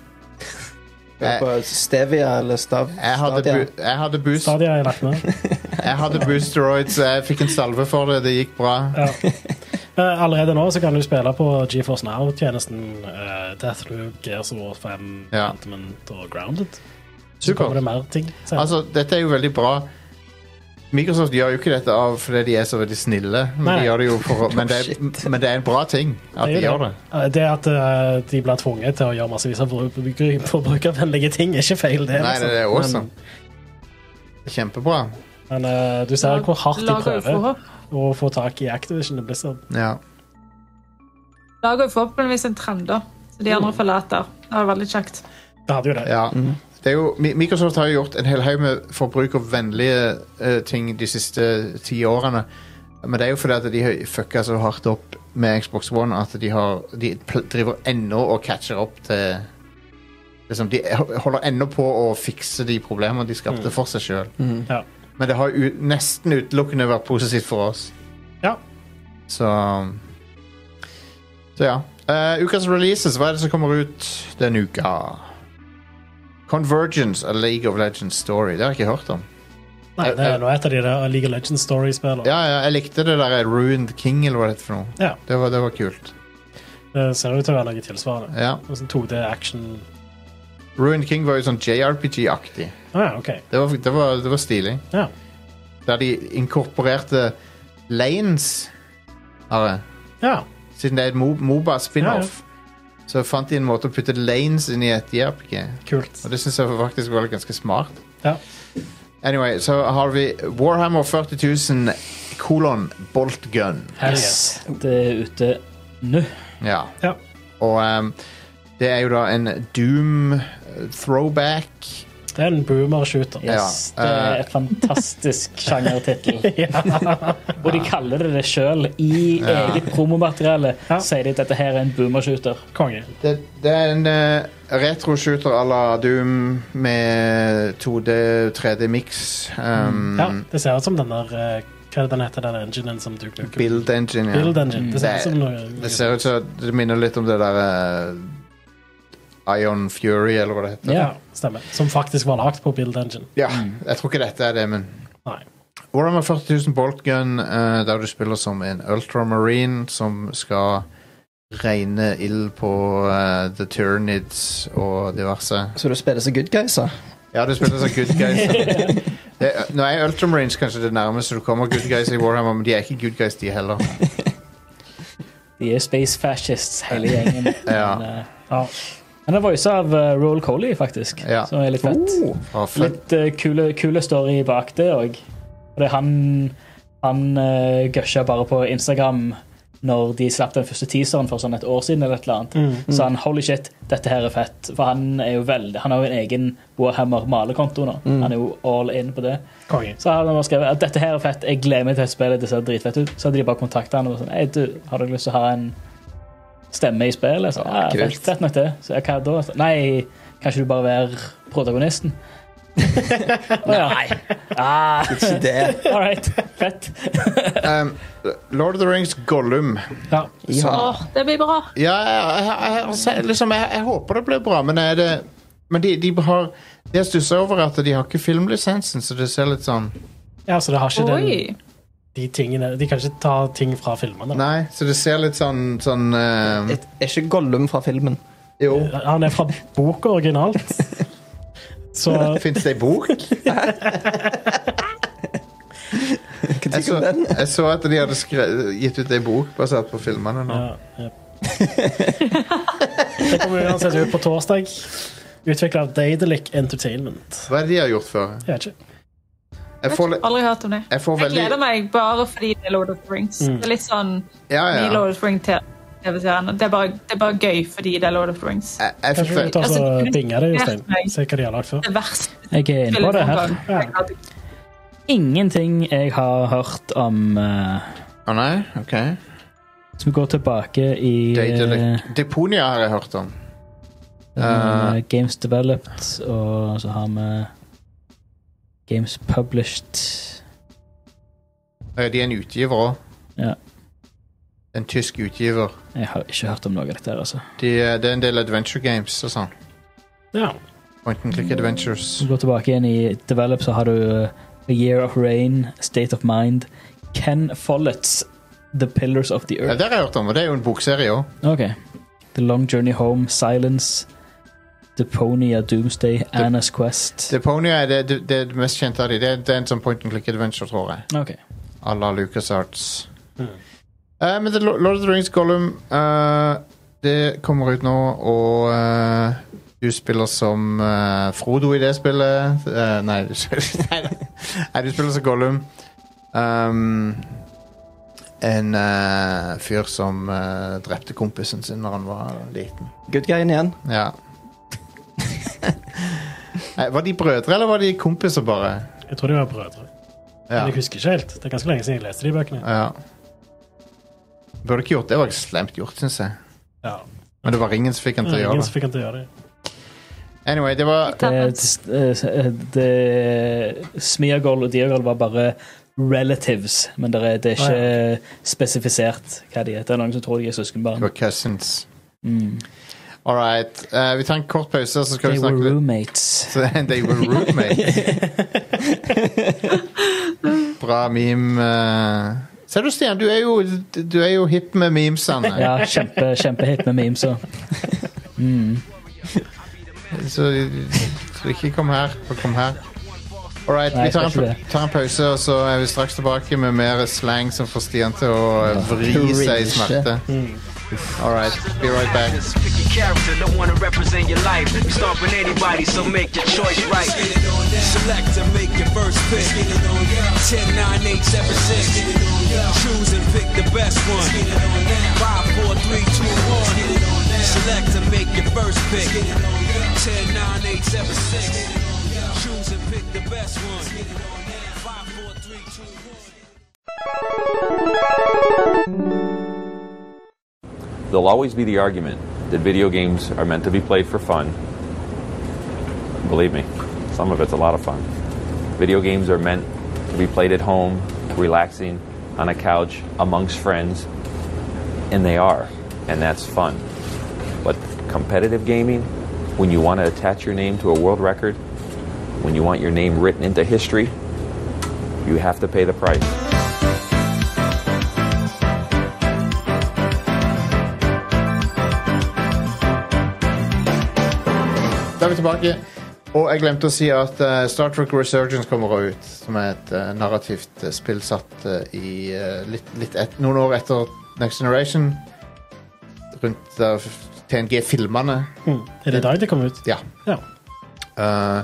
Speaker 1: Jeg,
Speaker 3: På Stevia eller Stav...
Speaker 1: jeg, hadde,
Speaker 3: Stadia.
Speaker 1: bu jeg, hadde boost,
Speaker 2: Stadia er lagt ned.
Speaker 1: jeg hadde Boosteroid, så jeg fikk en salve for det. Det gikk bra.
Speaker 2: Ja. Eh, Allerede nå så kan du spille på GeForce Now-tjenesten eh, Deathloop, Gears of War 5,
Speaker 1: Ja.
Speaker 2: Pentiment og Grounded. Så
Speaker 1: Supert.
Speaker 2: kommer det mer ting. senere.
Speaker 1: Altså, dette er jo veldig bra. Microsoft gjør jo ikke dette av fordi de er så veldig snille, men,
Speaker 2: Nei. Oh,
Speaker 1: de gjør det, jo for, å- men, det,
Speaker 3: Shit.
Speaker 1: er, men det er en bra ting at de
Speaker 2: Det er jo
Speaker 1: gjør det.
Speaker 2: Eh, Det at eh, de blir tvunget til å gjøre massevis av forbru- forbrukervennlige ting, er ikke feil, det.
Speaker 1: Nei,
Speaker 2: liksom.
Speaker 1: det er awesome.
Speaker 2: Men,
Speaker 1: Kjempebra.
Speaker 2: men eh, du ser hvor hardt de
Speaker 5: Lager jo
Speaker 2: prøver
Speaker 5: forhåp-
Speaker 2: å få tak i Activision og Blizzard.
Speaker 1: Ja.
Speaker 5: Lager jo forhåpentligvis en trend, da. Så de
Speaker 4: Mm.
Speaker 5: andre følger etter. Det var veldig kjekt.
Speaker 2: Det hadde jo det.
Speaker 1: ja.
Speaker 3: Mm.
Speaker 1: Det er jo, Mi- Microsoft har jo gjort en hel haug med forbrukervennlige eh, ting de siste ti årene. Men det er jo fordi at de har fucka så hardt opp med Xbox One at de, har, de pl- driver ennå og catcher opp til liksom, De holder ennå på å fikse de problemene de skapte for seg sjøl.
Speaker 2: Ja.
Speaker 1: Men det har u nesten utelukkende vært positivt for oss.
Speaker 2: Ja.
Speaker 1: Så Så ja. Eh, ukas releases, hva er det som kommer ut denne uka? Convergence, A League of Legends Story. Det har jeg ikke hørt om.
Speaker 2: Nei, det er nå et av de der League of Legends Story-spillene.
Speaker 1: Ja, ja, Jeg likte det der Ruined King, eller hva det heter for noe.
Speaker 2: Ja.
Speaker 1: Det var, det var kult.
Speaker 2: Det ser ut til å være noe tilsvarende.
Speaker 1: Ja.
Speaker 2: Og sånn 2D-action.
Speaker 1: Ruined King var jo sånn JRPG-aktig.
Speaker 2: Ah, ja, OK.
Speaker 1: Det var, det, var, det var stilig.
Speaker 2: Ja.
Speaker 1: Der de inkorporerte lanes, har jeg.
Speaker 2: ja.
Speaker 1: Siden det er et Mo- Moba spin-off, så fant de en måte å putte lanes inn i et JRPG.
Speaker 2: Kult.
Speaker 1: Og det syns jeg faktisk var ganske smart.
Speaker 2: Ja.
Speaker 1: Anyway, så har vi Warhammer 40 000 kolon bolt gun.
Speaker 2: Hell
Speaker 4: Yes. Det er ute nå.
Speaker 1: Ja.
Speaker 2: Ja.
Speaker 1: Og ehm, det er jo da en Doom uh, throwback.
Speaker 2: Det er en boomer-shooter.
Speaker 4: Yes.
Speaker 1: Ja,
Speaker 4: Det
Speaker 1: eh.
Speaker 4: er et fantastisk sjangertittel.
Speaker 2: Ja.
Speaker 4: Og de kaller det det sjøl. I eget promomateriale
Speaker 2: Ja.
Speaker 4: sier de at dette her er en boomershooter.
Speaker 2: Konge.
Speaker 1: Det, det er en eh, retro-shooter à la Doom med 2D-3D-mix. Um,
Speaker 2: Mm, Ja, det ser ut som den der eh, Hva er det den heter, den enginen som du bruker?
Speaker 1: Build engine. Ja.
Speaker 2: Build engine. Det ser ut
Speaker 1: Det-
Speaker 2: som noe
Speaker 1: Det ser ut som det minner litt om det der eh, Ion Fury, eller hva det heter.
Speaker 2: Ja, stemmer. Som faktisk var lagd på Build Engine.
Speaker 1: Ja, jeg tror ikke dette er det, men
Speaker 2: Nei.
Speaker 1: Warhammer 40 000 Boltgun, eh, der du spiller som en ultramarine som skal regne ild på eh, The Tyranids og diverse.
Speaker 3: Så du spiller så good guys, da?
Speaker 1: Ja, du spiller som good guys. Det, nå er ultramarines kanskje det nærmeste du kommer good guys i Warhammer, men de er ikke good guys, de heller.
Speaker 4: De er space fascists, hele gjengen.
Speaker 1: Ja.
Speaker 4: Men, eh,
Speaker 2: Ja.
Speaker 4: men det er voisa av eh, Roll Coley, faktisk,
Speaker 1: Ja. Uh.
Speaker 4: som er litt fett.
Speaker 1: Og fun,
Speaker 4: Litt eh, kule, kule story bak det òg. For det er han han uh, gusja bare på Instagram når de slapp den første teaseren for sånn et år siden. eller et eller annet.
Speaker 5: Mm.
Speaker 4: Så han holy shit, dette her er fett. For han er jo veldig, han har jo en egen Warhammer-malekonto nå. Han er jo all in på det.
Speaker 2: Konge.
Speaker 4: Så hadde han bare skrevet at dette her er fett, jeg gleder meg til å spille, det ser dritfett ut. Så hadde de bare kontakta han og vært sånn, «Ei, du, har du lyst til å ha en stemme i spillet? Så, ja,
Speaker 1: kult.
Speaker 4: fett, fett nok det. Så jeg, hva da? Så, Nei, kan ikke du bare være protagonisten? Nei. Ah,
Speaker 3: Ikke det.
Speaker 4: all right, fett.
Speaker 1: um, Lord of the Rings Gollum.
Speaker 2: Ja.
Speaker 3: Ja.
Speaker 5: Åh, det blir bra.
Speaker 1: Ja, jeg, jeg, jeg, altså, liksom, jeg, jeg håper det blir bra, men er det Men de, de har Det jeg stusser over, er at de har ikke filmlisensen, så det ser litt sånn
Speaker 2: ja, så det har ikke den,
Speaker 5: Oi.
Speaker 2: de tingene De kan ikke ta ting fra filmene.
Speaker 1: Nei, så det ser litt sånn sånn eh,
Speaker 3: Et- Er ikke Gollum fra filmen?
Speaker 1: Jo.
Speaker 2: Han er fra boka originalt. Så
Speaker 1: Fins det i bok?
Speaker 3: Hva
Speaker 1: Jeg så,
Speaker 3: tenker du om den?
Speaker 1: jeg så at de hadde skre, gitt ut ei bok basert på filmene nå.
Speaker 2: ja, ja. Det kommer uansett ut på torsdag. Utvikla av Daedalic Entertainment.
Speaker 1: Hva er det de har gjort før?
Speaker 2: Jeg vet ikke.
Speaker 1: Jeg får, li-
Speaker 5: Aldri hørt om det.
Speaker 1: jeg får
Speaker 5: Jeg
Speaker 1: veldig
Speaker 5: gleder meg bare fordi det er Lord of the Rings.
Speaker 4: Mm.
Speaker 5: Det er litt sånn
Speaker 1: Ja,
Speaker 5: ny
Speaker 1: ja.
Speaker 5: Lord of the Rings-TV-serien. Det, er bare- det er bare gøy fordi det er Lord of the Rings.
Speaker 1: Jeg, jeg fikk
Speaker 2: Kanskje du
Speaker 1: vel-
Speaker 2: tar så
Speaker 5: Altså,
Speaker 2: dinger det, Jostein?
Speaker 5: Ja, nei.
Speaker 2: Se hva de har lagd før.
Speaker 5: Det verste
Speaker 4: Jeg er inne på det her.
Speaker 5: spillet noen gang.
Speaker 4: Ingenting jeg har hørt om eh,
Speaker 1: Å nei? OK.
Speaker 4: som går tilbake i eh,
Speaker 1: Daedalic. Deponia har jeg hørt om.
Speaker 4: Eh, games developed, og så har vi games published.
Speaker 1: Eh, De er en utgiver òg.
Speaker 4: Ja.
Speaker 1: En tysk utgiver.
Speaker 4: Jeg har ikke hørt om noe av dette her, altså.
Speaker 1: De, eh, det er en del adventure games og sånn.
Speaker 2: Ja.
Speaker 1: Point and click adventures.
Speaker 4: Så går tilbake igjen i Develop, så har du uh, A Year of Rain, State of Mind, Ken Follett's The Pillars of the
Speaker 1: Ja,
Speaker 4: Earth.
Speaker 1: det har jeg hørt om, og det er jo en bokserie òg.
Speaker 4: Ok. The Long Journey Home, Silence, Deponia Doomsday, Anna's Quest.
Speaker 1: Deponia er det, det, det er det mest kjente av de. Det, er- det er en sånn point and click adventure, tror jeg.
Speaker 4: Ok.
Speaker 1: À la LucasArts.
Speaker 2: Mm.
Speaker 1: Eh, men The Lo- Lord of the Rings Gollum eh, Det kommer ut nå, og eh, du spiller som eh, Frodo i det spillet. Eh, nei, du, nei, nei, du spiller som Gollum. Um, en eh, fyr som eh, drepte kompisen sin når han var liten.
Speaker 3: Good guyen igjen.
Speaker 1: Ja. Nei, var de brødre, eller var de kompiser, bare?
Speaker 2: Jeg tror de var brødre.
Speaker 1: Ja.
Speaker 2: Men jeg husker ikke helt. Det er ganske lenge siden jeg leste de bøkene.
Speaker 1: Ja. Burde ikke gjort det. Det var slemt gjort, syns jeg.
Speaker 2: Ja.
Speaker 1: Men det var ringen som fikk han til å gjøre
Speaker 2: Eh, Ingen som
Speaker 1: det.
Speaker 2: fikk han til å gjøre det.
Speaker 1: Anyway, det var
Speaker 4: Det, eh, det, det Smeagol og Diagol var bare relatives, men det er, det er ikke spesifisert hva de heter. Det er noen som tror de er
Speaker 1: det
Speaker 4: søskenbarn.
Speaker 1: var cousins.
Speaker 4: Mm.
Speaker 1: All right. eh, vi tar en kort pause, så skal
Speaker 4: They
Speaker 1: vi
Speaker 4: were
Speaker 1: snakke litt
Speaker 4: roommates.
Speaker 1: Så They were roommates. Bra meme. eh. Ser du, Stian, du er jo, du er jo hip med memesene.
Speaker 4: Ja, kjempe, kjempehit med memes og mm.
Speaker 1: Så, så ikke kom her, og kom her. All right,
Speaker 4: Nei,
Speaker 1: vi tar
Speaker 4: jeg skal
Speaker 1: en,
Speaker 4: ikke
Speaker 1: tar en pause, og så er vi straks tilbake med mer slang som får Stian til å eh, vri seg i smerte.
Speaker 4: Mm.
Speaker 1: All right, be right back.
Speaker 8: Pick your character, don't wanna represent your life. Stomping anybody, so make your choice right. Select and make your first pick. 10, 9, 8, 7, 6. Choose and pick the best one. 5, 4, 3, 2, 1. Select and make your first pick. 10, 9, 8, 7, 6. Choose and pick the best one. 5, 4, 3, 2, 1.
Speaker 9: There'll always be the argument that video games are meant to be played for fun. Believe me, some of it's a lot of fun. Video games are meant to be played at home, relaxing, on a couch, amongst friends, and they are, and that's fun. But competitive gaming, when you want to attach your name to a world record, when you want your name written into history, you have to pay the price.
Speaker 1: Da er vi tilbake. Og jeg glemte å si at eh, Star Trek Resurgence kommer ut, som er et eh, narrativt eh, spill satt eh, i eh, litt, litt et, noen år etter Next Generation. Rundt eh, TNG-filmene.
Speaker 2: Mm. Er det i dag det kom ut?
Speaker 1: Ja.
Speaker 2: Ja.
Speaker 1: Eh,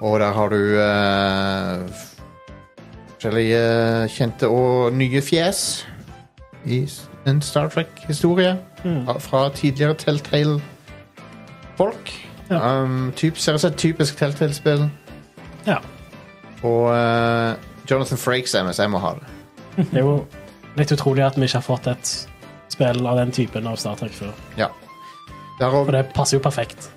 Speaker 1: og der har du eh, f- forskjellige kjente og nye fjes i s- en Star Trek-historie.
Speaker 2: Mm.
Speaker 1: Fra- Fra tidligere Telltale-folk.
Speaker 2: Ja.
Speaker 1: Um, typ, ser ut som et typisk Telltale-spill.
Speaker 2: ja.
Speaker 1: Og eh, Jonathan Frakes MSM må ha det.
Speaker 2: Det er jo litt utrolig at vi ikke har fått et spill av den typen av Star Trek før.
Speaker 1: Ja. Der og,
Speaker 2: For det passer jo perfekt.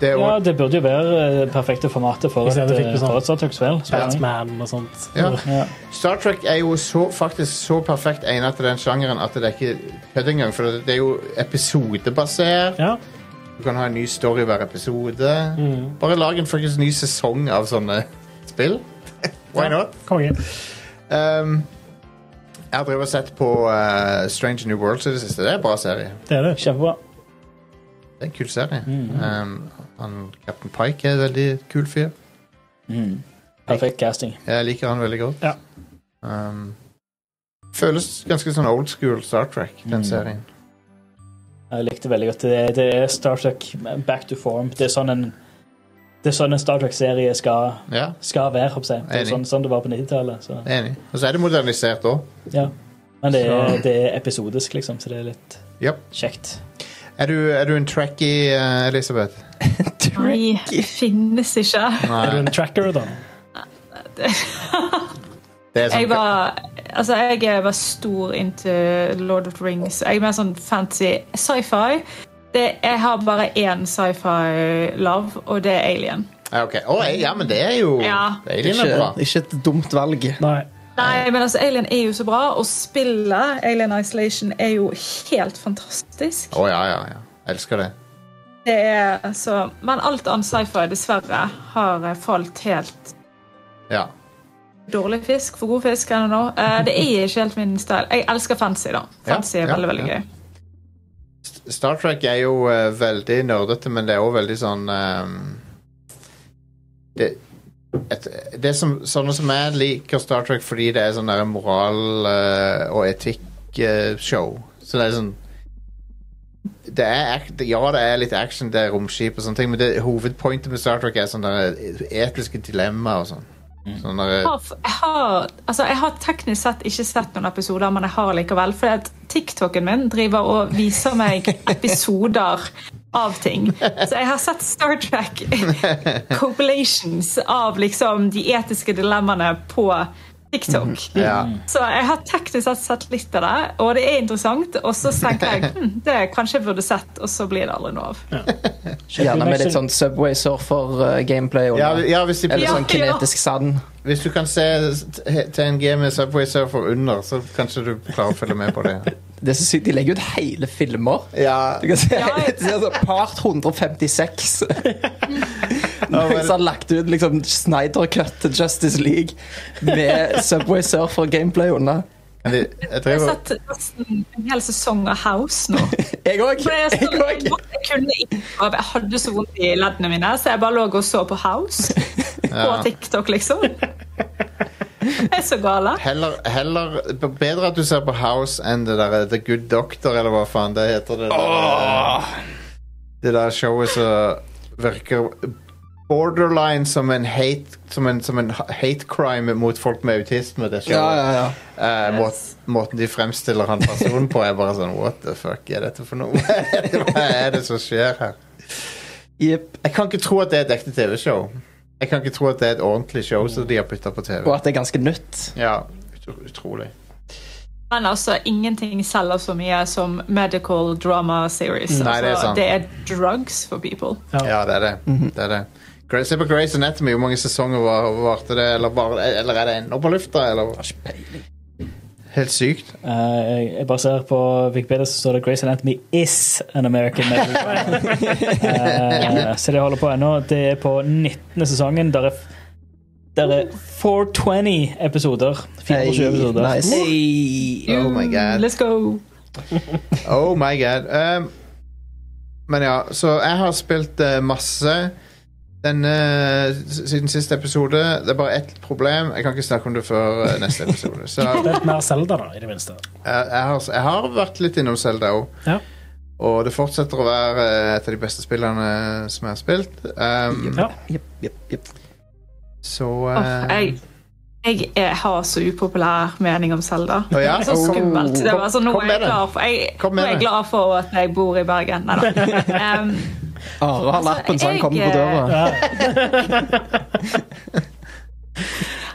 Speaker 1: det er
Speaker 4: Ja,
Speaker 1: også-
Speaker 4: det burde jo være eh, perfekte formatet for
Speaker 2: I
Speaker 4: et,
Speaker 2: stedet fikk vi
Speaker 4: eh,
Speaker 2: sånn.
Speaker 4: for et Sartox-spill.
Speaker 2: Batman og sånt.
Speaker 1: Ja.
Speaker 4: Ja.
Speaker 1: Star Trek er jo så, faktisk så perfekt egnet til den sjangeren at det er ikke kødd engang. For det det er jo episodebasert.
Speaker 2: Ja.
Speaker 1: Du kan ha en ny story hver episode.
Speaker 2: Mm.
Speaker 1: Bare lag en fuckings ny sesong av sånne spill. Why not?
Speaker 2: Konge.
Speaker 1: Um, jeg har drevet og sett på eh, Strange New Worlds i det siste. Det er en bra serie.
Speaker 2: Det er det.
Speaker 4: Kjempebra.
Speaker 1: Det er en kul serie.
Speaker 2: Mm.
Speaker 1: Um, han, Captain Pike er en veldig kul fyr.
Speaker 4: Mm. Perfekt casting.
Speaker 1: Jeg liker han veldig godt.
Speaker 2: Ja.
Speaker 1: Um, føles ganske sånn old school Star Trek, den
Speaker 4: Mm.
Speaker 1: serien.
Speaker 4: Jeg likte veldig godt. Det, det er Star Trek eh, back to form. Det er sånn en, det er sånn en Star Trek-serie skal,
Speaker 1: Ja,
Speaker 4: skal være. håper jeg. Det er
Speaker 1: Enig.
Speaker 4: sånn, sånn det var på 90-tallet. så-
Speaker 1: enig. Og så er det modernisert òg.
Speaker 4: Ja. Men det er,
Speaker 1: Så-
Speaker 4: det er episodisk, liksom, så det er litt
Speaker 1: Japp.
Speaker 4: kjekt.
Speaker 1: Er, du- er du en trackie, eh, Elisabeth?
Speaker 5: Nei, det finnes ikke.
Speaker 2: Er du
Speaker 1: Nei.
Speaker 4: Eh,
Speaker 2: en tracker, da?
Speaker 1: Det er
Speaker 5: Jeg
Speaker 1: sånn,
Speaker 5: var, altså, jeg var stor into Lord of the Rings. Jeg er mer sånn fancy sci-fi. Det, jeg har bare én sci-fi-love, og det er Alien.
Speaker 1: Ja, ok. Å, ja, men det er jo
Speaker 5: Ja.
Speaker 1: Alien er bra.
Speaker 3: Ikke, ikke et dumt valg.
Speaker 2: Nei.
Speaker 5: Nei, men altså, Alien er jo så bra, og spillet Alien Isolation er jo helt fantastisk.
Speaker 1: Å, ja, ja, ja. Elsker det.
Speaker 5: Det er så, Men alt annet sci-fi, dessverre, har eh, falt helt
Speaker 1: Ja.
Speaker 5: dårlig fisk for god fisk. I don't know. Eh, Det er ikke helt min style. Jeg elsker fancy, da. Fancy
Speaker 1: Ja,
Speaker 5: er
Speaker 1: ja,
Speaker 5: veldig, veldig
Speaker 1: ja.
Speaker 5: gøy.
Speaker 1: Star Trek er jo eh, veldig nerdete, men det er òg veldig sånn eh, det, et, det som, Sånne som jeg liker Star Trek fordi det er sånn der moral- eh, og etikk-show. Så det er sånn det er, act- ja, det er litt action, det er romskip og sånne ting, men det, hovedpointet med Star Trek er sånne der etiske dilemmaer og sånn. Sånne der-
Speaker 5: Jeg har, jeg, har, altså jeg har teknisk sett ikke sett noen episoder, men jeg har likevel. Fordi at TikToken min driver og viser meg episoder av ting. Så jeg har sett Star Trek compilations av liksom de etiske dilemmaene på TikTok.
Speaker 1: ja.
Speaker 5: Så jeg har teknisk sett sett litt av det, og det er interessant. Og så tenker jeg hm, det kanskje jeg burde sett, og så blir det aldri noe av.
Speaker 3: Gjerne med litt sånn Subway eh, Surfer-gameplay.
Speaker 1: Ja, ja, hvis de
Speaker 3: Eller
Speaker 5: Ja,
Speaker 3: sånn
Speaker 5: ja.
Speaker 3: kinetisk sand.
Speaker 1: Hvis du kan se t- TNG med Subway Surfer under, så kanskje du klarer å følge med på det.
Speaker 3: Det er så sykt, De legger ut hele filmer.
Speaker 1: Ja,
Speaker 3: Du kan se,
Speaker 5: Ja, ja.
Speaker 3: du ser sånn Part 156.
Speaker 1: men-
Speaker 3: Mens han lagt ut liksom Snyder Cut til Justice League med Subway Surfer-gameplay under.
Speaker 1: men jeg, jeg
Speaker 5: Jeg har
Speaker 1: driver
Speaker 5: sett nesten en hel sesong av House nå.
Speaker 3: Jeg òg.
Speaker 5: For jeg,
Speaker 3: Jeg
Speaker 5: stod, jeg,
Speaker 3: òg.
Speaker 5: kunne ikke, og jeg hadde så vondt i leddene mine, så jeg bare lå og så på House på
Speaker 1: ja.
Speaker 5: TikTok, liksom. Jeg er så gale.
Speaker 1: heller, heller Bedre at du ser på House enn det der eh, The Good Doctor, eller hva faen det heter. Det der, eh, det der showet som virker borderline som en hate Som en, som en hate crime mot folk med autisme. Det
Speaker 3: Ja,
Speaker 1: showet.
Speaker 3: ja, ja.
Speaker 1: Eh, må, måten de fremstiller han personen på, er bare sånn What the fuck er dette for noe? Hva er det som skjer her?
Speaker 3: Jepp.
Speaker 1: Jeg kan ikke tro at det er et ekte tv-show. Jeg kan ikke tro at det er et ordentlig show som de har putta på tv.
Speaker 3: Og at det er ganske nytt.
Speaker 1: Ja, ut- utrolig.
Speaker 5: Men altså, ingenting selger så mye som medical drama series.
Speaker 1: Mm. Nei, det er
Speaker 5: altså,
Speaker 1: sant.
Speaker 5: det er drugs for people.
Speaker 1: Ja, det er det. det, er det. Gra- Se på Grace Anatomy. Hvor mange sesonger var- varte det? Eller, bare, eller er det ennå på lufta? Eller? Helt sykt.
Speaker 4: Eh, jeg- jeg bare ser på Wikipedia så står det Grace Anatomy is an American Medical Crime. Eh, så det holder på ennå. Det er på 19. sesongen. Der er, der er 420 episoder. 420
Speaker 3: Hey,
Speaker 4: episoder.
Speaker 3: nice.
Speaker 1: Oh my god.
Speaker 5: Let's go!
Speaker 1: Oh my god. Um, men ja, så jeg har spilt eh, masse denne s- siden siste episode. Det er bare ett problem. Jeg kan ikke snakke om det før eh, neste episode. Så eh,
Speaker 2: Det er mer Zelda, da, i det minste.
Speaker 1: jeg, har, jeg har vært litt innom Selda òg.
Speaker 2: Ja.
Speaker 1: Og det fortsetter å være eh, et av de beste spillene som jeg har spilt. Um,
Speaker 2: Ja.
Speaker 3: Jepp, jepp, jepp.
Speaker 1: Så
Speaker 5: Åh,
Speaker 1: eh,
Speaker 5: jeg, jeg er, har så upopulær mening om Selda.
Speaker 1: Å ja?
Speaker 5: Så
Speaker 1: Oh.
Speaker 5: skummelt. Det var sånn, nå
Speaker 1: Kom- kom
Speaker 5: er
Speaker 1: med
Speaker 5: jeg
Speaker 1: det.
Speaker 5: glad for, jeg,
Speaker 1: Kom
Speaker 5: nå
Speaker 1: med
Speaker 5: er jeg
Speaker 1: det.
Speaker 5: glad for at jeg bor i Bergen. Nei da. Um,
Speaker 3: Are har lappen, så han
Speaker 5: Altså, jeg, eh,
Speaker 3: kommer på døra.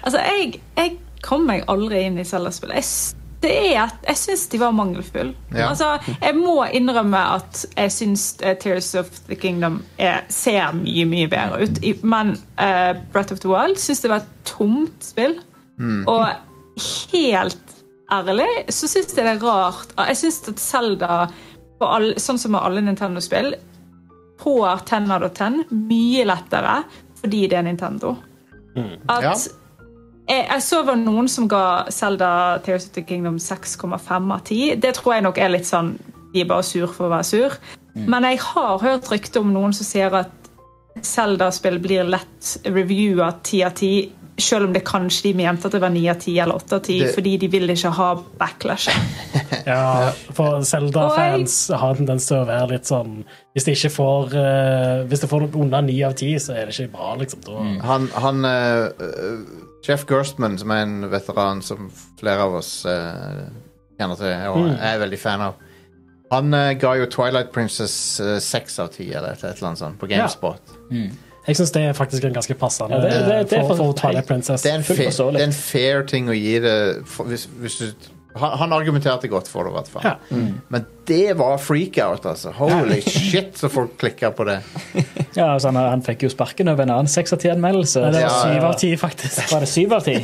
Speaker 5: Altså, jeg, jeg kom meg aldri inn i Zelda-spillet. Jeg, s- det er at- jeg syns de var mangelfulle.
Speaker 1: Ja.
Speaker 5: Altså, jeg må innrømme at jeg syns eh, Tears of the Kingdom er, ser mye, mye bedre ut. I- Men eh, Breath of the Wild syns det var et tomt spill.
Speaker 1: Mm.
Speaker 5: Og helt ærlig så syns jeg det er rart Jeg syns at Zelda, på all- sånn som med alle Nintendo-spill, får 10 out of 10 mye lettere fordi det er Nintendo. At
Speaker 1: Ja.
Speaker 5: jeg, jeg så var noen som ga Zelda Tears of the Kingdom 6,5 av 10. Det tror jeg nok er litt sånn De er bare sur for å være sur. Men jeg har hørt rykte om noen som sier at Zelda-spill blir lett reviewa 10 av 10, selv om det kanskje de mente at det var 9 av 10 eller 8 av 10,
Speaker 1: Det-
Speaker 5: fordi de vil ikke ha backlash.
Speaker 2: Ja, for Zelda-fans har tendens til å være litt sånn Hvis de ikke får eh, Hvis de får noe under ni av ti, så er det ikke bra, liksom. Da,
Speaker 1: han, han eh, eh, Jeff Gerstman, som er en veteran som flere av oss eh, kjenner til
Speaker 2: Mm.
Speaker 1: og er veldig fan av, han eh, ga jo Twilight Princess eh, seks av ti eller et, et eller annet sånt på Gamespot.
Speaker 2: Jeg syns det er faktisk en ganske passende
Speaker 4: Ja, det- det- det er
Speaker 2: for, for
Speaker 4: faktisk-
Speaker 2: Twilight Princess.
Speaker 1: Det, er en
Speaker 4: Fullt
Speaker 1: fair,
Speaker 4: forståelig.
Speaker 1: det er en fair ting å gi det for, hvis, hvis du Han, han argumenterte godt for det, i hvert fall.
Speaker 2: Ja.
Speaker 1: Men det var freakout, altså. Holy shit, så folk klikka på det.
Speaker 4: Ja, altså han, han fikk jo sparken over en annen seks av ti-anmeldelse.
Speaker 2: Nei, det var
Speaker 1: Ja, ja.
Speaker 2: syv av ti, faktisk.
Speaker 4: Var det syv av ti?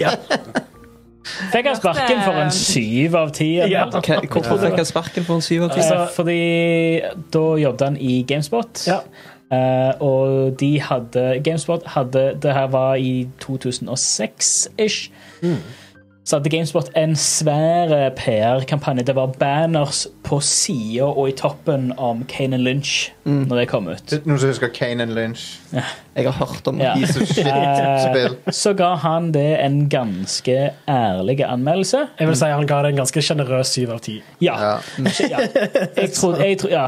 Speaker 4: Fikk han sparken for en syv av ti?
Speaker 2: Ja.
Speaker 4: anmeldelse?
Speaker 3: Hvorfor fikk han sparken på en syv av ti?
Speaker 4: Altså, fordi da jobbet han i Gamespot.
Speaker 2: Ja.
Speaker 4: Eh, og de hadde Gamespot hadde Det her var i 2006-ish. Så hadde Gamespot en svær PR-kampanje. Det var banners på sida og i toppen om Kane and Lynch når det kom ut.
Speaker 1: Noen som husker Kane and Lynch?
Speaker 3: Jeg har hørt om
Speaker 4: Ja.
Speaker 1: Piece of shit-spill.
Speaker 4: Så ga han det en ganske ærlig anmeldelse.
Speaker 2: Jeg vil si han ga det en ganske generøs syv av ti.
Speaker 4: Ja.
Speaker 1: Ja.
Speaker 4: ja. Jeg trodde, jeg trodde, ja.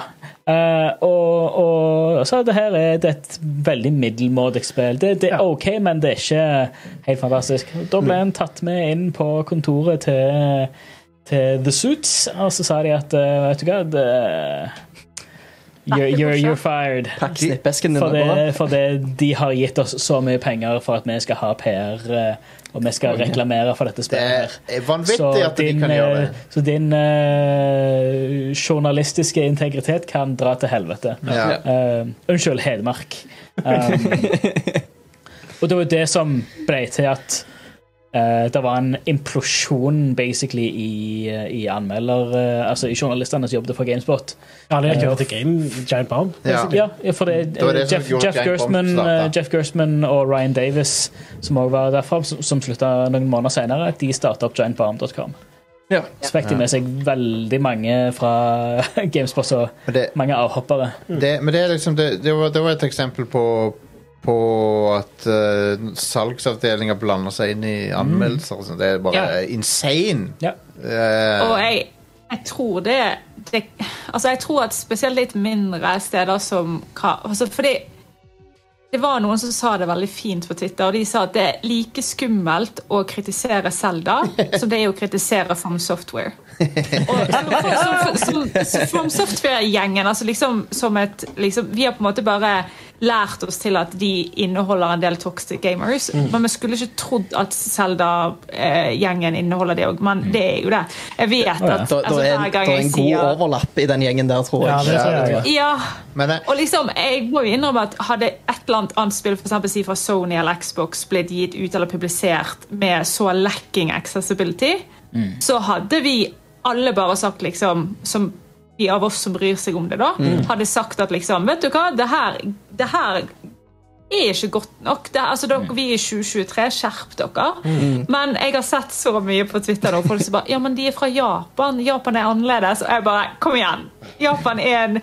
Speaker 4: Eh, og, og så det her er det et veldig middelmådig spill. Det, det er
Speaker 2: Ja.
Speaker 4: OK, men det er ikke helt fantastisk. Da ble han tatt med inn på kontoret til, til The Suits, og så sa de at eh, Vet du hva det, you're, you're, you're fired.
Speaker 3: Pakk snippesken din.
Speaker 4: For
Speaker 3: og gå.
Speaker 4: det, for det, de har gitt oss så mye penger for at vi skal ha PR, eh, og vi skal reklamere for dette
Speaker 1: Det
Speaker 4: spillet. her.
Speaker 1: er vanvittig at de
Speaker 4: din,
Speaker 1: kan gjøre
Speaker 4: eh,
Speaker 1: det.
Speaker 4: Så din eh, journalistiske integritet kan dra til helvete.
Speaker 1: Ja.
Speaker 4: Eh, unnskyld, Hedmark. Um, og det var jo det som ble til at eh, det var en implosjon basically i, i anmelder... eh, altså i journalistene som jobbet for Gamespot.
Speaker 2: Ja, det gikk over til Game Giant Bomb.
Speaker 1: Ja.
Speaker 4: Ja, for det,
Speaker 1: Det var det som
Speaker 4: Jeff,
Speaker 1: gjorde
Speaker 4: Jeff,
Speaker 1: at Jack
Speaker 4: Gerstmann,
Speaker 1: Bomb startet.
Speaker 4: eh, Jeff Gerstmann og Ryan Davis, som også var derfra, som, som slutta noen måneder senere, de starta opp giantbarm.com.
Speaker 3: Ja.
Speaker 4: Så fikk de med seg veldig mange fra Gamespot og
Speaker 1: Men det,
Speaker 4: mange avhoppere.
Speaker 1: det, men det er liksom det, det, var, det var et eksempel på på at uh, salgsavdelinger blander seg inn i anmeldelser. og sånt. Det er bare
Speaker 4: Mm. Ja.
Speaker 1: insane.
Speaker 4: Ja.
Speaker 1: Eh,
Speaker 5: Og jeg, jeg tror det, det Altså, jeg tror at spesielt litt mindre steder som hva altså Fordi det var noen som sa det veldig fint på Twitter, og de sa at det er like skummelt å kritisere Selda som det er å kritisere From Software. Og som, som, som, som From Software-gjengen, altså liksom som et liksom, Vi har på en måte bare lært oss til at de inneholder en del toxic gamers, men vi skulle ikke trodd at Selda-gjengen inneholder det òg, men det er jo det. Jeg vet at
Speaker 3: Da, da
Speaker 5: altså,
Speaker 3: er,
Speaker 5: hver
Speaker 3: da
Speaker 5: gang
Speaker 3: er en
Speaker 5: jeg
Speaker 3: god
Speaker 5: sier
Speaker 3: overlapp i den gjengen der, tror jeg.
Speaker 2: Ja, det tror jeg.
Speaker 1: Ja,
Speaker 5: ja,
Speaker 1: men eh, jeg,
Speaker 5: og liksom, jeg må jo innrømme at Hadde et eller annet annet spill for eksempel, si fra Sony eller Xbox blitt gitt ut eller publisert med så lacking accessibility, så hadde vi alle bare sagt liksom som de av oss som bryr seg om det, da, hadde sagt at liksom Vet du hva, det her, det her er ikke godt nok. Det, altså, dere, Vi er i 2023, skjerp dere. Men jeg har sett så mye på Twitter nå, folk som bare Ja, men de er fra Japan. Japan er annerledes. Og jeg bare Kom igjen. Japan er en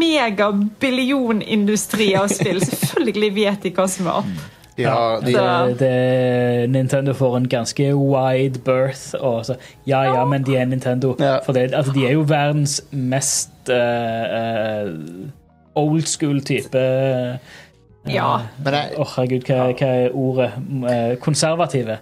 Speaker 5: megabillionindustri av spill. Selvfølgelig vet de hva som er opp.
Speaker 1: de har, de,
Speaker 5: Så,
Speaker 4: Det, det, Nintendo får en ganske wide birth. Og så, ja, ja, men de er Nintendo.
Speaker 3: Ja.
Speaker 4: For det, altså, de er jo verdens mest eh, eh, old school-type
Speaker 5: ja.
Speaker 1: men jeg,
Speaker 4: Åh, herregud, hva, hva er ordet? Eh, konservative.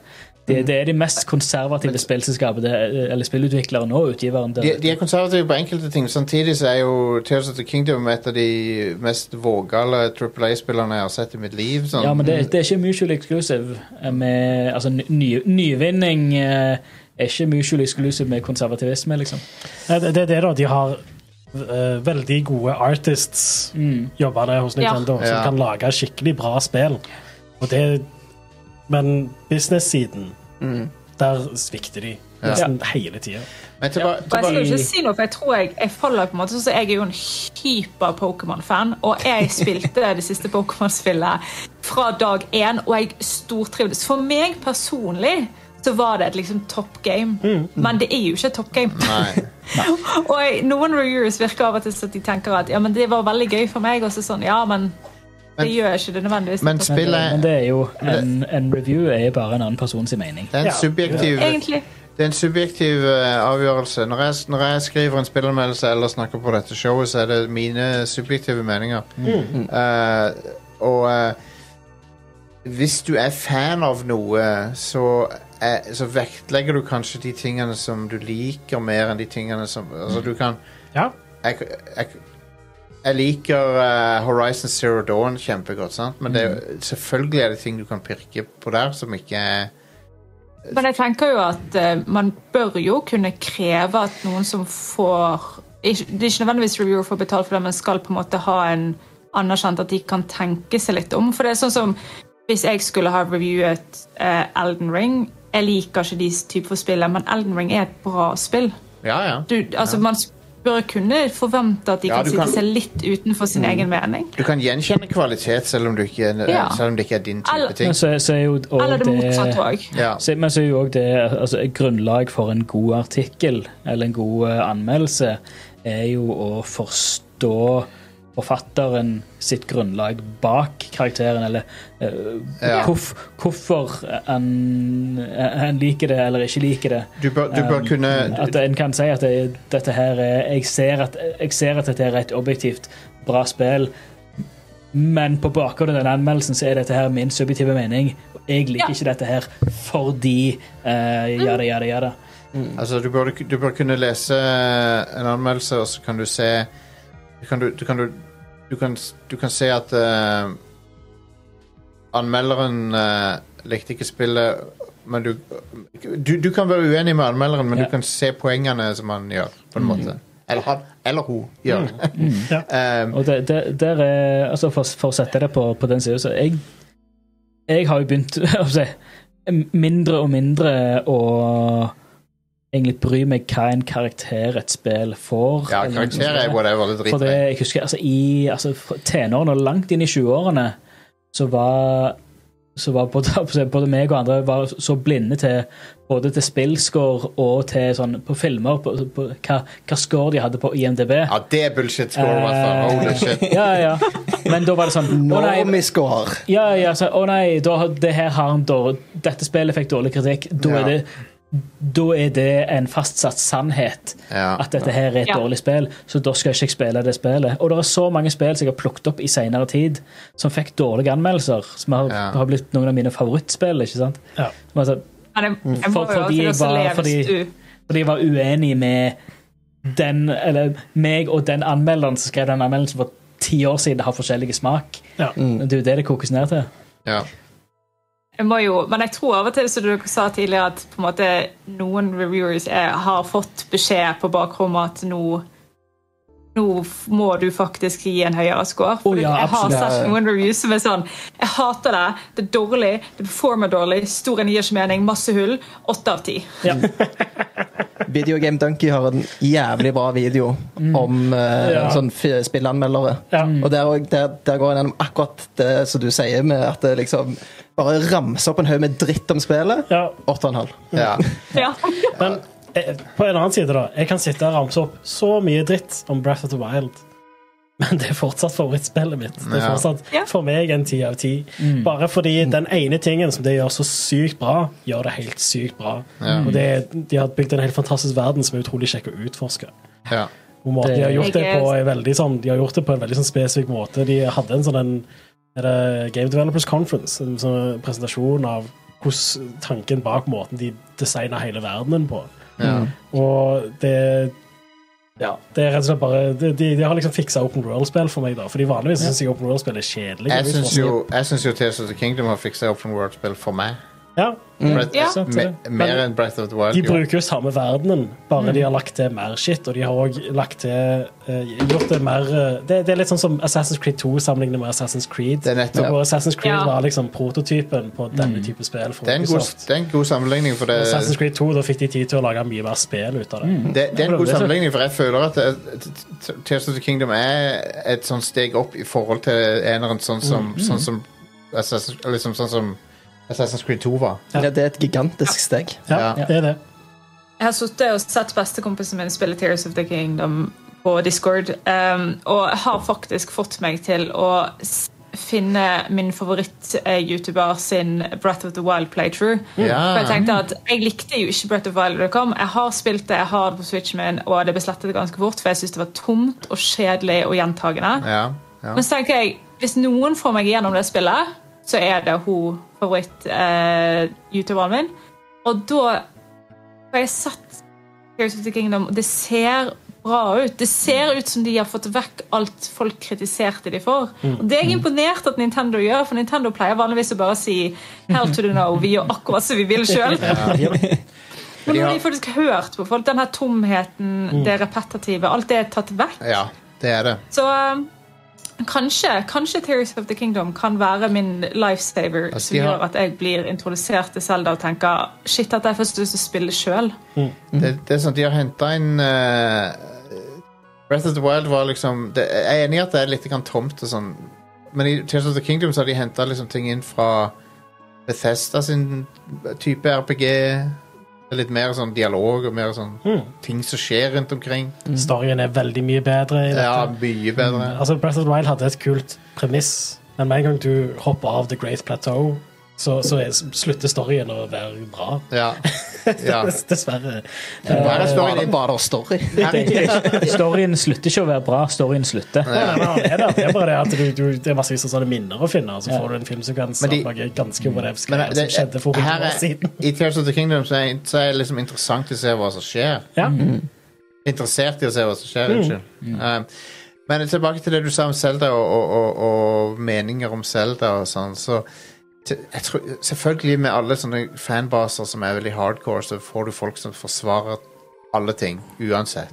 Speaker 4: Det,
Speaker 3: Mm.
Speaker 4: det er de mest konservative spillselskapene, det- eller spillutviklerne og utgiveren. Det,
Speaker 1: De, de er konservative på enkelte ting. Samtidig så er jo Tears of the Kingdom et av de mest vågale Triple A-spillerne jeg har sett i mitt liv. Sånn.
Speaker 4: Ja, men det, det er ikke mutual exclusive. Med, altså, ny, nyvinning eh, er ikke mutual exclusive med konservativisme, liksom.
Speaker 2: Nei, Det det er det, da. De har eh, veldig gode artists
Speaker 4: Mm.
Speaker 2: jobbende hos
Speaker 5: Ja.
Speaker 2: Nintendo, som
Speaker 1: Ja.
Speaker 2: kan lage skikkelig bra spill. Og det Men business-siden,
Speaker 1: Mm.
Speaker 2: der svikter de nesten hele tida.
Speaker 1: Men tilba-
Speaker 5: Og jeg skal
Speaker 1: tilba-
Speaker 5: jo ikke si noe, for jeg tror jeg, jeg faller på en måte sånn som jeg er jo en hyper Pokémon-fan, og jeg spilte det siste Pokémon-spillet fra dag én, og jeg stortrivdes. For meg personlig så var det et liksom top game, men det er jo ikke et top game.
Speaker 1: Mm, Nei.
Speaker 5: og jeg, noen reviewers virker av og til så at de tenker at ja, men det var veldig gøy for meg, og så sånn, ja, men det gjør ikke det nødvendigvis.
Speaker 1: Men
Speaker 5: til top game.
Speaker 1: spillet
Speaker 4: Men det er jo en, en review er jo bare en annen persons mening.
Speaker 1: det er en
Speaker 2: Ja.
Speaker 1: subjektiv,
Speaker 5: Egentlig.
Speaker 1: det er en subjektiv eh, avgjørelse. Når jeg, når jeg skriver en spillanmeldelse eller snakker på dette showet, så er det mine subjektive meninger.
Speaker 4: Mm.
Speaker 1: Eh, og eh, hvis du er fan av noe, så, er, så vektlegger du kanskje de tingene som du liker, mer enn de tingene som Altså, du kan
Speaker 2: Ja.
Speaker 1: jeg, jeg, jeg liker eh, Horizon Zero Dawn kjempegodt, sant? men det, er jo- selvfølgelig er det ting du kan pirke på der som ikke er
Speaker 5: Men jeg tenker jo at eh, man bør jo kunne kreve at noen som får ikke, Det er ikke nødvendigvis reviewer får betalt for det, men skal på en måte ha en anerkjent at de kan tenke seg litt om. For det er sånn som hvis jeg skulle ha reviewet eh, Elden Ring Jeg liker ikke de typer for spillet, men Elden Ring er et bra spill.
Speaker 1: Ja, ja.
Speaker 5: Du, altså, Man bør kunne forvente at de
Speaker 1: Ja,
Speaker 5: kan
Speaker 1: du
Speaker 5: sitte
Speaker 1: kan- Mm.
Speaker 5: seg litt utenfor sin egen mening.
Speaker 1: Du kan gjenkjenne kvalitet selv om, du ikke,
Speaker 5: Ja.
Speaker 1: selv om det ikke er din type
Speaker 5: Eller-
Speaker 1: ting.
Speaker 4: Men så, så er jo og
Speaker 5: Eller det motsatte
Speaker 4: det,
Speaker 5: òg.
Speaker 1: Ja.
Speaker 4: så, men så er jo også det altså, Et grunnlag for en god artikkel eller en god eh, anmeldelse er jo å forstå forfatteren sitt grunnlag bak karakteren, eller eh,
Speaker 1: Ja.
Speaker 4: hvorf, hvorfor han, han liker det eller ikke liker det.
Speaker 1: Du bør, du bør
Speaker 4: Um,
Speaker 1: kunne
Speaker 4: At en kan si at det, dette her er jeg ser, at, jeg ser at dette er et objektivt bra spill, men på bakgrunn av den anmeldelsen så er dette her min subjektive mening. og Jeg liker
Speaker 5: Ja.
Speaker 4: ikke dette her fordi uh, Jada, jada, jada.
Speaker 1: Altså, du bør, du bør kunne lese en anmeldelse, og så kan du se Du kan, du, du kan, du, du kan, du kan se at eh, anmelderen eh, likte ikke spillet, men du, du Du kan være uenig med anmelderen, men
Speaker 4: Ja. Mm.
Speaker 1: du kan se poengene som han gjør, på en måte. Eller, han, eller hun gjør.
Speaker 2: Ja.
Speaker 1: Eh,
Speaker 4: Og det, det, der er, altså for, for å sette det på, på den sida, så jeg, jeg har jo begynt å si mindre og mindre å egentlig bry meg hva en karakter et spill får.
Speaker 1: ja,
Speaker 4: eller noe
Speaker 1: karakterer
Speaker 4: sånt.
Speaker 1: er whatever. Det
Speaker 4: For
Speaker 1: driter
Speaker 4: det,
Speaker 1: jeg i.
Speaker 4: jeg husker, altså, i altså, fra tenårene og langt inn i 20-årene, så var så var både, både meg og andre var så blinde til både til spillscore og til sånn på filmer på, på, hva, hva score de hadde på IMDb.
Speaker 1: Ja, det er bullshit score, i hvert fall.
Speaker 4: Eh,
Speaker 1: Holy shit.
Speaker 4: Ja, ja. Men da var det sånn Å nei,
Speaker 3: Normiscore.
Speaker 4: ja, ja, så, å nei da, har- det her har en dårlig, dette spillet fikk dårlig kritikk. Da
Speaker 1: Ja.
Speaker 4: er det da er det en fastsatt sannhet
Speaker 1: Ja.
Speaker 4: at dette her er et
Speaker 5: Ja.
Speaker 4: dårlig spill, så da skal jeg ikke spille det spillet. Og det er så mange spill som jeg har plukket opp i senere tid, som fikk dårlige anmeldelser, som har,
Speaker 1: Ja.
Speaker 4: har blitt noen av mine favorittspill. ikke sant?
Speaker 2: Ja.
Speaker 4: Som altså,
Speaker 5: Men jeg, jeg må
Speaker 4: For-
Speaker 5: jo
Speaker 4: fordi
Speaker 5: alltid
Speaker 4: jeg
Speaker 5: også
Speaker 4: var-
Speaker 5: le hvis
Speaker 4: fordi-
Speaker 5: du
Speaker 4: Fordi jeg var uenig med den, eller meg og den anmelderen som skrev den anmeldelsen for ti år siden, har forskjellige smak.
Speaker 2: Ja.
Speaker 1: Mm.
Speaker 4: Det er jo det det kokes ned til.
Speaker 1: Ja.
Speaker 5: Jeg må jo, men jeg tror av og til, som dere sa tidligere, at på en måte noen reviewers er, har fått beskjed på bakrommet at nå nå f- må du faktisk gi en høyere score. For
Speaker 4: Å, ja,
Speaker 5: jeg har
Speaker 4: absolutt.
Speaker 5: sett noen reviews som er sånn Jeg hater det, det er dårlig, det performer dårlig, stor en gir ikke mening, masse hull. Åtte av ti.
Speaker 3: Videogame Donkey har en jævlig bra video om eh,
Speaker 2: Mm. Ja.
Speaker 3: sånn fi- spillanmeldere.
Speaker 2: Ja.
Speaker 3: Og der, og- der, der går en gjennom akkurat det som du sier, med at det liksom bare ramser opp en haug med dritt om spillet.
Speaker 2: Ja.
Speaker 3: Åtte og en halv.
Speaker 1: Ja.
Speaker 5: Ja.
Speaker 2: Men eh, på en annen side, da. Jeg kan sitte og ramse opp så mye dritt om Breath of the Wild. Men det er fortsatt favorittspillet mitt. Det er
Speaker 1: Ja.
Speaker 2: fortsatt
Speaker 5: Ja.
Speaker 2: for meg en ti av ti. Bare fordi den ene tingen som de gjør så sykt bra, gjør det helt sykt bra. Og det, er- de har bygd en helt fantastisk verden som er utrolig kjekk å utforske.
Speaker 1: ja.
Speaker 2: Og måten de har gjort det
Speaker 5: Jeg er-
Speaker 2: på er veldig sånn De har gjort det på en veldig sånn spesifikk måte. De hadde en sånn en, er det Game Developers Conference, en sånn presentasjon av hvordan tanken bak måten de designer hele verdenen på.
Speaker 4: Mm.
Speaker 2: Og det Ja, det er rett og slett bare De, de, de har liksom fiksa Open World-spill for meg, da. Fordi vanligvis syns jeg Open World-spill er kjedelig.
Speaker 1: Jeg syns jo, jeg synes jo Tears of the Kingdom har fiksa Open World-spill for meg.
Speaker 2: Ja,
Speaker 1: Breath,
Speaker 5: Ja.
Speaker 2: sant,
Speaker 1: me,
Speaker 2: det.
Speaker 1: mer enn Breath of the Wild.
Speaker 2: De
Speaker 1: gjorde.
Speaker 2: bruker jo samme verdenen, bare
Speaker 1: Mm.
Speaker 2: de har lagt til mer shit. Og de har også lagt til eh, gjort det mer eh, det, det er litt sånn som Assassin's Creed 2 sammenlignet med Assassin's Creed.
Speaker 1: Det er nettopp- Mm.
Speaker 2: Hvor Assassin's Creed
Speaker 5: Ja.
Speaker 2: var liksom prototypen på denne type spill. For
Speaker 1: Det er en god,
Speaker 2: Ubisoft.
Speaker 1: det er en god sammenligning, for det,
Speaker 2: Assassin's Creed 2, da fikk de tid til å lage mye mer spill ut av det.
Speaker 1: det, det er en
Speaker 4: Prøv
Speaker 1: god
Speaker 4: det, så.
Speaker 1: sammenligning, for jeg føler at eh, t- t- Tears of the Kingdom er et sånt steg opp i forhold til eneren, sånn som,
Speaker 2: Mm.
Speaker 1: sånn som, Assassin's, liksom, sånn som Assassin's Creed 2 var.
Speaker 2: Ja.
Speaker 3: Ja, det er et gigantisk steg.
Speaker 1: Ja.
Speaker 2: Ja, det er det.
Speaker 5: Jeg har sittet og sett bestekompisen min spille Tears of the Kingdom på Discord, um, og jeg har faktisk fått meg til å s- finne min favoritt-YouTuber sin Breath of the Wild playthrough. For jeg
Speaker 1: Ja.
Speaker 5: tenkte at jeg likte jo ikke Breath of the Wild da det kom. Jeg har spilt det, jeg har det på switchen min, og det ble slettet ganske fort, for jeg syntes det var tomt og kjedelig og gjentagende.
Speaker 1: Ja. ja.
Speaker 5: Men så tenker jeg, hvis noen får meg gjennom det spillet, så er det hun eh, favoritt-youtuberen min. Og da har jeg sett Tears of the Kingdom, og det ser bra ut. Det ser ut som de har fått vekk alt folk kritiserte de for. Og Det er jeg imponert at Nintendo gjør, for Nintendo pleier vanligvis å bare si Hell to the no, vi gjør akkurat som vi vil sjøl. Men nå har de faktisk hørt på folk. Den her tomheten, det repetitive, alt det er tatt vekk.
Speaker 1: Ja, det er det.
Speaker 5: Så um, kanskje, kanskje Tears of the Kingdom kan være min lifesaver
Speaker 1: Altså,
Speaker 5: som
Speaker 1: de har-
Speaker 5: gjør at jeg blir introdusert til Zelda og tenker shit, at jeg først lyst til å spille sjøl.
Speaker 1: Det, det er sånn, De har henta inn eh, Breath of the Wild var liksom det, Jeg er enig i at det er litt grann tomt og sånn, men i Tears of the Kingdom så har de henta liksom ting inn fra Bethesda sin type RPG. Det er Litt mer sånn dialog og mer sånn
Speaker 2: Hmm.
Speaker 1: ting som skjer rundt omkring.
Speaker 2: Storyen er veldig mye bedre. i dette.
Speaker 1: Mm. Ja, mye bedre.
Speaker 2: Altså, Breath of the Wild hadde et kult premiss, men med en gang du hopper av The Great Plateau, så, så er, slutter storyen å være bra.
Speaker 1: Ja. ja.
Speaker 2: Dessverre.
Speaker 1: Hva er det står i
Speaker 3: Bare,
Speaker 1: din-
Speaker 3: bare story.
Speaker 4: Storyen slutter ikke å være bra. Storyen slutter.
Speaker 2: Nei, nei, nei, det, er det. det er bare det at du, du, det er masse sånne minner å finne, og så
Speaker 4: Ja.
Speaker 2: får du en filmsekvens
Speaker 1: Men de- Mm.
Speaker 2: av noe ganske
Speaker 1: Men eh,
Speaker 2: whatevskere som
Speaker 1: det-
Speaker 2: skjedde for
Speaker 1: her
Speaker 2: 100
Speaker 1: er-
Speaker 2: år siden.
Speaker 1: I Tears of the Kingdom så er, så er det liksom interessant å se hva som skjer.
Speaker 2: Ja.
Speaker 1: Mm. interessert i å se hva som skjer. Unnskyld. Um, men tilbake til det du sa om Zelda og, og, og, og meninger om Zelda og sånn. Så t- jeg tror, selvfølgelig med alle sånne fanbaser som er veldig hardcore, så får du folk som forsvarer alle ting, uansett.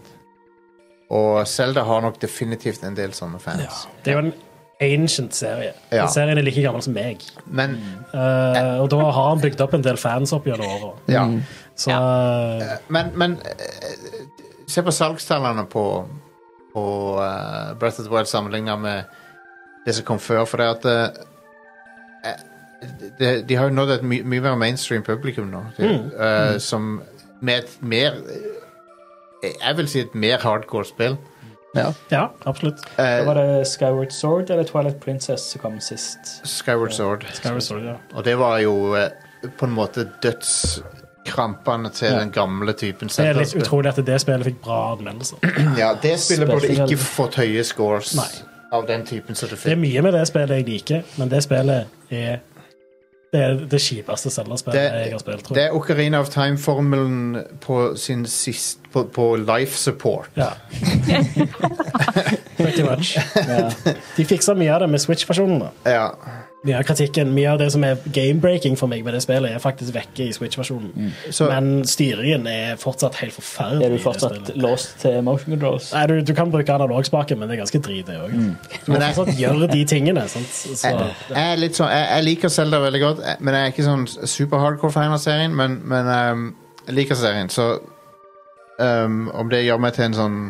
Speaker 1: Og Zelda har nok definitivt en del sånne fans.
Speaker 2: Det er jo en ancient serie.
Speaker 1: Ja.
Speaker 2: Den Serien er like gammel som meg.
Speaker 1: Men
Speaker 2: Eh, og da har han bygd opp en del fans opp gjennom åra.
Speaker 1: ja.
Speaker 2: Så eh,
Speaker 1: Men, men eh, se på salgstallene på, på eh, Breath of the Wild sammenlignet med det som kom før, for det at eh, de, de har jo nådd et my mye mer mainstream publikum nå, de,
Speaker 2: Mm.
Speaker 1: eh, som med et mer eh, Jeg vil si et mer hardcore spill.
Speaker 3: Ja.
Speaker 2: ja, absolutt.
Speaker 4: Da
Speaker 1: Eh,
Speaker 4: var det Skyward Sword eller Twilight Princess som kom sist.
Speaker 1: Eh, Skyward Sword.
Speaker 2: Skyward Sword, ja.
Speaker 1: Og det var jo eh, på en måte dødskrampene til den gamle typen.
Speaker 2: Det er litt
Speaker 1: Zelda-spill.
Speaker 2: utrolig at det spillet fikk bra anmeldelser.
Speaker 1: Ja, det spillet burde
Speaker 4: Spesielt.
Speaker 1: ikke fått høye scores
Speaker 2: Nei.
Speaker 1: av den typen som det
Speaker 2: Det er
Speaker 1: fikk.
Speaker 2: mye med det spillet jeg liker, men det spillet er det, er det kjipeste Zelda-spillet jeg har spilt, tror
Speaker 1: det
Speaker 2: jeg.
Speaker 1: er Ocarina of Time-formelen på sin sist på, på life support.
Speaker 2: Ja. Pretty much. De fiksa mye av det med Switch-versjonen. da.
Speaker 1: Ja.
Speaker 2: Mye av kritikken, mye av det som er game-breaking for meg med det spillet, er faktisk vekke i Switch-versjonen.
Speaker 1: Så,
Speaker 2: Men styringen er fortsatt helt forferdelig.
Speaker 4: Mm. Er du
Speaker 2: i det
Speaker 4: fortsatt
Speaker 2: spillet.
Speaker 4: låst til motion controls?
Speaker 2: Nei, du, du kan bruke analogspaken, men det er ganske drit, det òg.
Speaker 4: Mm.
Speaker 2: Du må
Speaker 1: Men jeg-
Speaker 2: fortsatt gjøre de tingene. Sant? Så,
Speaker 1: jeg, jeg, er litt sånn, jeg, jeg liker Zelda veldig godt, eh, men jeg er ikke sånn super hardcore fan av serien. Men, men ehm, jeg liker serien, så ehm, om det gjør meg til en sånn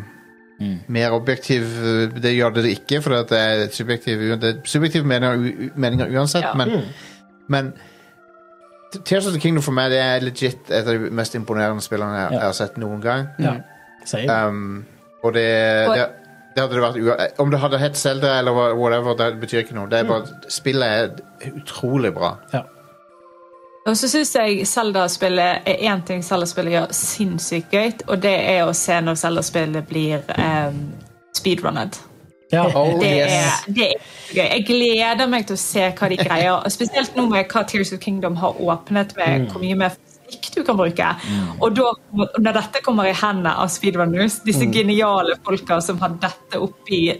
Speaker 1: mer objektiv eh, Det gjør det ikke, for at det er subjektiv, det er subjektive meninger, u- u- meninger uansett.
Speaker 5: Ja.
Speaker 1: Men, men Tears of the Kingdom for meg det er legit et av de mest imponerende spillene jeg, jeg har sett noen gang.
Speaker 2: ja. Same.
Speaker 1: Um, og det,
Speaker 5: Og-
Speaker 1: det, det hadde det vært ua- eh, Om det hadde hett Zelda eller hva- whatever, det betyr ikke noe. Det
Speaker 4: Mm.
Speaker 1: er bare, spillet er utrolig bra.
Speaker 5: Og så syns jeg Zelda-spillet er én ting Zelda-spillet gjør sinnssykt gøy, og det er å se når Zelda-spillet blir um, speedrunnet.
Speaker 2: Ja.
Speaker 3: Oh,
Speaker 5: Det er, det er gøy. Jeg gleder meg til å se hva de greier. og Spesielt nå med hva Tears of Kingdom har åpnet
Speaker 1: Mm.
Speaker 5: med hvor mye mer fysikk du kan bruke. Og da, når dette kommer i hendene av speedrunners,
Speaker 1: Mm.
Speaker 5: disse geniale folka som har dette oppi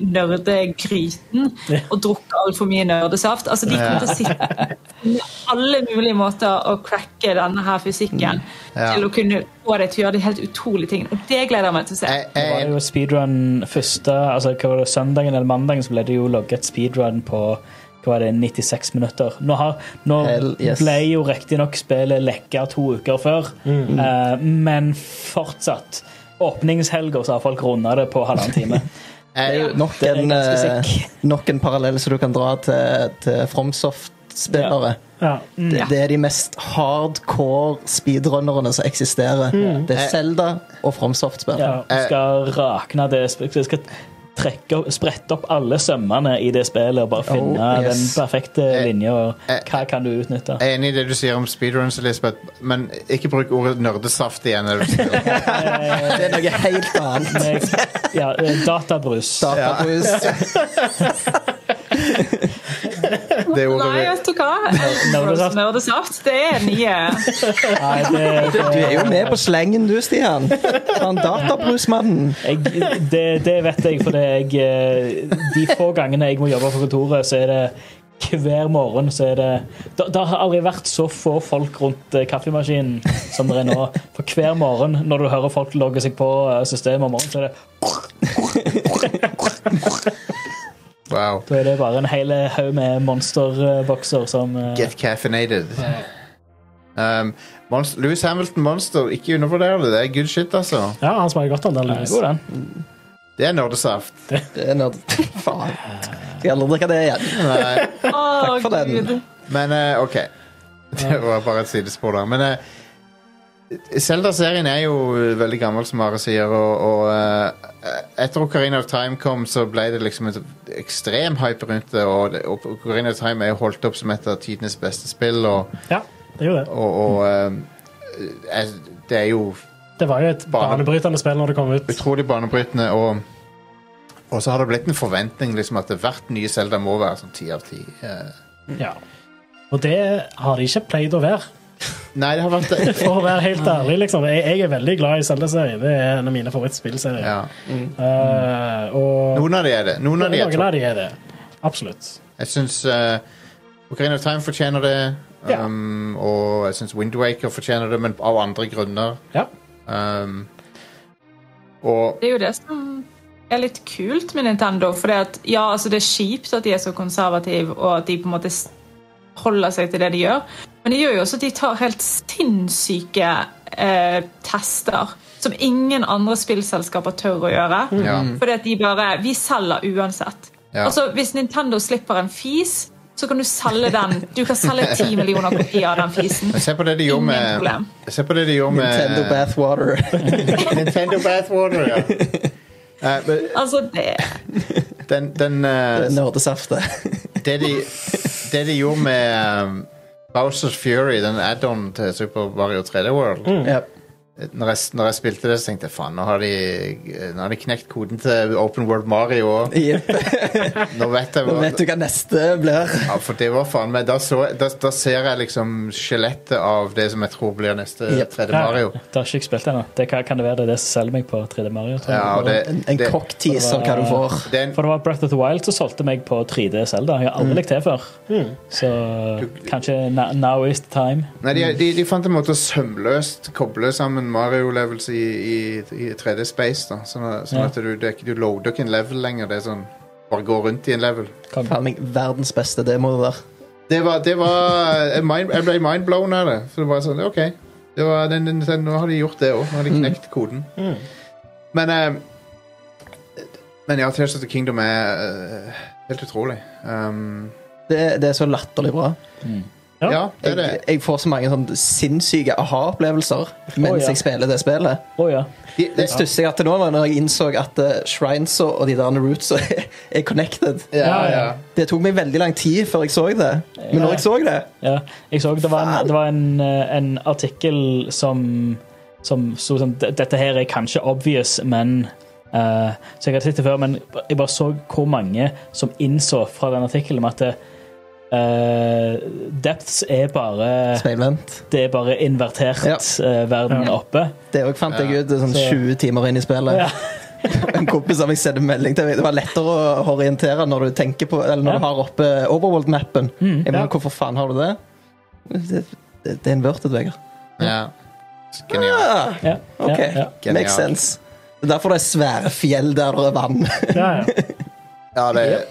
Speaker 5: nerdegryten og drukket altfor mye nerdesaft altså De kommer til å sitte med alle mulige måter å cracke denne her fysikken
Speaker 1: Mm. Ja.
Speaker 5: til å kunne få deg til å gjøre de helt utrolige tingene. Og det gleder jeg meg til å se.
Speaker 1: Jeg,
Speaker 4: Det
Speaker 3: Eh,
Speaker 4: var
Speaker 1: jeg,
Speaker 4: jo speedrun første altså hva var det, Søndagen eller mandagen så ble det jo logget speedrun på hva var det, 96 minutter. Nå, har, nå
Speaker 3: Hell yes.
Speaker 4: ble jo riktignok spillet lekka to uker før, eh, men fortsatt. Åpningshelga så har folk runda det på halvannen time.
Speaker 3: Det er jo nok
Speaker 4: Det er
Speaker 3: en,
Speaker 4: ganske
Speaker 3: eh, nok en parallell som du kan dra til, til FromSoft-spillere.
Speaker 2: Ja.
Speaker 3: Det, det er de mest hardcore speedrunnerne som eksisterer. Det er Zelda og FromSoft-spill.
Speaker 4: Ja, du skal rakne det sp- Du skal trekke, opp- sprette opp alle sømmene i det spillet og bare finne
Speaker 3: Oh, yes. Eh.
Speaker 4: den perfekte linja.
Speaker 1: eh,
Speaker 4: og Hva kan du utnytte?
Speaker 1: jeg er enig i det du sier om speedruns, Elisabeth, men ikke bruk ordet nerdesaft igjen. er det du sier.
Speaker 3: Det er noe helt annet.
Speaker 4: Meg- Eh, Ja, eh, databrus.
Speaker 3: Databrus.
Speaker 1: det ordet
Speaker 5: Nei, vet du hva?
Speaker 4: Nerdesaft.
Speaker 5: Nerdesaft. Det er nye.
Speaker 4: Nei, det,
Speaker 3: Du er jo med på slengen, du, Stian. Han databrusmannen.
Speaker 4: jeg, det, det vet jeg, for jeg eh, De få gangene jeg må jobbe på kontoret, så er det hver morgen så er det Det det har aldri vært så få folk rundt eh, kaffemaskinen som det er nå. For hver morgen når du hører folk logge seg på eh, systemet om morgenen, så er det,
Speaker 1: Wow.
Speaker 4: da er det bare en hel eh, haug med monsterbokser som eh,
Speaker 1: Get caffeinated. Um, Monst- Lewis Hamilton Monster, ikke undervurder det. Det er good shit, altså.
Speaker 2: Ja, han smaker godt, han der. Louis.
Speaker 4: God, den.
Speaker 1: Det er nerdesaft.
Speaker 3: Det er nerd. Faen. Skal jeg aldri drikke det igjen?
Speaker 1: Nei,
Speaker 5: Takk
Speaker 3: for den.
Speaker 1: Men eh, OK. Det var bare et sidespor der. Men eh, Zelda-serien er jo veldig gammel, som Are sier, og, og eh, etter Ocarina of Time kom, så ble det liksom en ekstrem hype rundt det, og det- og Ocarina of Time er jo holdt opp som et av tidenes beste spill, og,
Speaker 2: Ja, det er jo det.
Speaker 1: og, og eh, eh, det er jo
Speaker 2: Det var jo et
Speaker 1: Bane-
Speaker 2: banebrytende spill når det kom ut.
Speaker 1: utrolig banebrytende, og, og så har det blitt en forventning liksom, at hvert nye Zelda må være sånn ti av ti. eh.
Speaker 2: Ja. Og det har de ikke pleid å være.
Speaker 1: Nei, det har vært det.
Speaker 2: For å være helt ærlig, liksom. Jeg, jeg er veldig glad i Zelda-serien. Det er en av mine favorittspillserier.
Speaker 1: Ja.
Speaker 2: Eh, og
Speaker 1: Noen av de er det. Noen av de er
Speaker 2: noen
Speaker 1: topp.
Speaker 2: av de er det. Absolutt.
Speaker 1: Jeg syns eh, Ocarina of Time fortjener det.
Speaker 2: Ja.
Speaker 1: Um, Og jeg syns Windwaker fortjener det, men av andre grunner.
Speaker 2: Ja.
Speaker 1: Um, og
Speaker 5: Det er jo det som er litt kult med Nintendo. For det, at, ja, altså det er kjipt at de er så konservative, og at de på en måte s- holder seg til det de gjør. Men det gjør jo også at de tar helt sinnssyke eh, tester som ingen andre spillselskaper tør å gjøre.
Speaker 1: Mm. Ja.
Speaker 5: Fordi at de bare Vi selger uansett.
Speaker 1: Ja.
Speaker 5: Altså, Hvis Nintendo slipper en fis, så kan du selge den. Du kan selge ti millioner kopier av den fisen.
Speaker 1: men se på det de gjorde
Speaker 5: Ingen
Speaker 1: med
Speaker 5: problem.
Speaker 1: Se på det de gjorde med
Speaker 3: Nintendo Bathwater.
Speaker 1: Nintendo Bathwater, ja. Eh, men
Speaker 5: Altså, det
Speaker 1: den, den eh,
Speaker 3: Nerdesaftet.
Speaker 1: det, de, det de gjorde med um, Bowsers Fury, den add-on til Super Mario 3D World
Speaker 5: Mm.
Speaker 3: Ja.
Speaker 1: når, jeg, når jeg spilte det, så tenkte jeg faen, nå har de, nå har de knekt koden til Open World Mario òg.
Speaker 3: Jepp.
Speaker 1: Nå vet jeg
Speaker 3: Nå
Speaker 1: hva
Speaker 3: vet du hva neste blir.
Speaker 1: Ja, for det var faen meg Da, så, da, da ser jeg liksom skjelettet av det som jeg tror blir neste
Speaker 3: Yep.
Speaker 1: 3D Mario.
Speaker 4: Det har ikke jeg spilt ennå. Det kan, kan det være det er det som selger meg på 3D Mario. tror jeg.
Speaker 1: Ja, og det,
Speaker 3: En, en
Speaker 1: Eh, det,
Speaker 3: cockteaser hva du får.
Speaker 1: det er en,
Speaker 4: For det var Breath of the Wild som solgte meg på 3D Zelda. Jeg
Speaker 1: Mm.
Speaker 4: har aldri likt det før.
Speaker 2: Mm.
Speaker 4: Så kanskje na- now is the time.
Speaker 1: nei, de, de, de fant en måte å sømløst koble sammen Mario-levels i, i, i 3D-space. da Sånn, at- sånn
Speaker 4: Ja.
Speaker 1: at du, det, er ikke- du loader ikke en level lenger. Det er sånn Bare gå rundt i en level.
Speaker 4: Kom.
Speaker 3: Faen meg verdens beste demo det der.
Speaker 1: Det var, det var jeg, mind, jeg ble mindblown av det. For det var sånn, ok det var, den, den, den, Nå har de gjort det òg. Nå har de knekt koden. Men eh, Men ja, Tears of the Kingdom er eh, helt utrolig. Um,
Speaker 3: Det, det er så latterlig bra.
Speaker 1: ja.
Speaker 2: Ja.
Speaker 1: det er det.
Speaker 3: Jeg, jeg får så mange sånn sinnssyke aha-opplevelser mens
Speaker 4: Å, ja.
Speaker 3: jeg spiller det spillet.
Speaker 4: Å ja.
Speaker 1: De,
Speaker 3: Den største jeg har til nå, var når jeg innså at eh, shrines og og de der roots er connected.
Speaker 1: ja, ja.
Speaker 3: Det tok meg veldig lang tid før jeg så det. Men når jeg så det
Speaker 4: ja. Jeg så det var en, det var en, eh, en artikkel som som sto sånn "D- Dette her er kanskje obvious, men eh, Så jeg hadde sett det før, men jeg bare så hvor mange som innså fra den artikkelen med at eh, depths er bare
Speaker 3: Speilvendt.
Speaker 4: Det er bare invertert
Speaker 3: Ja.
Speaker 4: eh, verden oppe.
Speaker 3: Det òg fant jeg ut sånn
Speaker 4: Så-
Speaker 3: 20 timer inn i spillet.
Speaker 4: Ja.
Speaker 3: En kompis av meg sendte melding til meg. Det var lettere å orientere når du tenker på Eller når
Speaker 4: Ja.
Speaker 3: du har oppe Overworld-mappen. Jeg mener,
Speaker 2: ja.
Speaker 3: Hvorfor faen har du det? Det, det, det er inverted, Vegard.
Speaker 1: ja. Genialt.
Speaker 3: Ah,
Speaker 4: Ja,
Speaker 3: OK.
Speaker 4: ja, ja.
Speaker 1: Genialt.
Speaker 3: Makes sense. Det er derfor det er svære fjell der det er vann.
Speaker 2: Ja, ja.
Speaker 1: Ja, det,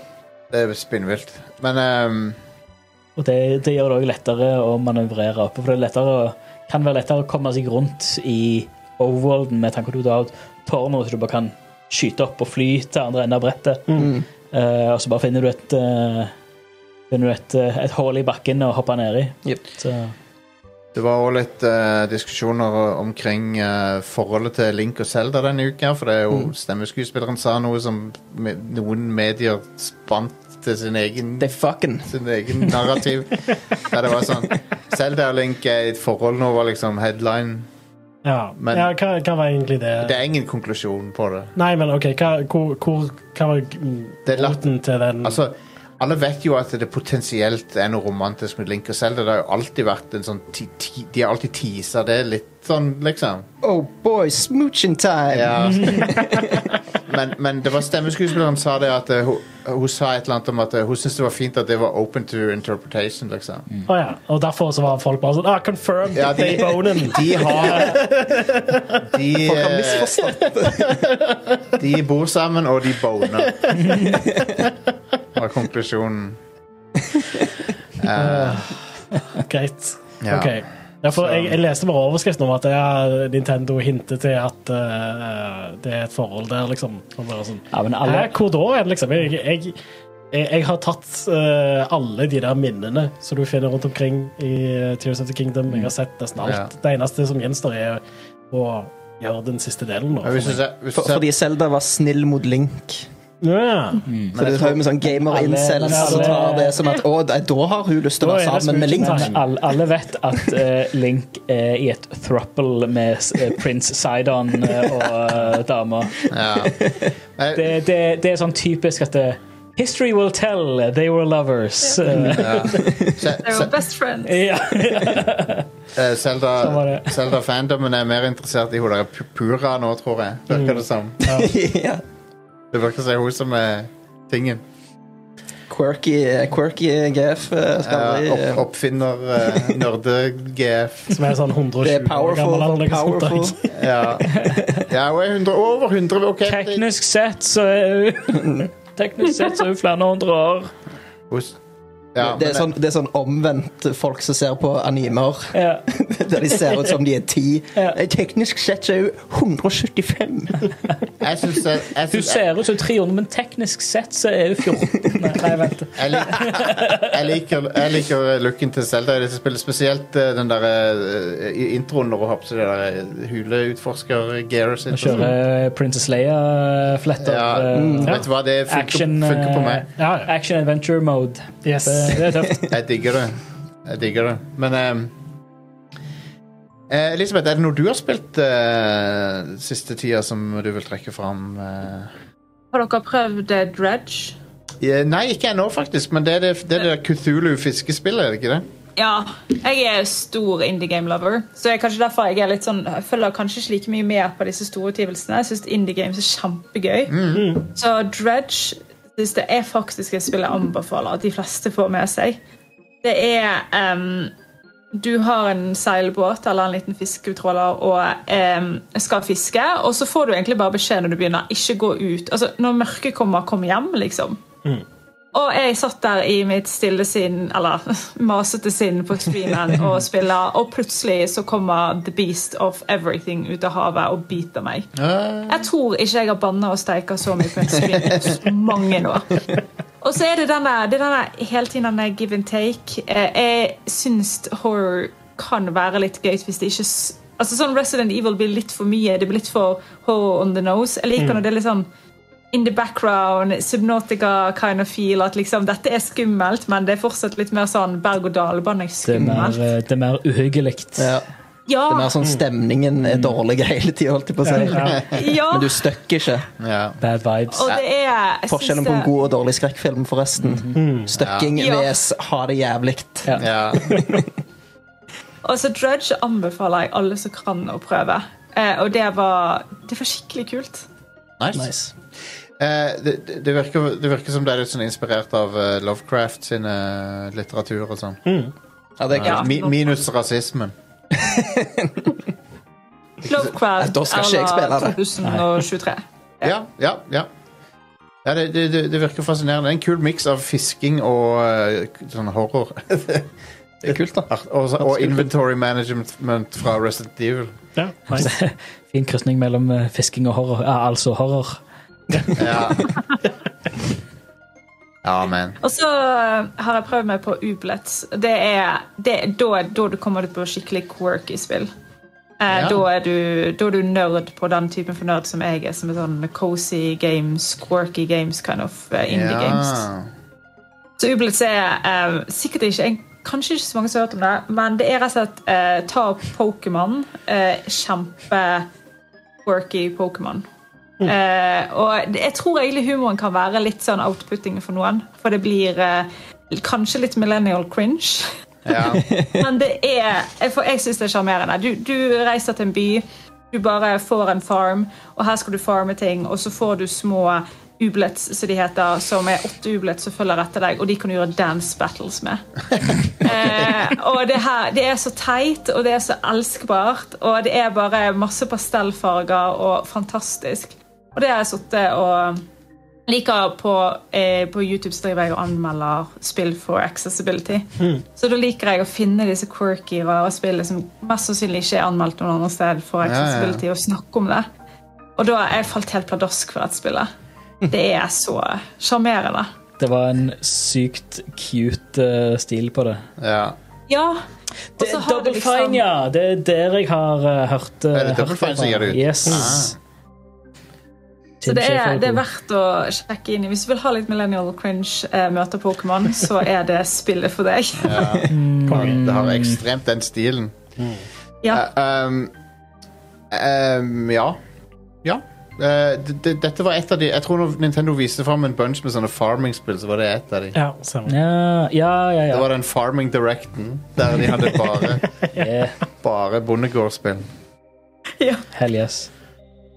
Speaker 1: det er spinnvilt. Men um,
Speaker 4: Og det, det gjør det òg lettere å manøvrere oppe. For det er lettere, å- kan være lettere å komme seg rundt i overworlden med tanke på at du har tårner så du bare kan skyte opp og fly til andre enden av brettet.
Speaker 3: Mm.
Speaker 4: Eh, og så bare finner du et eh, Finner du et, eh, et hull i bakken å hoppe ned i.
Speaker 3: Jep.
Speaker 4: Så,
Speaker 1: Det var òg litt eh, diskusjoner omkring eh, forholdet til Link og Zelda denne uka. For det er jo stemmeskuespilleren sa noe som me noen medier spant til sin egen,
Speaker 3: Det er fucking
Speaker 1: sin egen narrativ. Der det var sånn Zelda og Link er i et forhold nå, var liksom headline.
Speaker 2: ja.
Speaker 1: Men-
Speaker 2: ja hva, hva var egentlig det?
Speaker 1: Det er ingen konklusjon på det.
Speaker 2: Nei, men OK, hva, hvor, hvor, hva var
Speaker 1: Det er latt-
Speaker 2: roten til den
Speaker 1: Altså, Alle vet jo at det potensielt er noe romantisk med Link og Zelda. Det har jo alltid vært en sånn ti, ti, De har alltid teasa det litt sånn, liksom.
Speaker 3: Oh boy, smooching time!
Speaker 1: Ja. men, men det var stemmeskuespilleren sa det at eh, hun, hun sa et eller annet om at eh, hun syntes det var fint at det var open to interpretation, liksom.
Speaker 3: Mm.
Speaker 2: Å ja. Og derfor så var folk bare sånn ah, Confirmed!
Speaker 1: Ja,
Speaker 2: Dave Bonin!
Speaker 1: de har de,
Speaker 3: Folk har
Speaker 1: eh,
Speaker 3: misforstått.
Speaker 1: de bor sammen, og de boner. Var konklusjonen. Eh,
Speaker 2: Greit.
Speaker 1: ja.
Speaker 2: Ok. Ja, for
Speaker 1: Så-
Speaker 2: jeg, jeg leste bare overskriften om at det er Nintendo hinter til at eh, det er et forhold der, liksom. Og bare sånn,
Speaker 4: Ja, men
Speaker 2: Hæ,
Speaker 4: alle,
Speaker 2: hvor da er det, liksom? Jeg, jeg, jeg, jeg har tatt eh, alle de der minnene som du finner rundt omkring i eh, Tears of the Kingdom. Jeg har sett nesten alt.
Speaker 1: Ja.
Speaker 2: Det eneste som gjenstår, er å gjøre den siste delen. Nå,
Speaker 1: Men Hvis du
Speaker 2: for meg.
Speaker 1: ser, hvis du
Speaker 3: For,
Speaker 1: ser
Speaker 3: fordi Zelda var snill mot Link.
Speaker 2: ja.
Speaker 3: Så det er jo med sånn gamer-incels
Speaker 4: Men alle-
Speaker 3: som tar det som at å, nei, da har hun lyst til å
Speaker 2: Da er
Speaker 3: være
Speaker 2: det
Speaker 3: sammen med Link.
Speaker 2: smooching time.
Speaker 4: alle, alle vet at eh, Link er i et thruple med eh, prins Sidon eh, og uh, dama.
Speaker 1: ja. Eh,
Speaker 4: Det, det, det er sånn typisk at det, History will tell, they were lovers. Eh,
Speaker 1: se-
Speaker 5: They're
Speaker 1: se-
Speaker 5: our best friends.
Speaker 4: ja.
Speaker 1: eh,
Speaker 4: Sånn var
Speaker 1: Zelda,
Speaker 4: det.
Speaker 1: Zelda fandomen er mer interessert i hun der pu- Pura nå, tror jeg.
Speaker 4: Mm.
Speaker 1: Virker det som.
Speaker 3: ja.
Speaker 1: Det virker som det er hun som er tingen.
Speaker 3: Quirky, quirky GF. eh, Skal
Speaker 1: Eh,
Speaker 3: aldri
Speaker 1: opp, oppfinner, uh, nerde-GF.
Speaker 2: Som er sånn 120
Speaker 3: Det er powerful.
Speaker 2: år gammel. eller noe sånt.
Speaker 3: powerful.
Speaker 1: Ja. ja, hun er 100, over 100. ok. det-
Speaker 4: Teknisk sett så er hun- Teknisk sett så er hun flere hundre år.
Speaker 1: Hun- Ja,
Speaker 3: det,
Speaker 1: men-
Speaker 3: er sånn, det er sånn omvendt folk som ser på animer,
Speaker 4: Ja.
Speaker 3: der de ser ut som de er ti.
Speaker 4: Ja.
Speaker 3: Eh, Teknisk sett så er hun 175.
Speaker 1: Jeg syns jeg, jeg,
Speaker 4: Hun
Speaker 1: synes-
Speaker 4: ser ut som 300, men teknisk sett så er hun 14. Nei, nei vent.
Speaker 1: jeg, lik, jeg, liker, jeg liker looken til Zelda i dette spillet, spesielt eh, den der eh, i introen når hun har på seg det der eh, huleutforsker-gearet sitt. sånn.
Speaker 4: Å kjøre eh, Princess eh, Leia-fletter.
Speaker 1: Ja, vet du hva, det funker,
Speaker 4: Mm, action,
Speaker 1: funker på meg.
Speaker 4: eh,
Speaker 2: Ja, ja.
Speaker 4: action adventure mode.
Speaker 2: Yes.
Speaker 4: Det, det er tøft.
Speaker 1: Jeg digger det. Jeg digger det. Men ehm, eh, Elisabeth, er det noe du har spilt eh, siste tida som du vil trekke fram? eh?
Speaker 5: Har dere prøvd eh, Dredge?
Speaker 1: Eh, Nei, ikke ennå, faktisk, men det er det, det, er det Kuthulu-fiskespillet, er det ikke det?
Speaker 5: Ja. Jeg er stor indie game lover, så jeg, kanskje derfor jeg er litt sånn Jeg følger kanskje ikke like mye med på disse store utgivelsene. Jeg syns indie games er kjempegøy. Så Dredge synes det er faktisk et spill jeg anbefaler at de fleste får med seg. Det er em, Du har en seilbåt eller en liten fisketråler og em, skal fiske, og så får du egentlig bare beskjed når du begynner. Ikke gå ut. Altså, når mørket kommer, kom hjem, liksom. Og jeg satt der i mitt stille sinn, eller masete sinn på streamen og spiller, og plutselig så kommer The Beast of Everything ut av havet og biter meg. Jeg tror ikke jeg har banna og steika så mye på en stream i mange år. Og så er det denne, det er denne hele tiden denne give and take. Eh, Jeg syns horror kan være litt gøy hvis det ikke s- Altså sånn Resident Evil blir litt for mye. Det blir litt for horror on the nose. Jeg
Speaker 3: Mm.
Speaker 5: liker når det er litt sånn in the background, Subnautica kind of feel. At liksom dette er skummelt, men det er fortsatt litt mer sånn berg-og-dal-bane.
Speaker 4: Det er mer,
Speaker 5: Skummelt.
Speaker 4: eh, det er mer uhyggelig.
Speaker 3: Ja.
Speaker 5: Ja,
Speaker 3: Det er mer sånn stemningen er dårlig hele tida, holdt jeg på å si.
Speaker 4: Ja.
Speaker 5: ja.
Speaker 3: sånn- Men du støkker ikke.
Speaker 1: Ja.
Speaker 4: Bad vibes.
Speaker 5: Og det er jeg
Speaker 3: Forskjellen
Speaker 5: syns
Speaker 3: på en
Speaker 5: det-
Speaker 3: god og dårlig skrekkfilm, forresten. Støkking
Speaker 5: Ja.
Speaker 3: vs. ha det jævlig.
Speaker 4: Ja.
Speaker 1: Ja.
Speaker 5: Og så Altså, Drudge anbefaler jeg alle som kan å prøve. Eh, og det var, det var skikkelig kult.
Speaker 1: Nice.
Speaker 3: Nice.
Speaker 1: Eh, det, det- det, virker, det virker som det er litt sånn inspirert av eh, Lovecraft sin eh, litteratur og sånn.
Speaker 3: Ja, det er
Speaker 5: Ja.
Speaker 3: kult.
Speaker 1: Mi, minus rasismen.
Speaker 5: Lovecraft
Speaker 3: Da skal ikke jeg spille det.
Speaker 5: 2023.
Speaker 1: Ja, ja, ja. ja det, det, det det virker fascinerende. Det er en kul miks av fisking og eh, k- sånn horror.
Speaker 3: Det er kult, da.
Speaker 1: Art- Og, så- og inventory management fra Resident Evil.
Speaker 2: Ja, nice.
Speaker 4: Fin krysning mellom eh, fisking og horror. Ja, altså horror.
Speaker 1: Ja, ja men
Speaker 5: Og så eh, har jeg prøvd meg på Ublets. Det er, det er da, da du kommer ut på skikkelig quirky spill. Eh,
Speaker 1: Ja.
Speaker 5: da, er du, da er du nerd på den typen for nerd som jeg er, som er sånn cozy games, quirky games, kind of eh, indie games.
Speaker 1: ja.
Speaker 5: Så Ublitz er eh, sikkert ikke en, Kanskje ikke så mange som har hørt om det, men det er rett og slett eh, ta opp Pokémon. eh, kjempe quirky Pokémon. Eh, og det- jeg tror egentlig humoren kan være litt sånn outputting for noen. For det blir eh, kanskje litt millennial cringe.
Speaker 1: Ja.
Speaker 5: Men det er Jeg, får- jeg syns det er sjarmerende. Du, du reiser til en by, du bare får en farm, og her skal du farme ting, og så får du små ublets, som de heter, som er åtte ublets som følger etter deg, og de kan du gjøre dance battles med. eh, og det, her, det er så teit, og det er så elskbart, og det er bare masse pastellfarger og fantastisk. Og det har jeg sittet og liker på, eh, på YouTube så driver jeg og anmelder spill for accessibility.
Speaker 1: Hmm.
Speaker 5: Så da liker jeg å finne disse quirky, rare spillene som mest sannsynlig ikke er anmeldt noen andre sted for
Speaker 1: ja, ja.
Speaker 5: accessibility, og snakke om det. Og da har jeg falt helt pladask for dette spillet. Det er så sjarmerende.
Speaker 4: Det var en sykt cute eh, stil på det.
Speaker 1: ja.
Speaker 5: Ja.
Speaker 4: Det er Double
Speaker 5: liksom
Speaker 4: Fine, ja! Det er der jeg har eh, hørt
Speaker 1: Er det
Speaker 4: hørt
Speaker 1: Double Fine som
Speaker 4: fra.
Speaker 1: gir det ut? Ah.
Speaker 4: Yes.
Speaker 5: Så
Speaker 4: Tim
Speaker 5: det
Speaker 4: Schafer
Speaker 5: er,
Speaker 4: er
Speaker 5: det er
Speaker 4: god.
Speaker 5: verdt å sjekke inn i. Hvis du vil ha litt Millennial Cringe eh, møter Pokémon, så er det spillet for deg.
Speaker 1: Det har ekstremt den stilen.
Speaker 5: Ja.
Speaker 1: Eh, um, um, ja. Ja. Eh, d- d- dette var et av de Jeg tror når Nintendo viste fram en bunch med sånne farming-spill, så var det et av de.
Speaker 2: Ja, stemmer.
Speaker 4: Ja, ja, ja.
Speaker 1: Det
Speaker 4: ja.
Speaker 1: var den Farming Directen, der de hadde bare,
Speaker 4: Yeah.
Speaker 1: bare bondegårdsspill.
Speaker 4: Hell yes.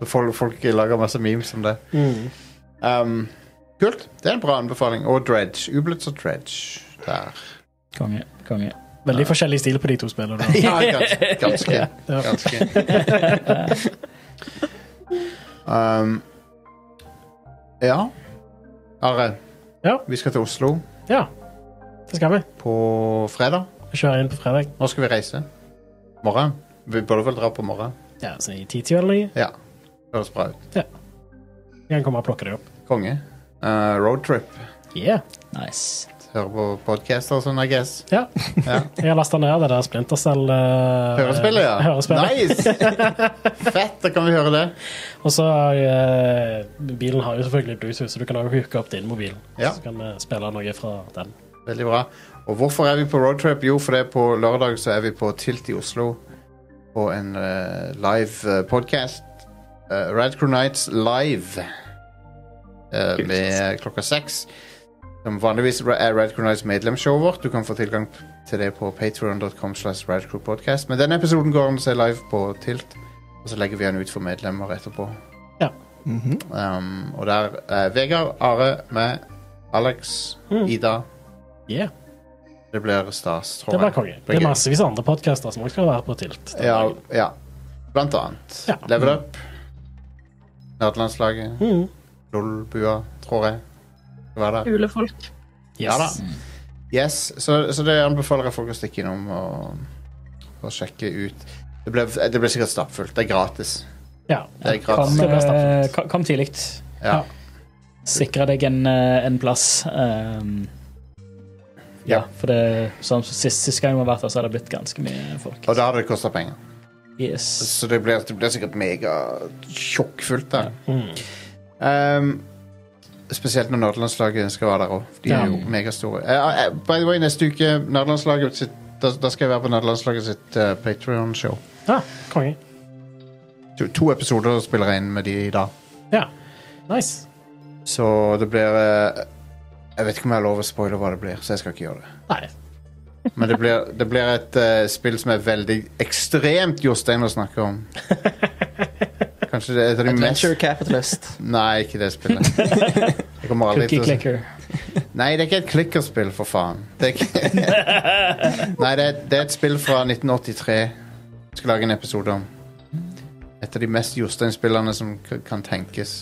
Speaker 1: Folk, folk lager masse memes om det. Um, kult. Det er en bra anbefaling. Og Dredge. Ublitz og Dredge. Der.
Speaker 4: Konge. Konge.
Speaker 2: Veldig forskjellig stil på de to spillene. da.
Speaker 1: Ja, ganske. ganske, ganske. Um, ja. Are,
Speaker 2: Ja.
Speaker 1: vi skal til Oslo
Speaker 2: Ja, det skal vi.
Speaker 1: på fredag.
Speaker 2: Vi kjører inn på fredag.
Speaker 1: Nå skal vi reise. Morgen. Vi burde vel dra på morgen.
Speaker 2: Ja, så I titida eller noe.
Speaker 1: Ja. Høres bra ut.
Speaker 2: Vi kan komme og plukke det opp.
Speaker 1: Konge. Uh, Roadtrip.
Speaker 2: Yeah.
Speaker 4: Nice.
Speaker 1: Hører på podcaster og sånn, I guess.
Speaker 2: Ja.
Speaker 1: Ja.
Speaker 2: Jeg har lasta ned det der Splintercell uh,
Speaker 1: Hørespillet, ja.
Speaker 2: Hørespillet.
Speaker 1: Nice! Fett, da kan vi høre det.
Speaker 2: Og så har jeg, eh, Bilen har jo selvfølgelig Bluetooth, så du kan også hooke opp din mobil.
Speaker 1: Ja.
Speaker 2: Så kan vi spille noe fra den.
Speaker 1: Veldig bra. Og hvorfor er vi på roadtrip? Jo, fordi på lørdag så er vi på Tilt i Oslo på en eh, live uh, podkast. Rad Crew Nights live eh, med klokka seks. Som vanligvis ra- er Rad Crew Nights medlemsshowet vårt. Du kan få tilgang til det på patreon.com slash radcrewpodcast. Men denne episoden går an å se live på Tilt, og så legger vi den ut for medlemmer etterpå.
Speaker 3: Mhm.
Speaker 1: Um, og der er Vegard, Are, med Alex, Ida
Speaker 2: Mm. Yeah.
Speaker 1: Det blir stas, tror
Speaker 2: Det blir
Speaker 1: jeg.
Speaker 2: konge.
Speaker 1: blir
Speaker 2: Det er
Speaker 1: gøy.
Speaker 2: massevis av andre podkaster som også skal være på tilt.
Speaker 1: Ja, ja. Blant annet.
Speaker 2: Ja.
Speaker 1: Level Up. Nerdelandslaget.
Speaker 2: Mhm.
Speaker 1: LOL-bua, tror jeg. Det var der.
Speaker 5: Ulefolk.
Speaker 1: Ja da. Yes, så, så det anbefaler jeg folk å stikke innom og, og sjekke ut. Det ble, det ble sikkert stappfullt. Det er gratis.
Speaker 2: Ja.
Speaker 1: Det er
Speaker 4: Kom,
Speaker 1: gratis.
Speaker 2: Det blir stappfullt.
Speaker 4: eh, kom- kom tidlig.
Speaker 1: Ja.
Speaker 4: Sikre deg en, eh, en plass. ehm, ja,
Speaker 1: Ja.
Speaker 4: for det sånn som sist, sist gang vi har vært der, så har det blitt ganske mye folk.
Speaker 1: Og da hadde det kosta penger.
Speaker 4: Yes.
Speaker 1: Så det blir, det blir sikkert megatjokkfullt der. Um, spesielt når Nederlandslaget skal være der òg. De er
Speaker 2: Ja.
Speaker 1: jo megastore. Eh, eh, by the way, neste uke Nederlandslaget sitt, da, da skal jeg være på Nederlandslaget sitt uh, Patrion-show.
Speaker 2: Ja, Ah, konge.
Speaker 1: To, to episoder spiller jeg inn med de i dag.
Speaker 2: Ja. Nice.
Speaker 1: Så det blir eh, Jeg vet ikke om jeg har lov å spoile hva det blir, så jeg skal ikke gjøre det.
Speaker 2: Nei.
Speaker 1: Men det blir, det blir et eh, spill som er veldig ekstremt Jostein å snakke om. Kanskje det er et av de mest
Speaker 3: Adventure Capitalist.
Speaker 1: Nei, ikke det spillet. Jeg kommer aldri
Speaker 4: Cookie
Speaker 1: til å
Speaker 4: clicker.
Speaker 1: Nei, det er ikke et klikkerspill, for faen. Det er ikke... Nei, det er, det er et spill fra 1983. Jeg skal lage en episode om. Et av de mest Jostein-spillene som k- kan tenkes.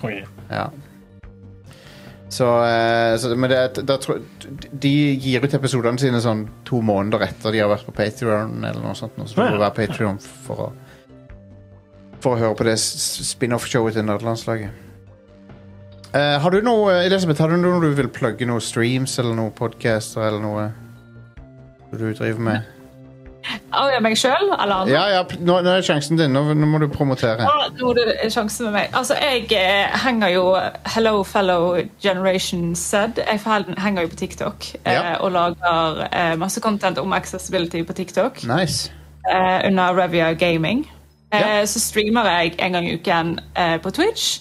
Speaker 2: Konge.
Speaker 1: Ja. Så, eh, så Men det, er et- da tror- de gir ut episodene sine sånn to måneder etter de har vært på Patrion, eller noe sånt. nå, Så du må
Speaker 2: Ja.
Speaker 1: være Patrion for å For å høre på det s- spin-off-showet til Nederlandslaget. Eh, har du noe Elisabeth, har du noe du vil plugge? Noe streams eller noe podcaster eller noe du driver med?
Speaker 5: Av meg sjøl eller andre?
Speaker 1: Ja, ja, p- nå, nå er sjansen din. Nå, nå må du promotere.
Speaker 5: Ja, nå er det sjansen med meg. Altså, jeg eh, henger jo Hello fellow generation Z. Jeg forhel- henger jo på TikTok eh,
Speaker 1: Ja.
Speaker 5: og lager eh, masse content om accessibility på TikTok
Speaker 1: Nice.
Speaker 5: eh, under Revia Gaming.
Speaker 1: Ja.
Speaker 5: Eh, Så streamer jeg en gang i uken eh, på Twitch.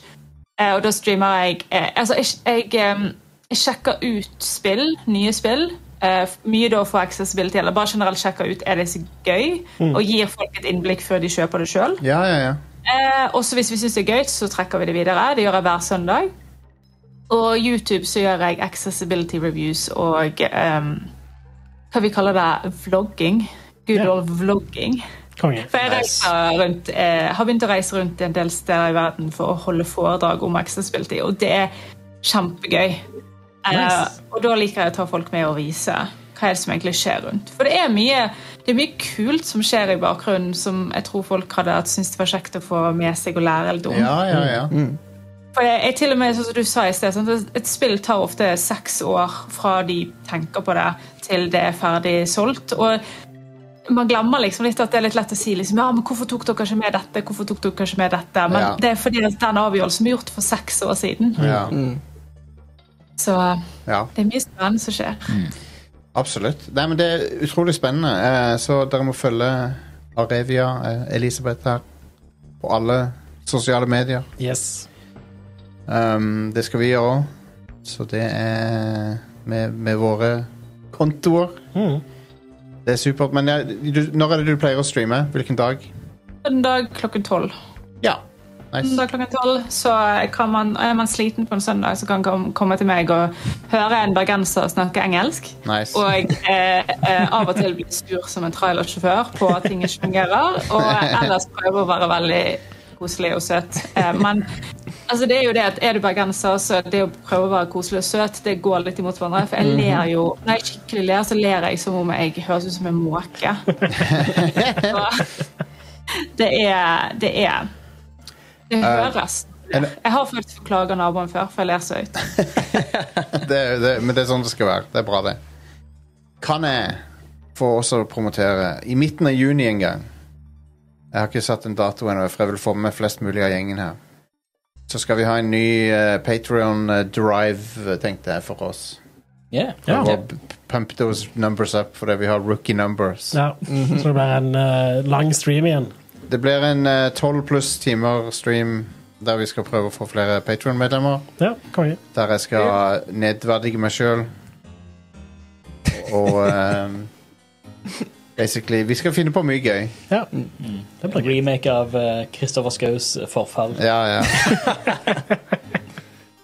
Speaker 5: Eh, Og da streamer jeg eh, Altså, jeg, jeg, eh, jeg sjekker ut spill, nye spill. eh, f- Mye da for accessibility, eller bare generelt sjekker ut er det så gøy, og gir folk et innblikk før de kjøper det sjøl.
Speaker 1: Ja, ja, ja.
Speaker 5: Også hvis vi syns det er gøy, så trekker vi det videre. Det gjør jeg hver søndag. Og YouTube så gjør jeg accessibility reviews og eh, hva vi kaller det, vlogging. Good
Speaker 2: Ja.
Speaker 5: old vlogging.
Speaker 2: Konge.
Speaker 5: For jeg reiser rundt, eh, har begynt å reise rundt en del steder i verden for å holde foredrag om accessibility, og det er kjempegøy. Eh,
Speaker 2: Nice.
Speaker 5: Og da liker jeg å ta folk med og vise hva er det som egentlig skjer rundt. For det er mye, det er mye kult som skjer i bakgrunnen, som jeg tror folk hadde hatt syntes det var kjekt å få med seg og lære litt om.
Speaker 1: ja, ja, ja.
Speaker 5: For jeg, jeg til og med, sånn som du sa i sted, sant, at Et spill tar ofte seks år fra de tenker på det, til det er ferdig solgt. Og man glemmer liksom litt at det er litt lett å si liksom, ja, men hvorfor tok dere ikke med dette. hvorfor tok dere ikke med dette? Men
Speaker 1: Ja.
Speaker 5: det er fordi at den avgjørelsen ble gjort for seks år siden.
Speaker 1: ja,
Speaker 5: Så eh,
Speaker 1: ja.
Speaker 5: det er mye spennende som skjer.
Speaker 1: Absolutt. Nei, men det er utrolig spennende. Eh, så dere må følge Arevia, eh, Elisabeth her, på alle sosiale medier.
Speaker 2: Yes.
Speaker 1: Um, det skal vi gjøre òg. Så det er med, med våre kontoer.
Speaker 2: Mm.
Speaker 1: Det er supert. Men jeg, du, når er det du pleier å streame? Hvilken dag?
Speaker 5: Søndag klokken tolv.
Speaker 1: Ja. Nice.
Speaker 5: Søndag klokken tolv så kan man, er man sliten på en søndag, så kan man komme til meg og høre en bergenser snakke engelsk.
Speaker 1: nice.
Speaker 5: Og eh, eh, av og til blir sur som en trailersjåfør på at ting ikke fungerer. Og eh, ellers prøver å være veldig koselig og søt. Eh, men altså, det er jo det at er du bergenser, så det å prøve å være koselig og søt, det går litt imot hverandre. For jeg ler jo Når jeg skikkelig ler, så ler jeg som om jeg høres ut som en måke. Så det er Det er Det høres. Jeg har faktisk forklaga naboen før, for jeg ler så høyt.
Speaker 1: det, er- det, men det er sånn det skal være. Det er bra, det. Kan jeg få også promotere I midten av juni en gang Jeg har ikke satt en dato ennå, for jeg vil få med flest mulig av gjengen her. Så skal vi ha en ny uh, Patrion-drive, tenkte jeg, for oss.
Speaker 4: Yeah.
Speaker 2: Ja.
Speaker 1: Og p- Pump those numbers up, fordi vi har rookie numbers.
Speaker 2: Ja.
Speaker 1: Mhm.
Speaker 2: Så det blir en eh, lang stream igjen.
Speaker 1: Det blir en eh, tolv pluss timer stream der vi skal prøve å få flere Patrion-medlemmer.
Speaker 2: Ja, konge.
Speaker 1: Der jeg skal nedverdige meg sjøl. Og ehm, Basically Vi skal finne på mye gøy.
Speaker 2: Ja.
Speaker 1: Mm.
Speaker 2: Det blir gøy.
Speaker 4: Remake av eh, Kristoffer Skaus Forfall.
Speaker 1: Ja, ja.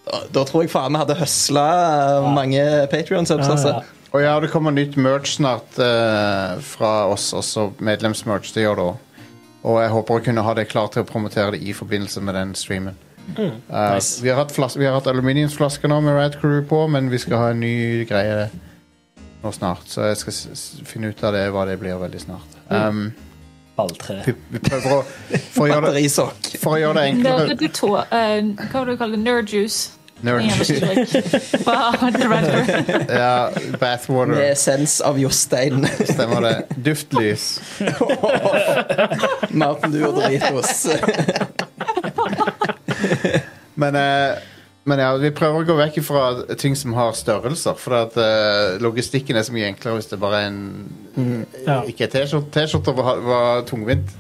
Speaker 3: Da, da tror jeg faen vi hadde høsla mange Patrion-subs.
Speaker 2: Ja,
Speaker 3: Altså.
Speaker 2: ja.
Speaker 1: Og ja, det kommer nytt merch snart eh, fra oss, også medlemsmerch. Det gjør det òg. Og jeg håper å kunne ha det klart til å promotere det i forbindelse med den streamen. Eh,
Speaker 4: nice.
Speaker 1: vi, har hatt flas- vi har hatt aluminiumsflasker nå med Rad Crew på, men vi skal ha en ny greie nå snart. Så jeg skal s s finne ut av det hva det blir veldig snart. Um,
Speaker 4: Balltre.
Speaker 1: vi, vi prøver å For å gjøre det,
Speaker 3: Batterisokk.
Speaker 1: for å gjøre det
Speaker 5: Det
Speaker 1: enklere
Speaker 5: er det to, eh, hva var det du kalte det? Nerd juice?
Speaker 1: Nerd.
Speaker 5: Nerd.
Speaker 1: Ja,
Speaker 3: Med
Speaker 1: bathwater.
Speaker 3: essens av Jostein.
Speaker 1: Stemmer det. Duftlys.
Speaker 3: Martin, du og Doritos.
Speaker 1: Men, eh, men ja, vi prøver å gå vekk fra ting som har størrelser. For at, eh, logistikken er så mye enklere hvis det bare er en
Speaker 2: Ja.
Speaker 1: Ikke en T-skjorte. T-skjorter var, var tungvint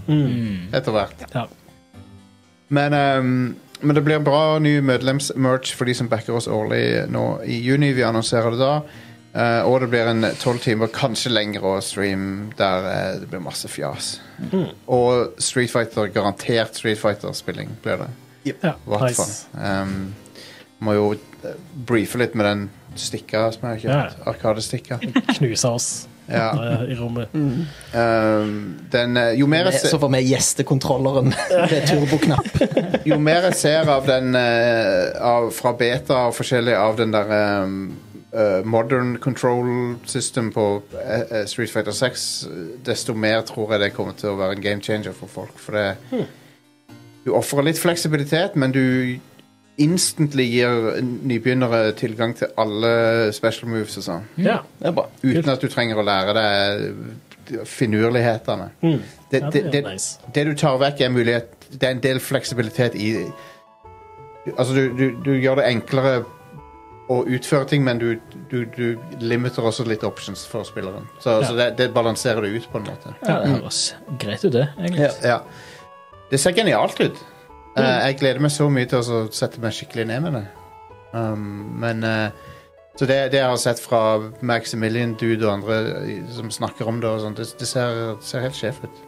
Speaker 1: etter hvert.
Speaker 2: Ja.
Speaker 1: Men, ehm, men det blir bra ny medlemsmerch for de som backer oss årlig nå i juni. Vi annonserer det da. Eh, og det blir en tolv timer, kanskje lengre også, stream der eh, det blir masse fjas. Og Street Fighter, garantert Street Fighter-spilling blir det.
Speaker 2: Ja.
Speaker 1: I hvert
Speaker 2: Nice.
Speaker 1: fall. Um, må jo eh, briefe litt med den stikka som jeg har kjøpt. Arkadestikka.
Speaker 2: Knuse oss
Speaker 1: Ja. Mm.
Speaker 2: eh, i rommet.
Speaker 1: Um, den, eh, jo, mer jeg
Speaker 3: Så
Speaker 1: se,
Speaker 3: får vi gjestekontrolleren med turboknapp.
Speaker 1: jo mer jeg ser av den eh, av, fra beta og forskjellig av den der um, eh, modern control system på eh, eh, Street Fighter 6, desto mer tror jeg det kommer til å være en game changer for folk. For det Du ofrer litt fleksibilitet, men du instantly gir nybegynnere tilgang til alle special moves og sånn.
Speaker 2: Ja.
Speaker 3: Det er bra.
Speaker 1: Uten at du trenger å lære deg finurlighetene. Det,
Speaker 2: Mm. Ja,
Speaker 1: det,
Speaker 2: det er
Speaker 1: det,
Speaker 2: nice.
Speaker 1: det du tar vekk, er mulighet Det er en del fleksibilitet i Altså, du, du, du gjør det enklere å utføre ting, men du, du, du limiter også litt options for spilleren. Så, så det, det balanserer det ut, på en måte.
Speaker 4: Ja, det høres greit ut, det. egentlig.
Speaker 3: Ja.
Speaker 1: Ja. Det ser genialt ut. Eh, jeg gleder meg så mye til å så sette meg skikkelig ned med det. Um, men eh, Så det, det jeg har sett fra Maximilian Dude og andre eh, som snakker om det, og sånt, det, det ser, ser helt sjef ut.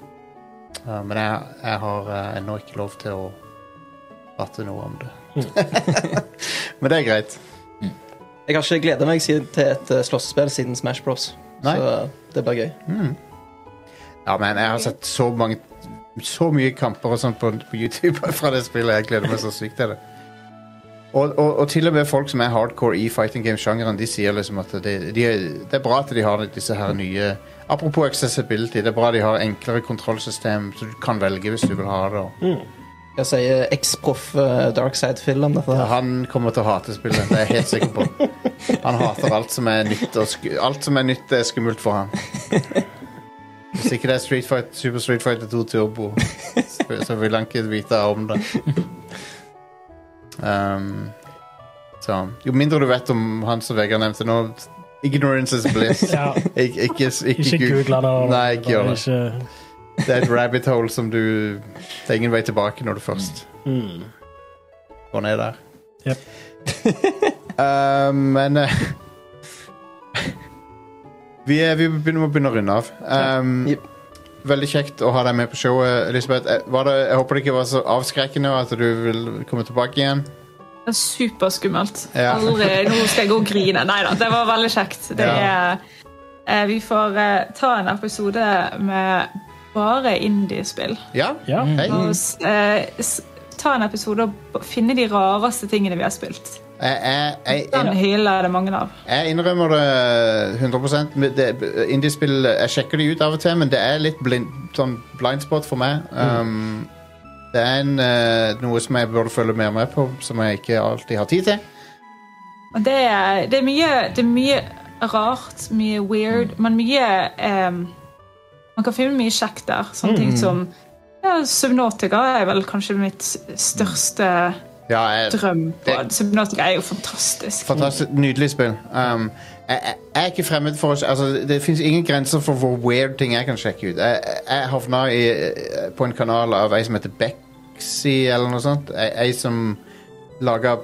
Speaker 1: Eh, men jeg, jeg har eh, ennå ikke lov til å prate noe om det. men det er greit.
Speaker 3: Jeg har ikke gleda meg siden- til et eh, slåssespill siden Smash Bros.
Speaker 1: Nei.
Speaker 3: Så eh, det blir gøy.
Speaker 1: Mm. Ja, men jeg har sett så mange Så mye kamper og sånt på, på YouTube fra det spillet. Jeg gleder meg så sykt til det. Og, og, og til og med folk som er hardcore i fighting game-sjangeren, de sier liksom at det, de, det er bra at de har disse her nye Apropos accessibility, det er bra de har enklere kontrollsystem, så du kan velge hvis du vil ha det. Og.
Speaker 3: Hva sier eksproff eh, Darkside Phil om dette? her?
Speaker 1: Han kommer til å hate spillet, det er jeg helt sikker på. Han hater alt som er nytt, og sku, alt som er nytt er skummelt for ham. Hvis ikke det er Street Fight, Super Street Fighter 2 Turbo, så så vil han ikke vite om det. Um, så Jo mindre du vet om han som Vegard nevnte nå Ignorance is bliss.
Speaker 2: Ja,
Speaker 1: Ik ikke ikke,
Speaker 2: ikke
Speaker 1: gu-
Speaker 2: google det.
Speaker 1: Nei, ikke gjør det.
Speaker 2: Ikke-
Speaker 1: Det er et rabbit hole som du Det er ingen vei tilbake når du først
Speaker 2: Mm.
Speaker 1: går ned der.
Speaker 2: Jep.
Speaker 1: Eh, men eh, vi, er, vi begynner, må begynne å runde av. Um,
Speaker 3: Jep.
Speaker 1: Veldig kjekt å ha deg med på showet, Elisabeth. Eh, Var det, jeg håper det ikke var så avskrekkende og at du vil komme tilbake igjen.
Speaker 5: Det er superskummelt.
Speaker 1: Ja.
Speaker 5: Aldri, nå skal jeg gå og grine. Nei da, det var veldig kjekt. Det
Speaker 1: Ja.
Speaker 5: er, eh, vi får eh, ta en episode med bare indiespill.
Speaker 1: Ja?
Speaker 2: Ja.
Speaker 1: Hei.
Speaker 5: Og s- eh, s- ta en episode og b- finne de rareste tingene vi har spilt.
Speaker 1: Jeg, jeg, jeg,
Speaker 5: Den
Speaker 1: jeg,
Speaker 5: hyller det mange av.
Speaker 1: jeg innrømmer det 100 med det, Indiespill Jeg sjekker de ut av og til, men det er litt blind, sånn blind spot for meg. Um, Det er en, eh, noe som jeg burde følge mer med på, som jeg ikke alltid har tid til.
Speaker 5: Og det, er- det, er mye, det er mye rart, mye weird, men mye eh, Man kan finne mye kjekt der. Sånne ting som ja, Subnotica er vel kanskje mitt største
Speaker 1: Ja, jeg,
Speaker 5: drøm på.
Speaker 1: Det-
Speaker 5: Subnotica er jo fantastisk.
Speaker 1: Fantastisk, Nydelig spill. Um, jeg, jeg, jeg er ikke fremmed for å altså, Det fins ingen grenser for hvor weird ting jeg kan sjekke ut. Jeg, jeg- jeg havna i, eh, på en kanal av ei som heter Bexy, eller noe sånt. Ei, ei som laga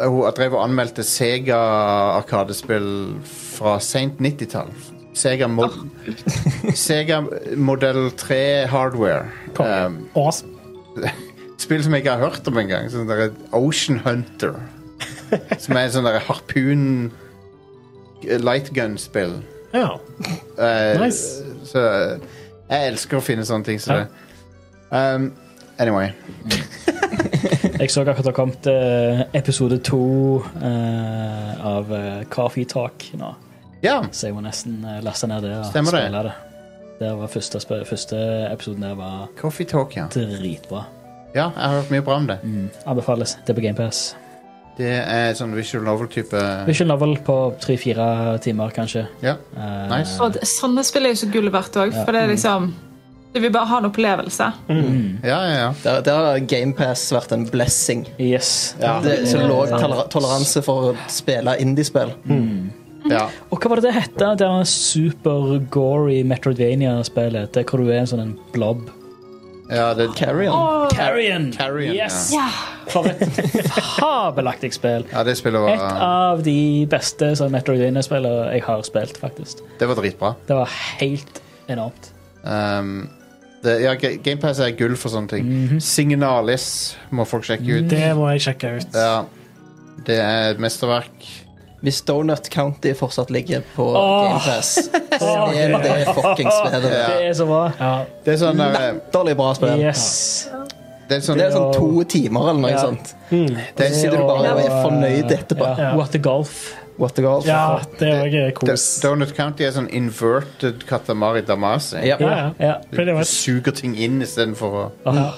Speaker 1: Hun drev og anmeldte Sega-arkadespill fra seint 90-tall. Sega, mod, Sega modell 3 hardware.
Speaker 2: Konge.
Speaker 1: Um,
Speaker 2: Awesome.
Speaker 1: spill som jeg ikke har hørt om engang. Sånn der Ocean Hunter. Som er sånn der harpun light gun-spill.
Speaker 2: Ja.
Speaker 1: Eh,
Speaker 2: Nice.
Speaker 1: Så eh, jeg elsker å finne sånne ting som
Speaker 2: Ja.
Speaker 1: det. Um, anyway.
Speaker 4: Jeg så akkurat det har kommet eh, episode to eh, av eh, Coffee Talk nå.
Speaker 1: Ja.
Speaker 4: Så jeg må nesten eh, laste ned det og
Speaker 1: Stemmer det.
Speaker 4: spille det. Der var første, sp- første episoden der var
Speaker 1: Coffee Talk, ja.
Speaker 4: dritbra. Mm.
Speaker 1: Ja, jeg har hørt mye bra om det.
Speaker 4: Anbefales. Det er på GamePass.
Speaker 1: Det er sånn visual novel-type
Speaker 4: Visual novel på tre-fire timer, kanskje.
Speaker 1: Ja.
Speaker 4: Eh,
Speaker 1: Nice.
Speaker 5: Og det- sånne spill er jo så gull verdt òg, for det er liksom Du vil bare ha en opplevelse.
Speaker 4: mm.
Speaker 1: Ja, ja, ja.
Speaker 3: Der, der har GamePass vært en blessing.
Speaker 4: Yes.
Speaker 3: Det er så lav toler toleranse for å spille indiespill.
Speaker 1: ja.
Speaker 4: Og hva var det det het? Det var super-gory Metroidvania-spillet. Det er hvor du er en sånn en blob.
Speaker 1: ja det,
Speaker 3: Carrion.
Speaker 5: Åh,
Speaker 4: Carrion!
Speaker 1: Carrion,
Speaker 4: yes.
Speaker 5: ja.
Speaker 4: For et fabelaktig spill.
Speaker 1: ja, det spillet
Speaker 4: Et
Speaker 1: var
Speaker 4: av de beste sånn Metroidvania-spillene jeg har spilt, faktisk.
Speaker 1: Det var dritbra.
Speaker 4: Det var helt enormt.
Speaker 1: Um, det, ja, Ga- GamePass er gull for sånne ting. Signalis må folk sjekke ut.
Speaker 2: Det må jeg sjekke ut.
Speaker 1: Ja. Det er et mesterverk.
Speaker 3: Hvis Donut County fortsatt ligger på
Speaker 4: Åh.
Speaker 3: GamePass, så er det fuckings bedre.
Speaker 1: Ja.
Speaker 4: Det er så bra.
Speaker 2: Ja.
Speaker 1: Det er sånn, eh,
Speaker 3: Latterlig bra spill.
Speaker 4: Yes.
Speaker 1: det er sånn
Speaker 3: Det er sånn to timer eller noe
Speaker 4: Ja. Hmm.
Speaker 3: sånt.
Speaker 1: det
Speaker 3: Så
Speaker 1: er,
Speaker 3: sitter du bare og er fornøyd etterpå.
Speaker 4: eh, Ja. What the golf.
Speaker 3: What the golf?
Speaker 2: ja, det òg er
Speaker 1: det,
Speaker 2: kos.
Speaker 1: Donut County er sånn inverted Katamari Damase.
Speaker 3: Ja.
Speaker 2: Ja, ja.
Speaker 4: Ja.
Speaker 2: Pretty
Speaker 1: Du
Speaker 2: much.
Speaker 1: suger ting inn istedenfor å
Speaker 4: Åh,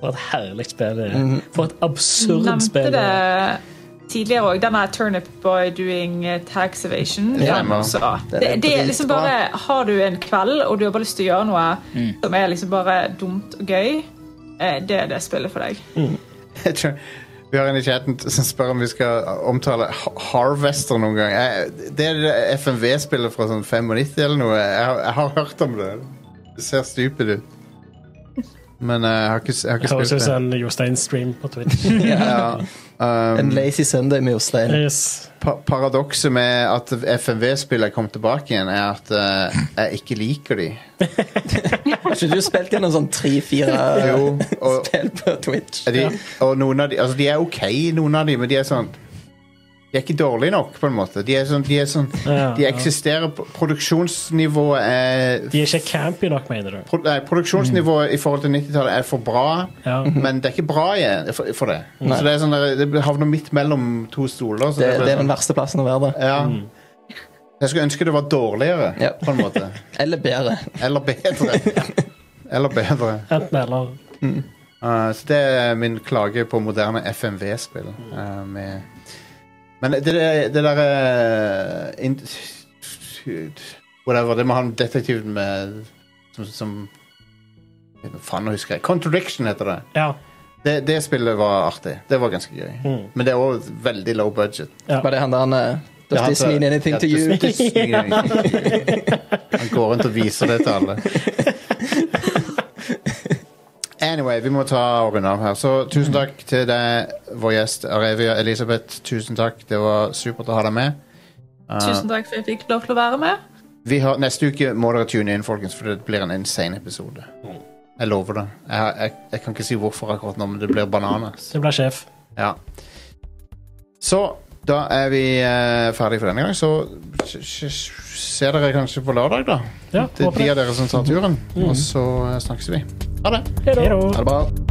Speaker 4: for et herlig spill. det er. For et absurd
Speaker 5: Nevnte
Speaker 4: spill. det er.
Speaker 5: det tidligere òg, denne Turnip Boy doing eh, tax evasion.
Speaker 1: Ja.
Speaker 5: Den også.
Speaker 3: Den er
Speaker 5: Det, det er liksom
Speaker 3: dritbra.
Speaker 5: bare Har du en kveld og du har bare lyst til å gjøre noe som er liksom bare dumt og gøy, eh, det er det spillet for deg.
Speaker 1: Jeg tror- Vi har en i chatten t- som spør om vi skal omtale Ha- Harvester noen gang. Jeg, det er det FMV-spillet fra sånn 95 eller noe. Jeg, har- jeg har hørt om det. Det ser stupid ut. Men eh, jeg har ikke, jeg har ikke
Speaker 2: Høres ut
Speaker 1: spilt det.
Speaker 2: som en Jostein-stream på Twitch.
Speaker 1: Um,
Speaker 3: En lazy Sunday med Jostein.
Speaker 2: Yes.
Speaker 1: pa paradokset med at FMV-spillet kom tilbake igjen, er at eh, jeg ikke liker de.
Speaker 3: Har ikke du spilt gjennom sånn tre-fire
Speaker 1: Jo, og,
Speaker 3: spill på Twitch?
Speaker 1: er de, og noen av de Altså, de er OK, noen av de, men de er sånn De er ikke dårlige nok, på en måte. De er sånn, de, er sånn,
Speaker 2: Ja,
Speaker 1: de
Speaker 2: ja.
Speaker 1: eksisterer på- Produksjonsnivået er
Speaker 2: De er ikke campy nok, mener du?
Speaker 1: pro, nei, Produksjonsnivået i forhold til 90-tallet er for bra,
Speaker 2: Ja.
Speaker 3: Mhm.
Speaker 1: men det er ikke bra igjen for, for det. Så det er sånn der, det havner midt mellom to stoler. Så
Speaker 3: Det, det er
Speaker 1: bare
Speaker 3: den verste plassen å være der.
Speaker 1: sånn,
Speaker 2: Mm.
Speaker 1: ja. Jeg skulle ønske det var dårligere,
Speaker 3: Ja.
Speaker 1: på en måte.
Speaker 3: Eller bedre.
Speaker 1: Eller bedre. Eller bedre.
Speaker 2: Enten eller.
Speaker 1: Uh, så det er min klage på moderne FMV-spill. Uh, med- men det, det, det derre uh, in- Whatever. Det må ha en detektiv med som, som Faen, nå husker jeg. Contradiction heter det.
Speaker 2: Ja.
Speaker 1: det. Det spillet var artig. Det var ganske gøy.
Speaker 2: Mm.
Speaker 1: Men det er òg veldig low budget.
Speaker 3: Var det han der han eh,
Speaker 1: Det er
Speaker 3: Does
Speaker 1: han
Speaker 3: this
Speaker 1: som-
Speaker 3: mean anything
Speaker 1: ja,
Speaker 3: to
Speaker 1: does
Speaker 3: you?
Speaker 1: this mean anything to you? Han går rundt og viser det til alle. Anyway, vi må ta og runde av her. Så tusen takk til deg, vår gjest Arevia Elisabeth. Tusen takk. Det var supert å ha deg med. Uh,
Speaker 5: Tusen takk for at jeg fikk lov til å være med.
Speaker 1: vi har, neste uke må dere tune inn, folkens, for det blir en insane episode. Jeg lover det. Jeg, har- jeg, jeg kan ikke si hvorfor akkurat nå, men det blir bananas.
Speaker 2: Det blir sjef.
Speaker 1: Ja. Så da er vi eh, ferdige for denne gang. Så s- s- ser dere kanskje på lørdag, da.
Speaker 2: Ja,
Speaker 1: Det er
Speaker 2: håper
Speaker 1: de
Speaker 2: det.
Speaker 1: av
Speaker 2: Mm.
Speaker 1: dere som tar turen. Og så eh, snakkes vi. Ha det.
Speaker 2: Hei da.
Speaker 3: Ha det bra.